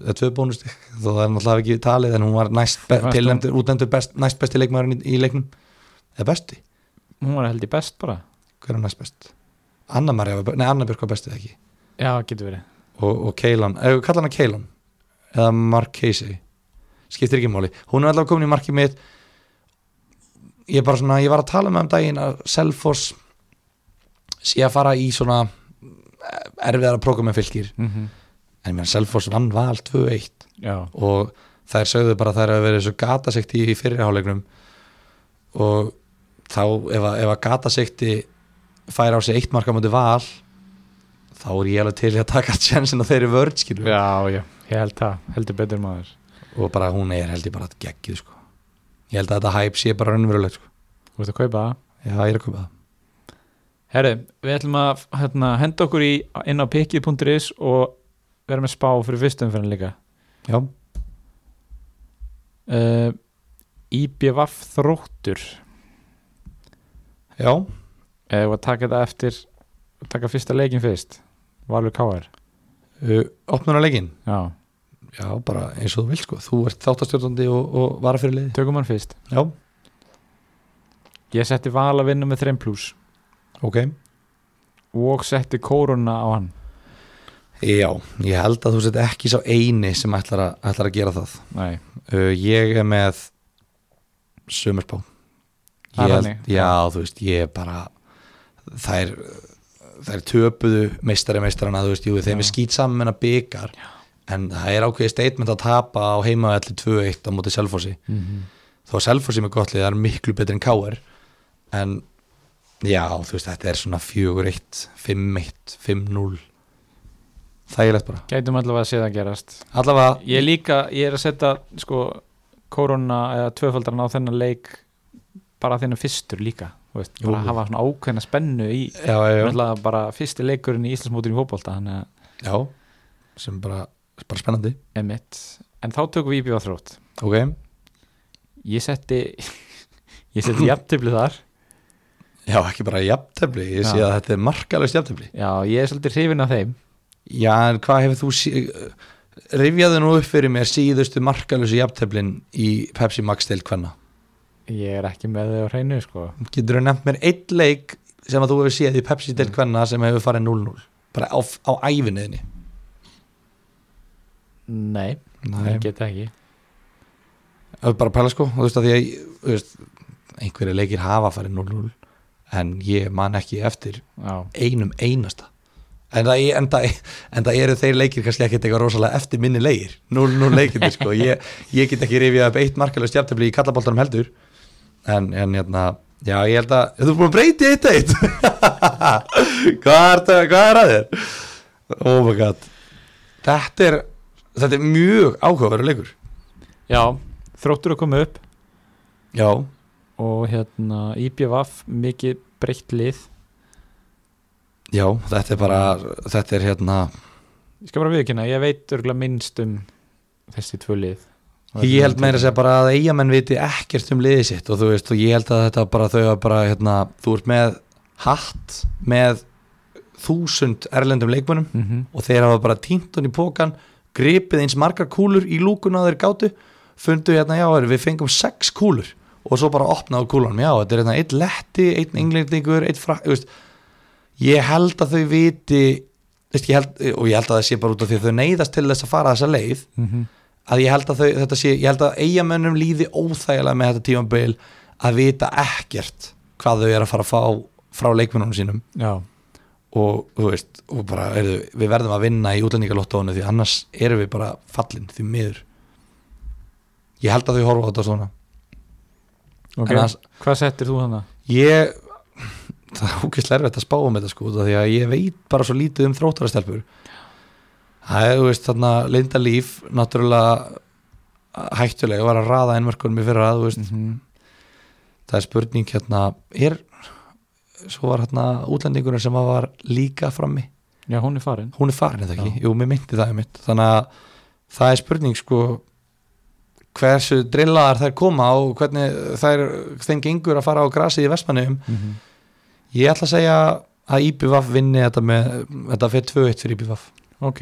S2: eða tvö bónustíð, (laughs) þó það er náttúrulega ekki talið en hún var næst be
S1: Fannst
S2: tilnæmdur, útnæmdur best, næst besti leikmaðurinn í, í leiknum eða besti,
S1: hún var held í best bara
S2: hver er næst best Anna Marja, var be- nei Anna Björk var bestið ekki
S1: já, getur verið
S2: og, og Keilan, eða kalla hana Keilan eða Markesi skiptir ekki máli, hún er allavega komin í markið mitt ég er bara svona ég var að tala með um daginn að Selfoss sé að fara í svona eh, erfiðara prógum með fylgir
S1: mm
S2: en mér Selfoss vann val 2-1
S1: já,
S2: og þær sögðu bara að þær hafa verið svo gatasekti í fyrirháleiknum og þá ef að, ef að gatasekti fær á sig eitt marka mútið val þá er ég alveg til í að taka tjensin á þeirri vörð skilur
S1: já, já, ég held það heldur betur maður
S2: og bara hún er held ég bara að geggið sko ég held að þetta hæp sé bara raunverulegt sko
S1: þú ert að kaupa það
S2: já ég er að köpa það
S1: Herri, við ætlum að hérna, henda okkur í, inn á pikið.is og vera með spá fyrir fyrstum fyrir líka
S2: já
S1: uh, IBVF þróttur
S2: já
S1: eða Eh, að taka þetta eftir taka fyrsta leikin fyrst Valur Káar
S2: uh, opnuna leikinn
S1: Já,
S2: já bara eins og þú vilt sko þú ert þáttastjórnandi og, og vara fyrir liði
S1: tökum hann fyrst
S2: já
S1: Ég setti Val að vinna með 3 plus
S2: ok
S1: og setti Kóruna á hann
S2: Já, ég held að þú sett ekki sá eini sem ætlar að, ætlar að gera það
S1: Nei,
S2: uh, Ég er með sömurspá
S1: Það er
S2: Ég held-
S1: þannig?
S2: Já, þú veist, ég er bara þær, þær töpuðu meistari meistarana, þú veist, jú, þeim
S1: Já.
S2: er skýt saman að byggar en það er ákveðið statement að tapa á heimavelli 2-1 á móti Selfossi
S1: mm
S2: þó að Selfossi með gottlið er miklu betri en K.R. en já, þú veist, þetta er svona 4-1 5-1, 5-0 þægilegt bara
S1: gætum allavega að sé það gerast
S2: allavega
S1: Ég er líka, ég er að setja sko Kóruna eða tvöfaldarinn á þennan leik bara þennan fyrstur líka þú veist, bara
S2: Jú.
S1: hafa svona ákveðna spennu í
S2: já, já, já,
S1: náttúrulega bara fyrsti leikurinn í Íslandsmótinu í fótbolta þannig að
S2: já sem bara, bara spennandi
S1: emitt en þá tökum við íbjöða þrótt
S2: ok,
S1: ég setti (laughs) ég setti jafntöfli þar
S2: já ekki bara jafntefli ég sé
S1: Já.
S2: að þetta er markalust jafntefli
S1: já ég er svolítið hrifin af þeim
S2: já, en hvað hefur þú sí... rifjaðu nú upp fyrir mér síðustu markalustu jafnteflin í Pepsi Max til hvenna
S1: ég er ekki með þau á hreinu sko
S2: getur þú nefnt mér eitt leik sem að þú hefur séð í Pepsi til hvenna sem hefur farið 0-0 bara á, á æfinniðinni
S1: nei, ég get það ekki
S2: Það er bara að pæla sko þú veist að því að þú veist, einhverja leikir hafa farið 0-0 en ég man ekki eftir
S1: já,
S2: einum einasta en það, en það, en það eru þeir leikir kannski ekkert eitthvað rosalega eftir minni leikir 0-0 leikir sko. ég, ég get ekki rifjað upp eitt markalöst jafntefli í kallaboltanum heldur en, en hérna, já ég held að þú er búin að breyti eitt eitt (laughs) hvað, er, það- hvað er að þér? oh my god þetta er, þetta er mjög áhugaverður leikur
S1: já þróttur að koma upp
S2: já,
S1: og hérna IBVF mikið breytt lið
S2: já, þetta er bara þetta er hérna,
S1: Ég skal bara viðkynna, ég veit örgulega minnst um þessi tvö lið
S2: ég held meira að segja bara að eigamenn viti ekkert um liðið sitt og þú veist, og ég held að þetta bara þau að bara, hérna, þú ert með hatt með þúsund erlendum leikmönnum
S1: mm -hmm.
S2: og þeir hafa bara tínt hann í pókan gripið eins margar kúlur í lúkuna og þeir gátu, fundu hérna já heyrðu, við fengum sex kúlur og svo bara opnaðu kúlanum, já þetta er hérna eitt letti einn englendingur, einn frak you know, ég held að þau viti you know, ég held, og ég held að það sé bara út af því að þau neyðast til þess að fara þessa leið
S1: mhm.
S2: að ég held að þau, þetta sé, ég held að eigamönnum líði óþægilega með þetta tímambil að vita ekkert hvað þau er að fara að fá frá leikmennunum sínum
S1: Já,
S2: og þú veist, og bara heyrðu, við verðum að vinna í útlendingalottónu því annars erum við bara fallin því miður ég held að þau horfa á þetta svona
S1: ok,
S2: En annars-
S1: hvað settir þú hana?
S2: ég, (laughs) það er ógeðslega erfitt að spá um þetta sko, út af því að ég veit bara svo lítið um þróttarastelpur það er, þú veist, þarna Linda Líf náttúrulega hættulega var að raða einmörkunum í fyrra þú veist,
S1: Mm -hmm.
S2: það er spurning hérna, er svo var hérna útlendingurinn sem var líka frammi
S1: Já, hún er farin
S2: hún er farin eða ekki,
S1: Já.
S2: jú, mér myndi það mitt. þannig að það er spurning sko hversu drillaðar þær koma og hvernig þær, þeim gengur að fara á grasið í Vestmanneum,
S1: mm -hmm.
S2: ég ætla að segja að IBVF vinni þetta með þetta fyrir 2-1 fyrir IBVF
S1: Ok,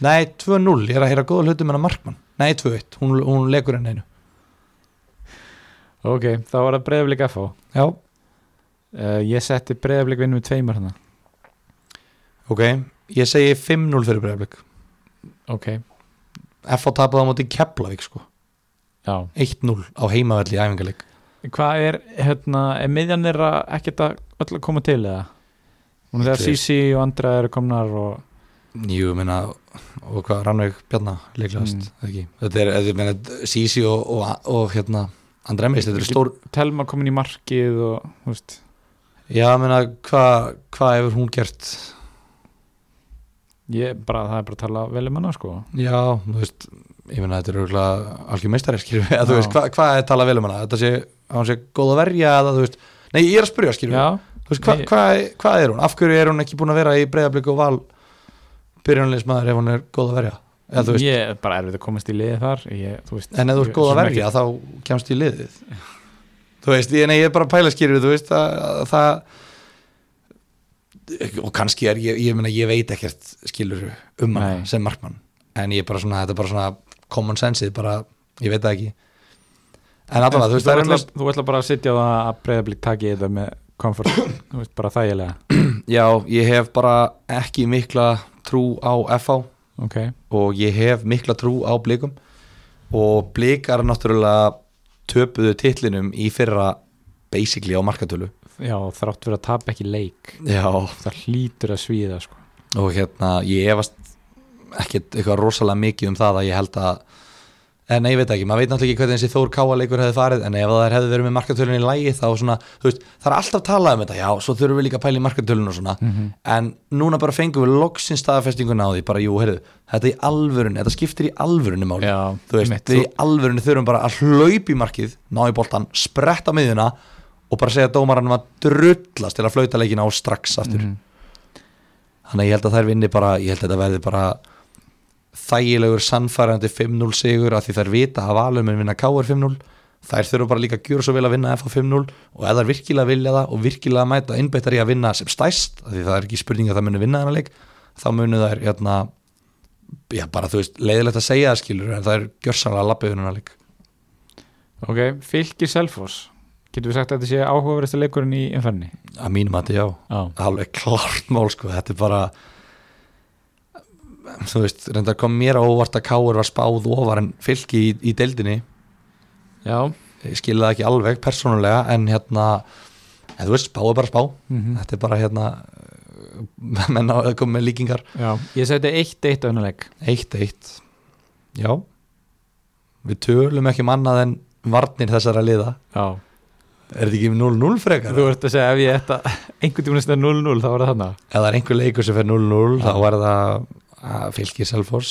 S2: nei, 2-0, ég er að heyra góða hlutum en að markmann, nei, 2-1, hún, hún legur henni einu,
S1: ok, þá var það breyðablík FH
S2: já,
S1: uh, Ég setti breyðablík vinnum með tveimur hana
S2: ok ég segi 5-0 fyrir breyðarblik
S1: Ok,
S2: F á tapaða á móti Keflavík sko
S1: já
S2: 1-0 á heimavelli í æfingarleik
S1: Hvað er, hérna, er miðjan þeirra ekkert að öll að koma til eða? Hún er
S2: Ég
S1: þegar
S2: treyst-
S1: Sisi og Andra eru komnar og
S2: Jú, ég meina, og hvað Rannveig Bjarna líklegast,
S1: Mm.
S2: mm. ekki þetta er, þetta er, meina, Sisi og, og, og hérna, Andra Emis, þetta er stór
S1: Telma komin í markið og, þú veist
S2: já, ég meina, hvað hva hefur hún gert
S1: Ég bara, það er bara að tala vel um hana sko
S2: já, þú veist ég meina, þetta er auðvitað algjör meistari skilur við, að þú
S1: Já.
S2: veist, hvað hva er talað vel um hana þetta sé, að hún sé góð að verja eða þú veist, nei, ég er að spyrja skilur við
S1: Já,
S2: þú veist, hvað
S1: Nei.
S2: hva, hva er hún, af hverju er hún ekki búin að vera í breyðabliku og val byrjunleismæður ef hún er góð að verja eða þú veist,
S1: ég er bara erfið að komast í liðið þar ég, þú veist,
S2: en ef þú ert
S1: ég-
S2: góð að
S1: svona
S2: verja þá kemst í liðið þú veist, ég, nei, ég er bara að pæla skýrfi þú veist, að, að það og kannski er ég, ég, meina, ég veit ekkert skilur um
S1: Nei.
S2: hann sem markmann en ég er bara svona, þetta er bara svona common sense, bara, ég veit það ekki en allavega, þú veist, það er
S1: ætla,
S2: umlega
S1: þú ætla bara að sitja á það að breyðablík taki þetta með
S2: (coughs)
S1: komfort, þú veist, bara þægilega
S2: já, ég hef bara ekki mikla trú á FH
S1: ok,
S2: og ég hef mikla trú á blikum og blikar náttúrulega töpuðu titlinum í fyrra basically á markatölu
S1: já, þrátt fyrir að tapa ekki leik
S2: Já,
S1: það hlýtur að svíða sko.
S2: og hérna ég efast ekkit eitthvað rosalega mikið um það að ég held að en nei, ég veit ekki, maður veit náttúrulega ekki hvernig þessi Þór Káa leikur hefði farið, en ef það hefði verið með markatölun í lægi þá svona, þú veist, það er alltaf talað um þetta, já, svo þurfum við líka að pæla í markatölun og svona,
S1: Mm.
S2: en núna bara fengum við loksins staðfestinguna á því, bara jú, heyrðu þetta í alvörun, þetta skiptir í alvörunni máli
S1: já,
S2: þú veist,
S1: einmitt.
S2: við í alvörunni þurfum bara að hlaupa í markið, ná í boltan spretta á miðjuna og bara segja dómaranum að drullast til að flauta leikina og strax aftur
S1: Mhm.
S2: þannig að ég held að þær vinni bara, ég held að þetta verði bara þægilegur sannfærandi 5-0 sigur að því þær vita að valur mun vinna KR 5-0 þær þurfa bara líka að gjöra svo vel að vinna FH 5-0 og ef þær virkilega vilja það og virkilega mæta innbyttar í að vinna sem stæst af því það er ekki spurning að það muni vinna þennan leik þá munu þær hérna, já, bara þú veist, leiðilegt að segja það skilur en það er gjörsanlega að lappa yfir hennar leik
S1: ok, fylgir Selfoss getur við sagt að þetta sé áhugaverðasta leikurinn í umferni
S2: að mínum að þetta já
S1: já,
S2: alveg klart mál sko, þetta er bara þú veist, reynda kom mér á óvart að Káur var spáð ofar en fylki í, í deildinni,
S1: já
S2: ég skilði það ekki alveg persónulega, en hérna en þú veist, spá er bara spá,
S1: mhm.
S2: þetta er bara hérna (laughs) eh, menn á að koma með líkingar
S1: Já, ég seti eitt eitt önuleik
S2: eitt eitt, já við tölum ekki um annað en varnir þessara liða,
S1: Já,
S2: er þetta ekki 0-0 frekar?
S1: þú ert að segja ef ég ætta einhvern tímann að stæða 0-0 þá var það þannig
S2: ef það er einhver leikur sem fer 0-0
S1: Já.
S2: þá er það að fylgir Selfors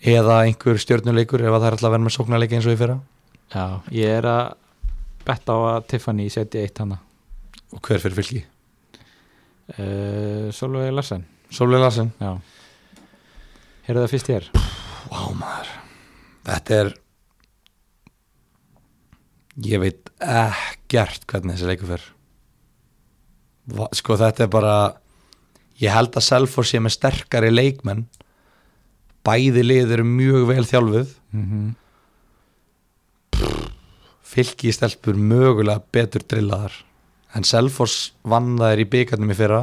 S2: eða einhver stjörnuleikur ef það er alltaf að vera með sóknarleika eins og í fyrra
S1: Já, ég er að betta á að Tiffany setja eitt hana
S2: og hver fyrir fylgi?
S1: uh, Solveig Larsen
S2: Solveig Larsen
S1: já Heyrðu það fyrst hér
S2: Vá maður Þetta er Ég veit ekkert hvernig þessi leikur fer Va- Sko þetta er bara Ég held að Selfoss sé með sterkari leikmenn Bæði lið eru mjög vel þjálfuð
S1: mm
S2: Fylki í stelpur mögulega betur drillaðar En Selfoss vann þær í byggarnum í fyrra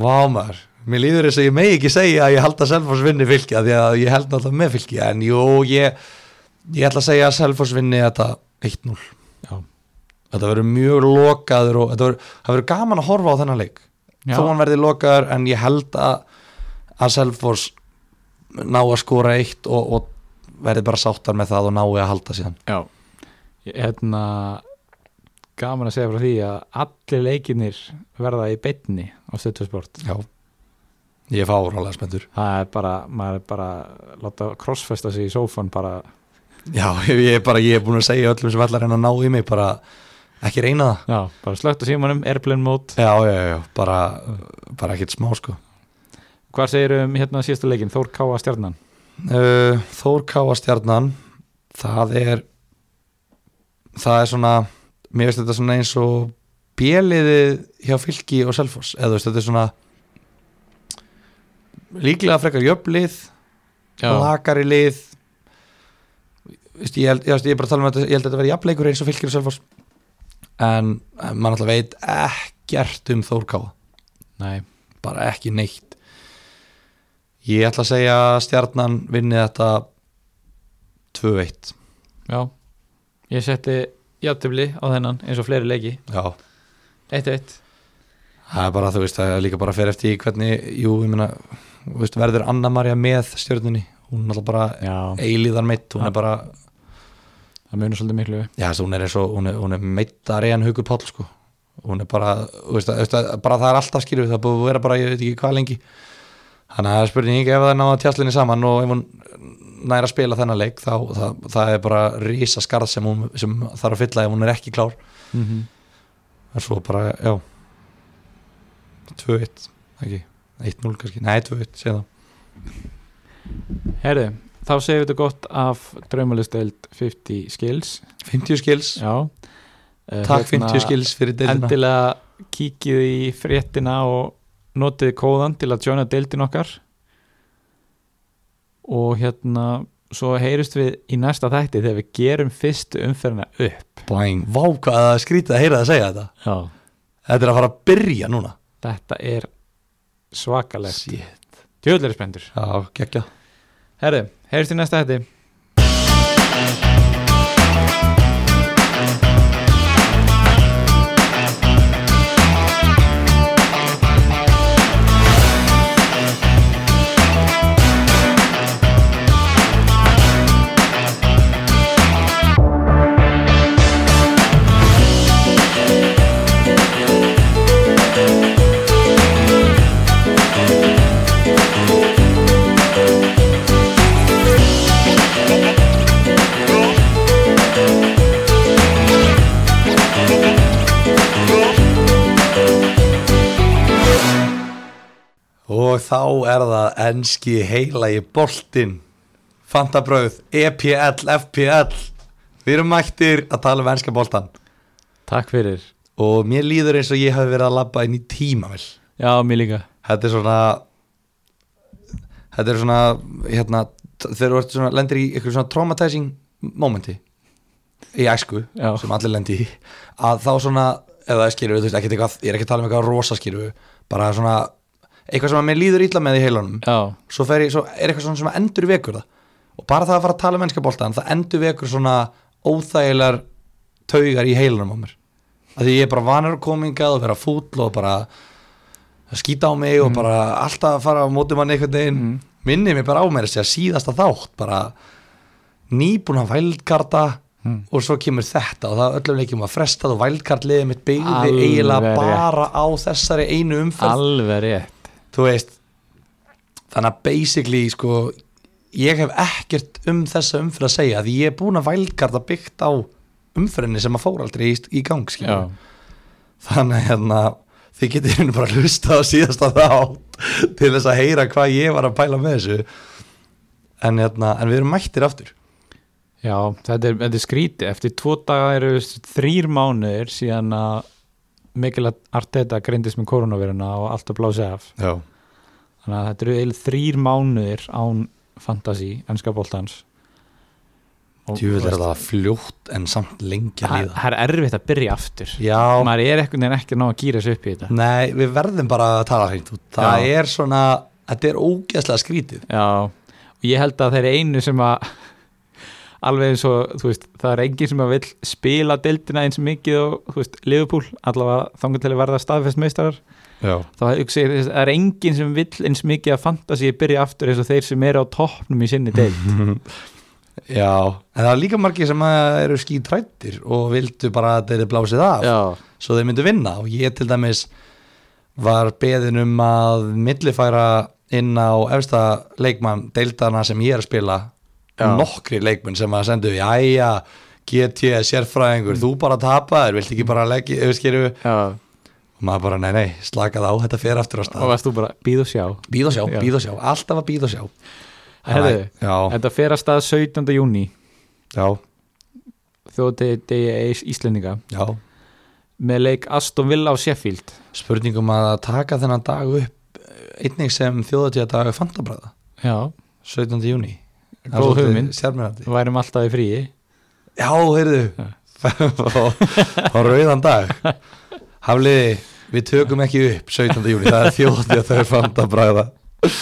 S2: Vá maður Mér líður þess að ég megi ekki segja að ég held að Selfoss vinni fylki af Því að ég held alltaf með fylki En jú, ég, ég ætla að segja að Selfoss vinni þetta 1-0
S1: Já.
S2: Þetta verður mjög lokaður og þetta verður, það verður gaman að horfa á þennan leik
S1: Já,
S2: Þó hann verði lokaður en ég held að að Selfoss ná að skora eitt og, og verði bara sáttar með það og nái að halda síðan
S1: já. Ég- Hérna gaman að segja frá því að allir leikinir verða í beinni á stöðtusport
S2: Já Ég fá rálega spenntur
S1: það er bara, maður er bara að láta crossfesta sig í sófan bara,
S2: Já, ég er bara, ég er búin að segja öllum sem allar reyna að ná í mig bara ekki reyna það
S1: já, bara slögt á símanum airplane mode,
S2: Já, já, já, bara, bara ekkert smá sko
S1: hvað segir um hérna síðasta leikin, Þór Káa stjarnan
S2: uh, Þór Káa stjarnan það er það er svona mér veist þetta svona eins og bjeliði hjá Fylki og Selfoss eða þú veist þetta er svona líklega frekar jöflið lakari lið Vist, ég, held, ég, veist, ég er bara að tala um þetta ég held að þetta verði jafnleikur eins og fylgir og selfoss en eh, maður alltaf veit ekkert um Þórkáa
S1: nei,
S2: bara ekki neitt ég ætla að segja að stjarnan vinni þetta 2-1
S1: já ég setti játtöfli á þennan eins og fleiri leiki,
S2: já,
S1: 1-1
S2: það er bara þú veist það er líka bara fyrir eftir í hvernig jú, ég meina, þú veist, verður Anna Marja með stjörnunni, hún er alltaf bara
S1: já,
S2: eilíðar meitt,
S1: Ja.
S2: hún er bara
S1: það munur svolítið miklu
S2: Já, þessi, hún er eins og, hún er, hún er meittari en Haukur Páll, sko. Hún er bara, þú veist, að- þú veist, að- bara það er alltaf skiljuð, það er búið að vera bara, ég veit ekki hvað lengi. Þannig að það er spurning ef það er náða tjastlinni saman og ef hún næra að spila þennan leik, þá það, það er bara rísa skarð sem hún sem þarf að fylla ef hún er ekki klár.
S1: mm -hmm.
S2: En svo bara, já, 2-1, ekki, 1-0 kannski, nei 2-1, segja það.
S1: Herðu, þá segjum við þetta gott af draumalisteld 50 skills
S2: 50 skils,
S1: Já Eh,
S2: takk 50 skils fyrir deildina.
S1: Endilega kíkið í fréttina og notið kóðan til að joina deildin okkar og hérna svo heyrist við í næsta þætti þegar við gerum fyrstu umferðina upp
S2: Bæng, vá hvað það er skrítið að heyra það að segja þetta.
S1: Já.
S2: Þetta er að fara að byrja núna.
S1: Þetta er svakalegt
S2: Shit.
S1: Tjóðlega spendur
S2: Já, geggja
S1: Herðu, heyrist í næsta þætti
S2: Og þá er það enski heilagi boltinn E Fantabröð, EPL, FPL Við erum mættir að tala um enska boltan
S1: Takk fyrir
S2: Og mér líður eins og ég hafi verið að labba inn í tímavel
S1: Já, mér líka
S2: Þetta er svona Þetta er svona hérna, t- Þegar þú ert svona, lendir í ykkur svona traumatizing momenti Í æsku
S1: Já.
S2: sem allir lendi í að þá svona, eða skilur við, þú veist, ekkert eitthvað ég er ekki að tala um eitthvað rosa skilur við bara svona, eitthvað sem að mér líður illa með í heilanum
S1: Já,
S2: svo, fer ég, svo er eitthvað svona sem að endur vekur það og bara það að fara að tala um mennskaboltan það endur vekur svona óþægilegar taugar í heilanum á mér að því ég er bara vanur að koma hingað og vera fúll og bara skýta á mig og bara alltaf að fara á móti manni einhvern veginn
S1: Mhm.
S2: minni mig bara á mér þessi að síðasta þátt bara nýbúna vældkarta
S1: Mhm.
S2: og svo kemur þetta og það öllum leikjum að frestað og vældkartliðið mitt byggði
S1: Alveg
S2: eiginlega
S1: rétt.
S2: bara á þessari einu umferð
S1: alveg rétt
S2: þú veist þannig að basically sko ég hef ekkert um þessa umfyrir að segja því ég er búin að vælgarda byggt á umfyrinni sem að fór aldrei í, í gang skilur.
S1: Já,
S2: þannig að hérna, þið getur hérna bara að hlusta á síðasta þátt (laughs) til þess að heyra hvað ég var að pæla með þessu en, hérna, en við erum mættir aftur
S1: Já, þetta er, þetta er skríti eftir tvo daga eru þrýr mánuðir síðan að mikil að Arteta greindist með koronaviruna og allt að blási af
S2: Já.
S1: þannig að þetta eru eil þrýr mánuðir án fantasi, ennska boltans Og-
S2: Tjúvel er það fljótt en samt lengi að
S1: það
S2: líða
S1: það er erfitt að byrja aftur
S2: Já,
S1: maður er ekkert en ekki ná að gýra sig upp í þetta
S2: nei, við verðum bara að tala hreint út það
S1: Já.
S2: er svona, þetta er ógeðslega skrítið
S1: Já, og ég held að þeir eru einu sem að alveg eins og, þú veist, það er enginn sem að vill spila deildina eins mikið og, þú veist, Liverpool, allavega þangar til að verða staðfest meistarar
S2: Já.
S1: þá hugsa ég, það er enginn sem vill eins mikið að fantasíi byrja aftur eins og þeir sem eru á toppnum í sinni deild
S2: en það er líka margir sem að eru skítrættir og vildu bara að þeir blásið
S1: (laughs)
S2: af
S1: Já,
S2: svo þeir myndu vinna og ég til dæmis var beðin um að millifæra inn á efsta leikmann deildana sem ég er að spila
S1: Já.
S2: nokkri leikmenn sem að sendu jæja, GT, sérfræðingur þú bara tapa þér, vilt ekki bara leggja öfskiru,
S1: já,
S2: og maður bara nei, nei, slaka það á, þetta fer aftur á
S1: og
S2: stað
S1: varst þú bara býð og sjá
S2: býð og sjá,
S1: Já.
S2: býð og sjá, alltaf að býð og sjá
S1: Herðu,
S2: já,
S1: Þetta fer að stað 17. júni
S2: já,
S1: þjóðdegi Íslendinga
S2: já
S1: með leik Aston Villa á Sheffield
S2: spurningum að taka þennan dag upp eh, einnig sem þjóðatíðadag fandabræða,
S1: Já,
S2: 17. júni
S1: góð hugmynd,
S2: sérmennandi
S1: værum alltaf í fríi
S2: Já, heyrðu á, á rauðan dag Hafliði, við tökum ekki upp 17. júni, það er þjótti að þau fanda bræða
S1: Nei,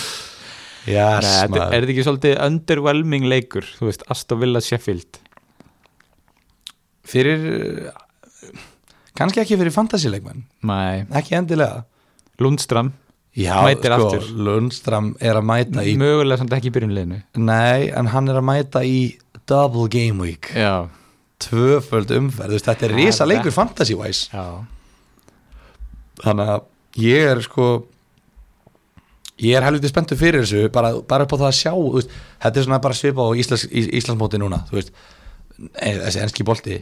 S2: Yes,
S1: þetta-
S2: maður
S1: Er þetta ekki svolítið underwhelming leikur þú veist, Aston Villa Sheffield
S2: Fyrir, eh, kannski ekki fyrir fantasileikmenn,
S1: Nei,
S2: ekki endilega
S1: Lundstram,
S2: Já,
S1: Mætir aftur.
S2: Lundstram er að mæta í
S1: mögulega samt ekki í byrjunleginu
S2: Nei, en hann er að mæta í Double Game Week
S1: Já,
S2: Tvöföld umferð, þú veist, þetta er
S1: Það er
S2: risa leikur
S1: þetta.
S2: fantasy-wise
S1: já
S2: þannig að ég er sko ég er helviti spenntur fyrir þessu bara, bara upp á það að sjá þú veist, þetta er svona bara svipa á Íslands, Ís, Íslandsmóti núna þú veist, e, þessi enski bolti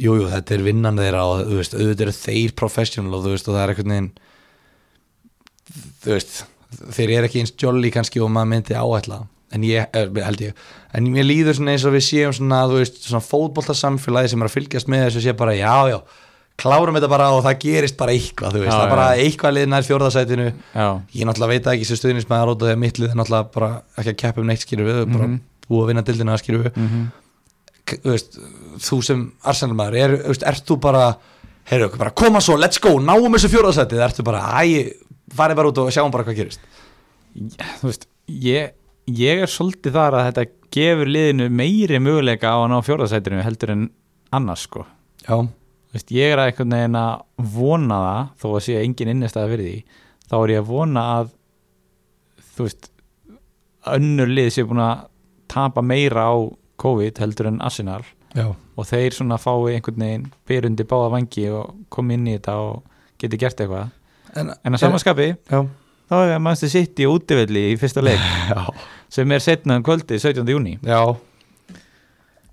S2: jújú, jú, þetta er vinnan þeirra og þú veist, auðvitað eru þeir professional og þú veist, og það er einhvern veginn þú veist þeir eru ekki eins jolly kannski og maður myndi áætla en ég, er, held ég en mér líður svona eins og við séum svona, þú veist, svona fótboltasamfélagi sem er að fylgjast með þessu og sé bara, já, já, klárum þetta bara og það gerist bara eitthvað, þú veist,
S1: Já,
S2: það er bara
S1: já.
S2: eitthvað liðnar fjórðasætinu,
S1: Já,
S2: ég náttúrulega veit það ekki sem stuðnismæðar út af því að mittlið er náttúrulega bara ekki að keppa um neitt skýru við, mm
S1: Mhm.
S2: bara búið að vinna dildina að skýru við
S1: mm
S2: K- þú veist, þú sem arsenalmaður er, þú veist, ert þú bara heyrðu okkur bara, koma svo, let's go, náum þessu fjórðasætið ertu bara, æ, farið bara út og sjáum bara hvað gerist
S1: þú veist ég, ég er svolítið þar að þetta gefur liðinu meiri möguleika á að ná fjórðasætinu heldur en annars sko
S2: já,
S1: Þú veist, ég er að einhvern veginn að vona það þó að sé engin innistæða fyrir því þá er ég að vona að þú veist önnur lið sé búin að tapa meira á COVID heldur en Arsenal
S2: já,
S1: og þeir svona fái einhvern veginn berundi báða vangi og komi inn í þetta og geti gert eitthvað
S2: en,
S1: en að samanskapi
S2: já,
S1: þá er að mannstu sitt í útivilli í fyrsta leik
S2: (laughs) já,
S1: sem er setna um kvöldi 17. júni
S2: já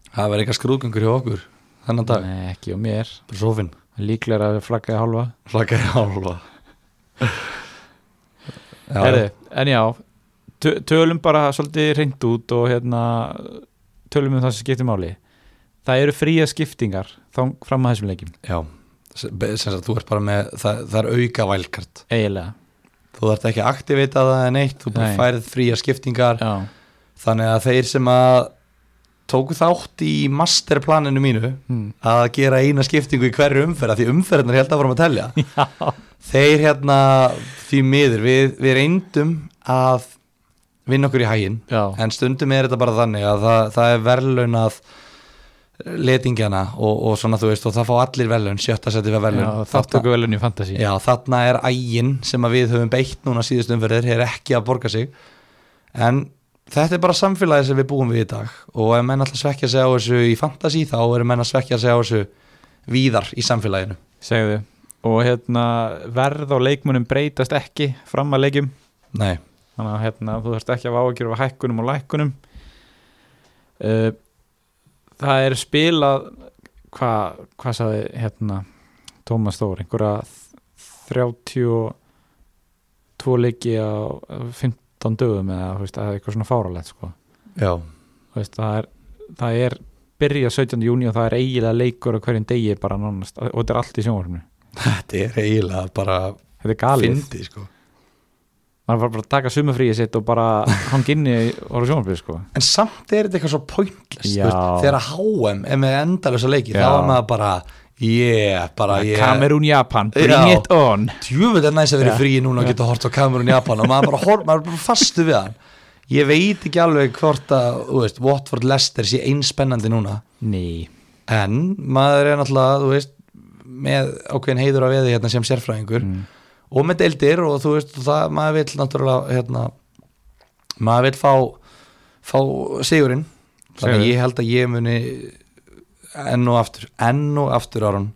S2: það verður eitthvað skrúðgöngur hjá okkur þennan dag,
S1: Nei, ekki og mér
S2: bara sofin
S1: líklega að flagga hálfa
S2: slakaði hálfa já,
S1: Herri, en já, tö- tölum bara svolítið reynd út og hérna tölum um það sem skiptir máli það eru fría skiptingar þá fram að þessum leikjum,
S2: já sem be- sem sagt, þú ert bara með, það, það er auka vælkart
S1: eiginlega
S2: þú þarft ekki að aktivita það en eitt þú bara
S1: Nei.
S2: færið fría skiptingar
S1: já,
S2: þannig að þeir sem að tóku þátt í masterplaninu mínu
S1: mm.
S2: að gera eina skiptingu í hverju umferð af því umferðnar held að vorum að telja
S1: (laughs) já.
S2: þeir hérna því miður við, við reyndum að vinna okkur í hægin
S1: já.
S2: en stundum er þetta bara þannig að það, það er verðlaunað letingjana og, og svona þú veist og það fá allir verðlaun, sjötta seti við verðlaun
S1: já
S2: Þarna-
S1: þáttöku velunni fantasi
S2: Já, þarna er ægin sem að við höfum beitt núna síðust umferðir, er ekki að borga sig en þetta er bara samfélagið sem við búum við í dag og ef menn alltaf svekja sig á þessu í fantasi þá eru menn að svekja sig á þessu víðar í samfélaginu
S1: segðu, og hérna verð á leikmunum breytast ekki fram að leikjum
S2: Nei,
S1: þannig að hérna, þú þarft ekki að vágjur af hækkunum og lækkunum uh, það er spilað hvað hva sagði hérna Tómas Þór einhverja þ- 32 leiki á eh, 15 dögum eða þú veist, það er eitthvað svona fáralegt sko.
S2: já,
S1: Þú veist, það, er, það er byrja 17. júni og það er eiginlega leikur á hverjum degi bara nánast og þetta er allt í sjónvarpinu
S2: þetta er eiginlega bara
S1: þetta er galið,
S2: fyndi sko.
S1: maður var bara að taka sumufríið sitt og bara hang inni og voru sjónvarpinu sko.
S2: en samt er þetta eitthvað svo pointless þú
S1: Já.
S2: veist, þegar að HM er með endalösa leiki
S1: Já.
S2: þá er maður bara yeah, bara yeah.
S1: Kamerún Japan, bring
S2: Já.
S1: it on
S2: djúvöld er næst að vera
S1: Já.
S2: í fríi núna og geta hort á kamerun Japan og maður bara, hor, maður bara fastu við hann ég veit ekki alveg hvort að þú veist, Watford Leicester sé einspennandi núna
S1: Ný,
S2: en maður er náttúrulega þú veist, með ákveðin heiður að veði hérna sem sérfræðingur og með deildir og þú veist og það, maður vill náttúrulega hérna, maður vill fá, fá sigurinn þannig
S1: Sigurinn.
S2: að ég held að ég muni enn og aftur, enn og aftur Aron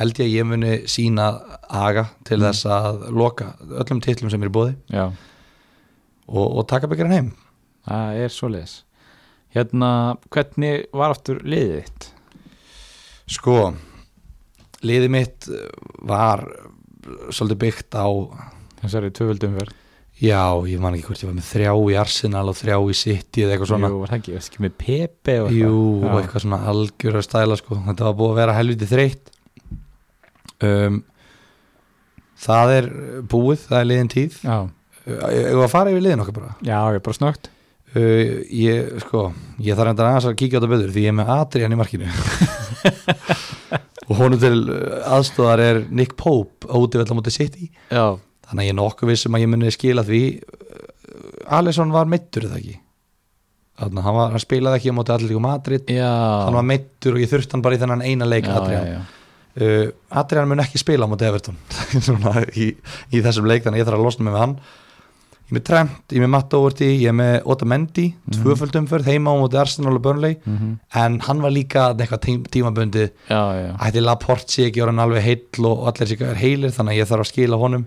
S2: held ég að ég muni sína aga til þess að loka öllum titlum sem er í bóði
S1: já
S2: og, og taka byggjarinn heim
S1: Það er svoleiðis Hérna, hvernig var aftur liðið þitt?
S2: Sko, liðið mitt eh, var eh, svolítið byggt á
S1: Þessari tvöföldum verð
S2: Já, ég man ekki hvort ég var með þrjá í Arsenal og þrjá í City eða eitthvað svona
S1: Jú, var það ekki, varst ekki með Pepe og
S2: Jú,
S1: Já.
S2: og eitthvað svona algjör að stæla sko. þetta var búið að vera helviti þreytt um, Það er búið, það er liðin tíð
S1: Já,
S2: Ég var að fara yfir liðin okkar bara
S1: já, ég er bara snögt
S2: uh, Ég, sko, ég þarf enda aðeins að kíkja á þetta betur því ég er með Adrian í markinu og honum til uh, aðstóðar er Nick Pope óti vel á móti City
S1: Já,
S2: þannig að ég er nokkuð vissum að ég muni skila því uh, Alisson var meittur eða ekki þannig að hann, var, hann spilaði ekki á móti allir Madrid
S1: já
S2: hann var meittur og ég þurfti hann bara í þennan eina leik Adrian
S1: já, já.
S2: uh, Adrian mun ekki spila á móti Everton (laughs) Svona í, í þessum leik þannig að ég þarf að losna mig með hann ég er með Trent, ég er með Matt Doherty ég er með Otamendi, mm -hmm. tvöföldumferð heima á móti Arsenal og Burnley
S1: Mhm.
S2: en hann var líka eitthvað tím, tímabundi
S1: já, já,
S2: ætti Laporte sé ekki orðin alveg heill og allir sé ekki er heilir þannig að ég þarf að skila honum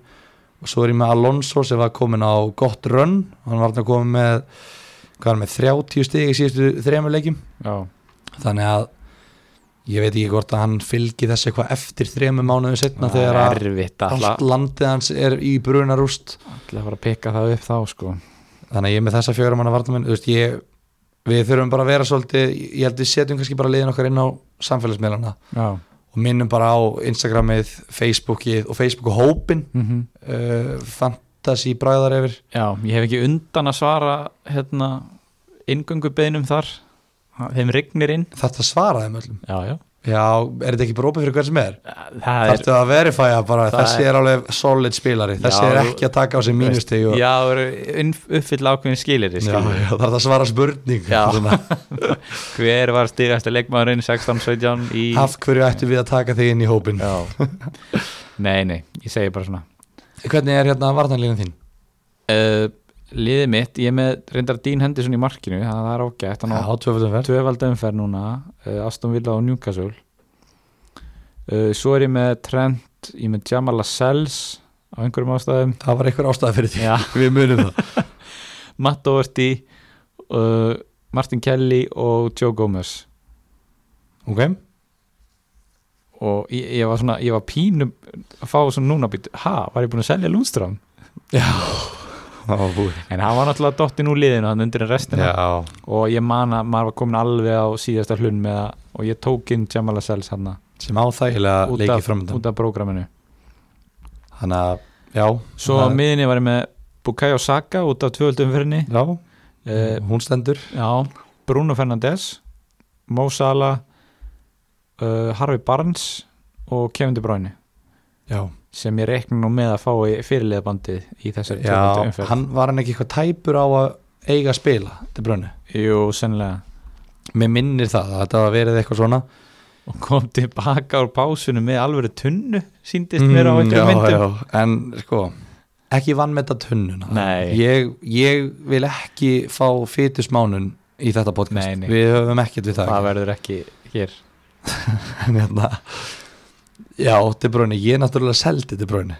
S2: og svo er ég með Alonso sem var komin á gott run hann var þarna komin með hvað er með 30 stig í síðustu þremur leikjum
S1: já,
S2: þannig að ég veit ekki hvort að hann fylgi þessu eitthvað eftir þremur mánuðu setna
S1: Það
S2: þegar
S1: er
S2: að
S1: erfitt
S2: allt
S1: alltaf
S2: landið hans er í brunarúst
S1: Alltaf bara að pikka það upp þá, sko
S2: þannig að ég er með þessa fjögur manna varnamenn þú veist ég við þurfum bara að vera svolítið ég held við setjum kannski bara liðin okkar inn á samfélagsmiðlana
S1: Já,
S2: og minnum bara á Instagramið, Facebookið og Facebook hópin
S1: mhm
S2: uh, fantasy bræðar yfir
S1: Já, ég hef ekki undan að svara hérna ingöngu beinum þar þeim rignir inn
S2: þetta svaraði með öllum
S1: Já, já
S2: já, er þetta ekki bara opið fyrir hver sem er
S1: Það er
S2: þarftu að verifæja bara
S1: það
S2: þessi er alveg solid spilari
S1: Já,
S2: þessi er
S1: þú-
S2: ekki að taka á sig mínusteg og...
S1: Já, það eru inn- uppfylla ákveðin sko. skilir
S2: já, já, þarf það að svara spurning
S1: Já.
S2: Svona,
S1: Hver var stigasti leikmaðurinn 16-17 í
S2: af hverju ættum við að taka þig inn í hópin
S1: Já Nei, nei, ég segi bara svona
S2: hvernig er hérna varnanlínan þín?
S1: uh, Liðið mitt, ég er með reyndar Dín Henderson í markinu, það það er ágætt hann
S2: já,
S1: á
S2: tvöfaldum verð
S1: tvöfalda umferð núna uh, Aston Villa og Newcastle uh, Svo er ég með Trent ég er með Jamal Lascelles á einhverjum ástæðum
S2: það var einhver ástæða fyrir því
S1: Já.
S2: við munum það
S1: (laughs) Matt Doherty uh, Martin Kelly og Joe Gomez
S2: ok,
S1: og ég, ég var svona, ég var pínum að fá svona núna býtt, ha, var ég búin að selja Lundström?
S2: það var búið
S1: En hann var náttúrulega dottinn úr liðinu hann undir en restina
S2: já,
S1: og ég man að maður var komin alveg á síðasta hlun með það og ég tók inn Jamal Asels hann
S2: sem áþægilega
S1: út, af-
S2: leikið framöndan
S1: út af prógraminu.
S2: þannig að, já,
S1: Svo á
S2: það-
S1: miðinni var ég með Bukayo Saka út af tvöldumferðinni,
S2: já,
S1: uh,
S2: hún stendur
S1: já, Bruno Fernandes, Mo Salah, uh, Harvey Barnes og Kevin De Bruyne
S2: já
S1: sem ég reikna nú með að fá í fyrirliðabandið í þessari
S2: Já,
S1: tvöldumferð.
S2: hann var hann ekki eitthvað tæpur á að eiga að spila til brönni
S1: Jú, sennilega.
S2: Mér minnir það að þetta var verið eitthvað svona
S1: Og kom tilbaka úr pásunum með alveg tunnu, síndist mér á
S2: Mm, já,
S1: einhverjum myndum.
S2: já, En sko, ekki vann með þetta tunnuna
S1: Nei.
S2: ég, ég vil ekki fá fytusmánun í þetta podcast
S1: Nei, nei.
S2: Við höfum ekkert við það,
S1: það verður ekki hér
S2: En hérna, Já, til brönni, ég náttúrulega seldi til brönni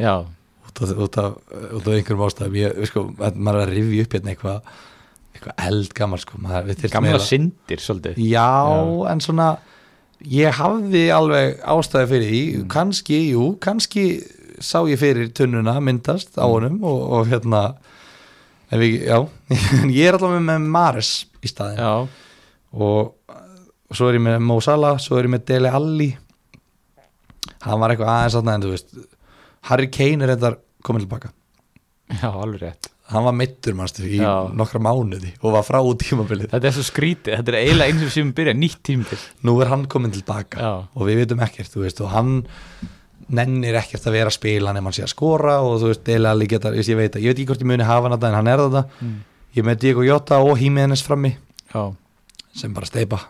S1: já,
S2: út af, út af, út af einhverjum ástæðum ég, sko, maður er að rifja upp hérna eitthvað eitthvað eldgammal sko, maður, við þyrftum
S1: gamla
S2: eiginlega-
S1: syndir svolítið
S2: já, en svona ég hafði alveg ástæði fyrir því
S1: Mm.
S2: kannski, jú, kannski sá ég fyrir tunnuna myndast
S1: Mm.
S2: á honum og, og hérna en við, já, (laughs) en ég er allavega með Mares í staðin
S1: já,
S2: og, og svo er ég með Mo Salah, svo er ég með Dele Alli hann var eitthvað aðeins aðna en þú veist, Harry Kane er þetta komin tilbaka,
S1: já, alveg rétt
S2: hann var meittur manstu í
S1: Já.
S2: nokkra mánuði og var frá tímabilið
S1: Þetta er svo skrítið, þetta er eiginlega eins og sem byrja nýtt tímbil
S2: nú er hann komin tilbaka
S1: Já,
S2: og við vitum ekkert, þú veist, og hann nennir ekkert að vera að spila nema hann sé að skora og þú veist, Dele Alli geta ég veit, að- ég veit ekki hvort ég muni hafa hann þetta en hann er þetta
S1: mm.
S2: ég er með Diego Jota og Hímiðinnes frammi
S1: já,
S2: sem bara steipa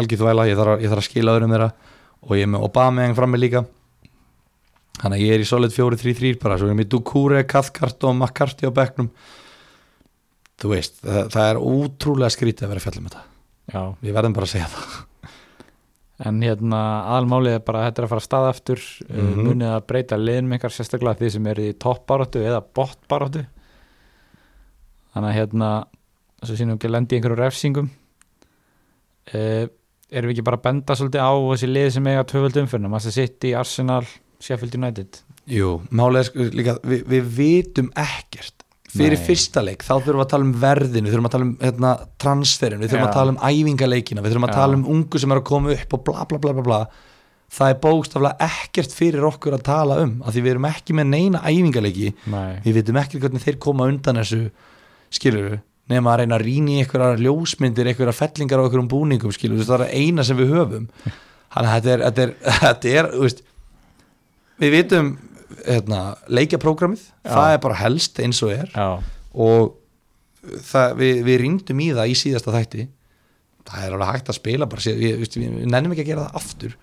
S2: algjör þvæla, ég þarf, að- ég þarf að skila öðrum þeirra og ég er með Obameyang frammi líka þannig að ég er í solid 4-3-3 bara, svo erum við Dukure, Cathcart og McCarthy á bekknum þú veist, það, það er útrúlega skrítið að vera að fjalla um þetta,
S1: já
S2: við verðum bara að segja það
S1: En hérna, aðalmálið er bara að þetta er að fara að staða aftur mm
S2: Mhm.
S1: munið að breyta liðnum ykkar sérstaklega því sem eru í toppbaráttu eða botbaráttu Þannig að hérna svo sínum ekki lendi í einhverjum refsingum uh, Erum við ekki bara að benda svolítið á þessi lið sem eiga tvöföld umfyrna Massa City, Arsenal, Sheffield United
S2: Jú, málega sko líka við, við vitum ekkert fyrir
S1: Nei.
S2: fyrsta leik, þá þurfum við að tala um verðinu við þurfum að tala um hérna, transferin við þurfum
S1: Já.
S2: að tala um æfingaleikina, við þurfum að
S1: Já.
S2: tala um ungu sem er að koma upp og bla bla bla bla bla það er bókstaflega ekkert fyrir okkur að tala um, af því við erum ekki með neina æfingaleiki,
S1: Nei,
S2: við vitum ekkert hvernig þeir koma undan þessu skilur við, nema að reyna að rýna í einhverjar ljósmyndir, einhverjar fellingar á einhverjum búningum skilur við, það er eina sem við höfum þannig að þetta er, þetta er, (laughs) þetta er þú veist, við vitum hérna, leikjaprógramið
S1: Já.
S2: það er bara helst eins og er
S1: já,
S2: og það, við, við rýndum í það í síðasta þætti það er alveg hægt að spila bara, síðan- við, við, við, við nennum ekki að gera það aftur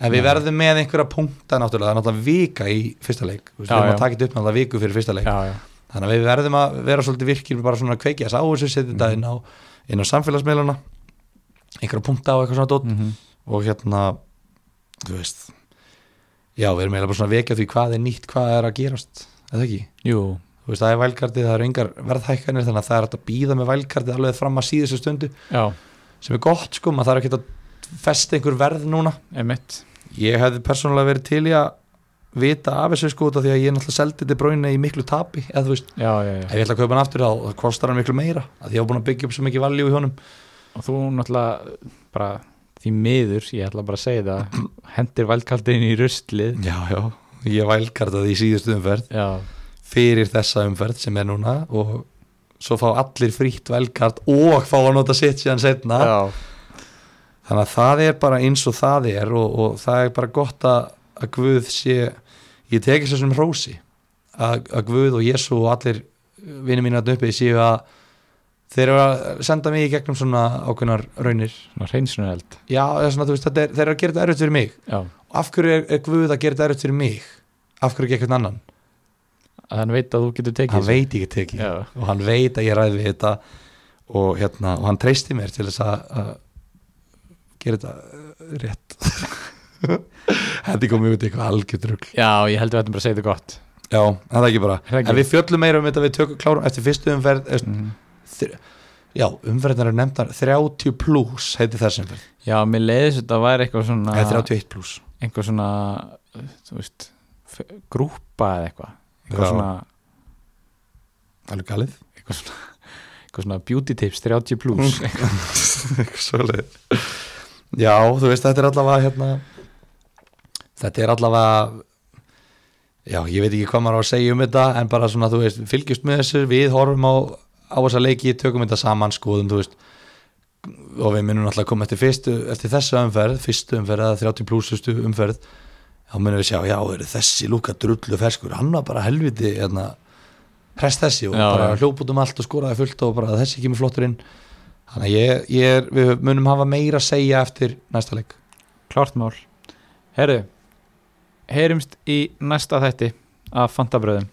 S2: en við
S1: Nei.
S2: verðum með einhverja punkta náttúrulega, það er náttúrulega vika í fyrsta leik Þú veist,
S1: Já,
S2: við erum
S1: já.
S2: að taka þetta upp náttúrulega viku fyrir fyrsta leik
S1: já, já,
S2: þannig að við verðum að vera svolítið virkir bara svona að kveikja þess á þessu, setja þetta inn á inn á samfélagsmeiluna einhverja punkta á eitthvað svona dót
S1: mm
S2: og hérna, þú veist já, við erum eiginlega bara svona að vekja því hvað er nýtt, hvað er að gerast eða ekki,
S1: jú,
S2: þú veist, það er vælkartið það eru engar verðhækkanir, þannig að það er hægt að býða með vælkartið alveg fram að síðustu stundu
S1: já,
S2: sem er gott sko, maður þarf ekki að festa einhver verð núna
S1: emitt
S2: ég hefði persónulega verið til í að vita af þessu sko, út af því að ég náttúrulega seldi þetta bráinu í miklu tapi, eða þú veist
S1: Já, já, já
S2: ef ég ætla að kaupa hann aftur þá þá kostar hann miklu meira að ég hafa búin að byggja upp svo mikið valjú í honum
S1: og þú náttúrulega bara því miður, ég ætla bara að segja það hendir valdkaldin í ruslið
S2: já, já, ég vælkartaði í síðustu umferð
S1: já,
S2: fyrir þessa umferð sem er núna og svo fá allir frítt vælkart og fá að nota sitt síðan setna
S1: já,
S2: þannig að það er bara eins og það er og, og það er bara gott að, að Guð sé ég tekist þessum hrósi að, að Guð og Jésu og allir vinni mínu að uppi séu að þeir eru að senda mig í gegnum svona ákveðnar raunir
S1: svona hreinsunareld
S2: já, eða svona, þú veist, þetta er, þeir eru að gera þetta erfitt fyrir mig
S1: já,
S2: af hverju er, er Guð að gera þetta erfitt fyrir mig af hverju ekki eitthvað annan
S1: að hann veit að þú getur tekið
S2: hann veit ég get ekki
S1: já,
S2: og hann veit að ég ræði við þetta og, hérna, og hann treysti mér til þess að, að gera þetta uh, rétt (laughs) þetta er komið út í eitthvað algjördrugl
S1: já, ég held við ættum bara að segja þetta gott
S2: já, það er ekki bara
S1: Það er ekki.
S2: en við fjöllum meira um þetta við tökum klárum eftir fyrstu umferð eftir,
S1: mm.
S2: þr, já, umferðnar eru nefndar 30 plus heiti þessum umferð
S1: já, mér leiðis þetta væri eitthvað svona
S2: eða 31 plus
S1: einhver svona, þú veist f- grúpa eða eitthvað
S2: Já.
S1: eitthvað svona,
S2: alveg galið (laughs)
S1: eitthvað svona eitthvað svona beauty tips 30 plus
S2: Mhm. Eitthvað svoleiðis. Já, þú veist, þetta er allavega hérna, þetta er allavega já, ég veit ekki hvað maður á að segja um þetta en bara svona, þú veist, fylgjumst með þessu við horfum á, á þessa leiki tökum þetta saman, skoðum, þú veist og við munum alltaf að koma eftir, fyrstu, eftir þessu umferð, fyrstu umferð eða 30 plusustu umferð þá munum við sjá, já, eru þessi lúka drullu ferskur, hann var bara helviti hérna, press þessi og
S1: Já,
S2: bara
S1: já.
S2: hljóp út um allt og skoraði fullt og bara þessi kemur flottur inn þannig að ég, ég er, við munum hafa meira að segja eftir næsta leik
S1: klárt mál herru, heyrumst í næsta þætti af fantabröðum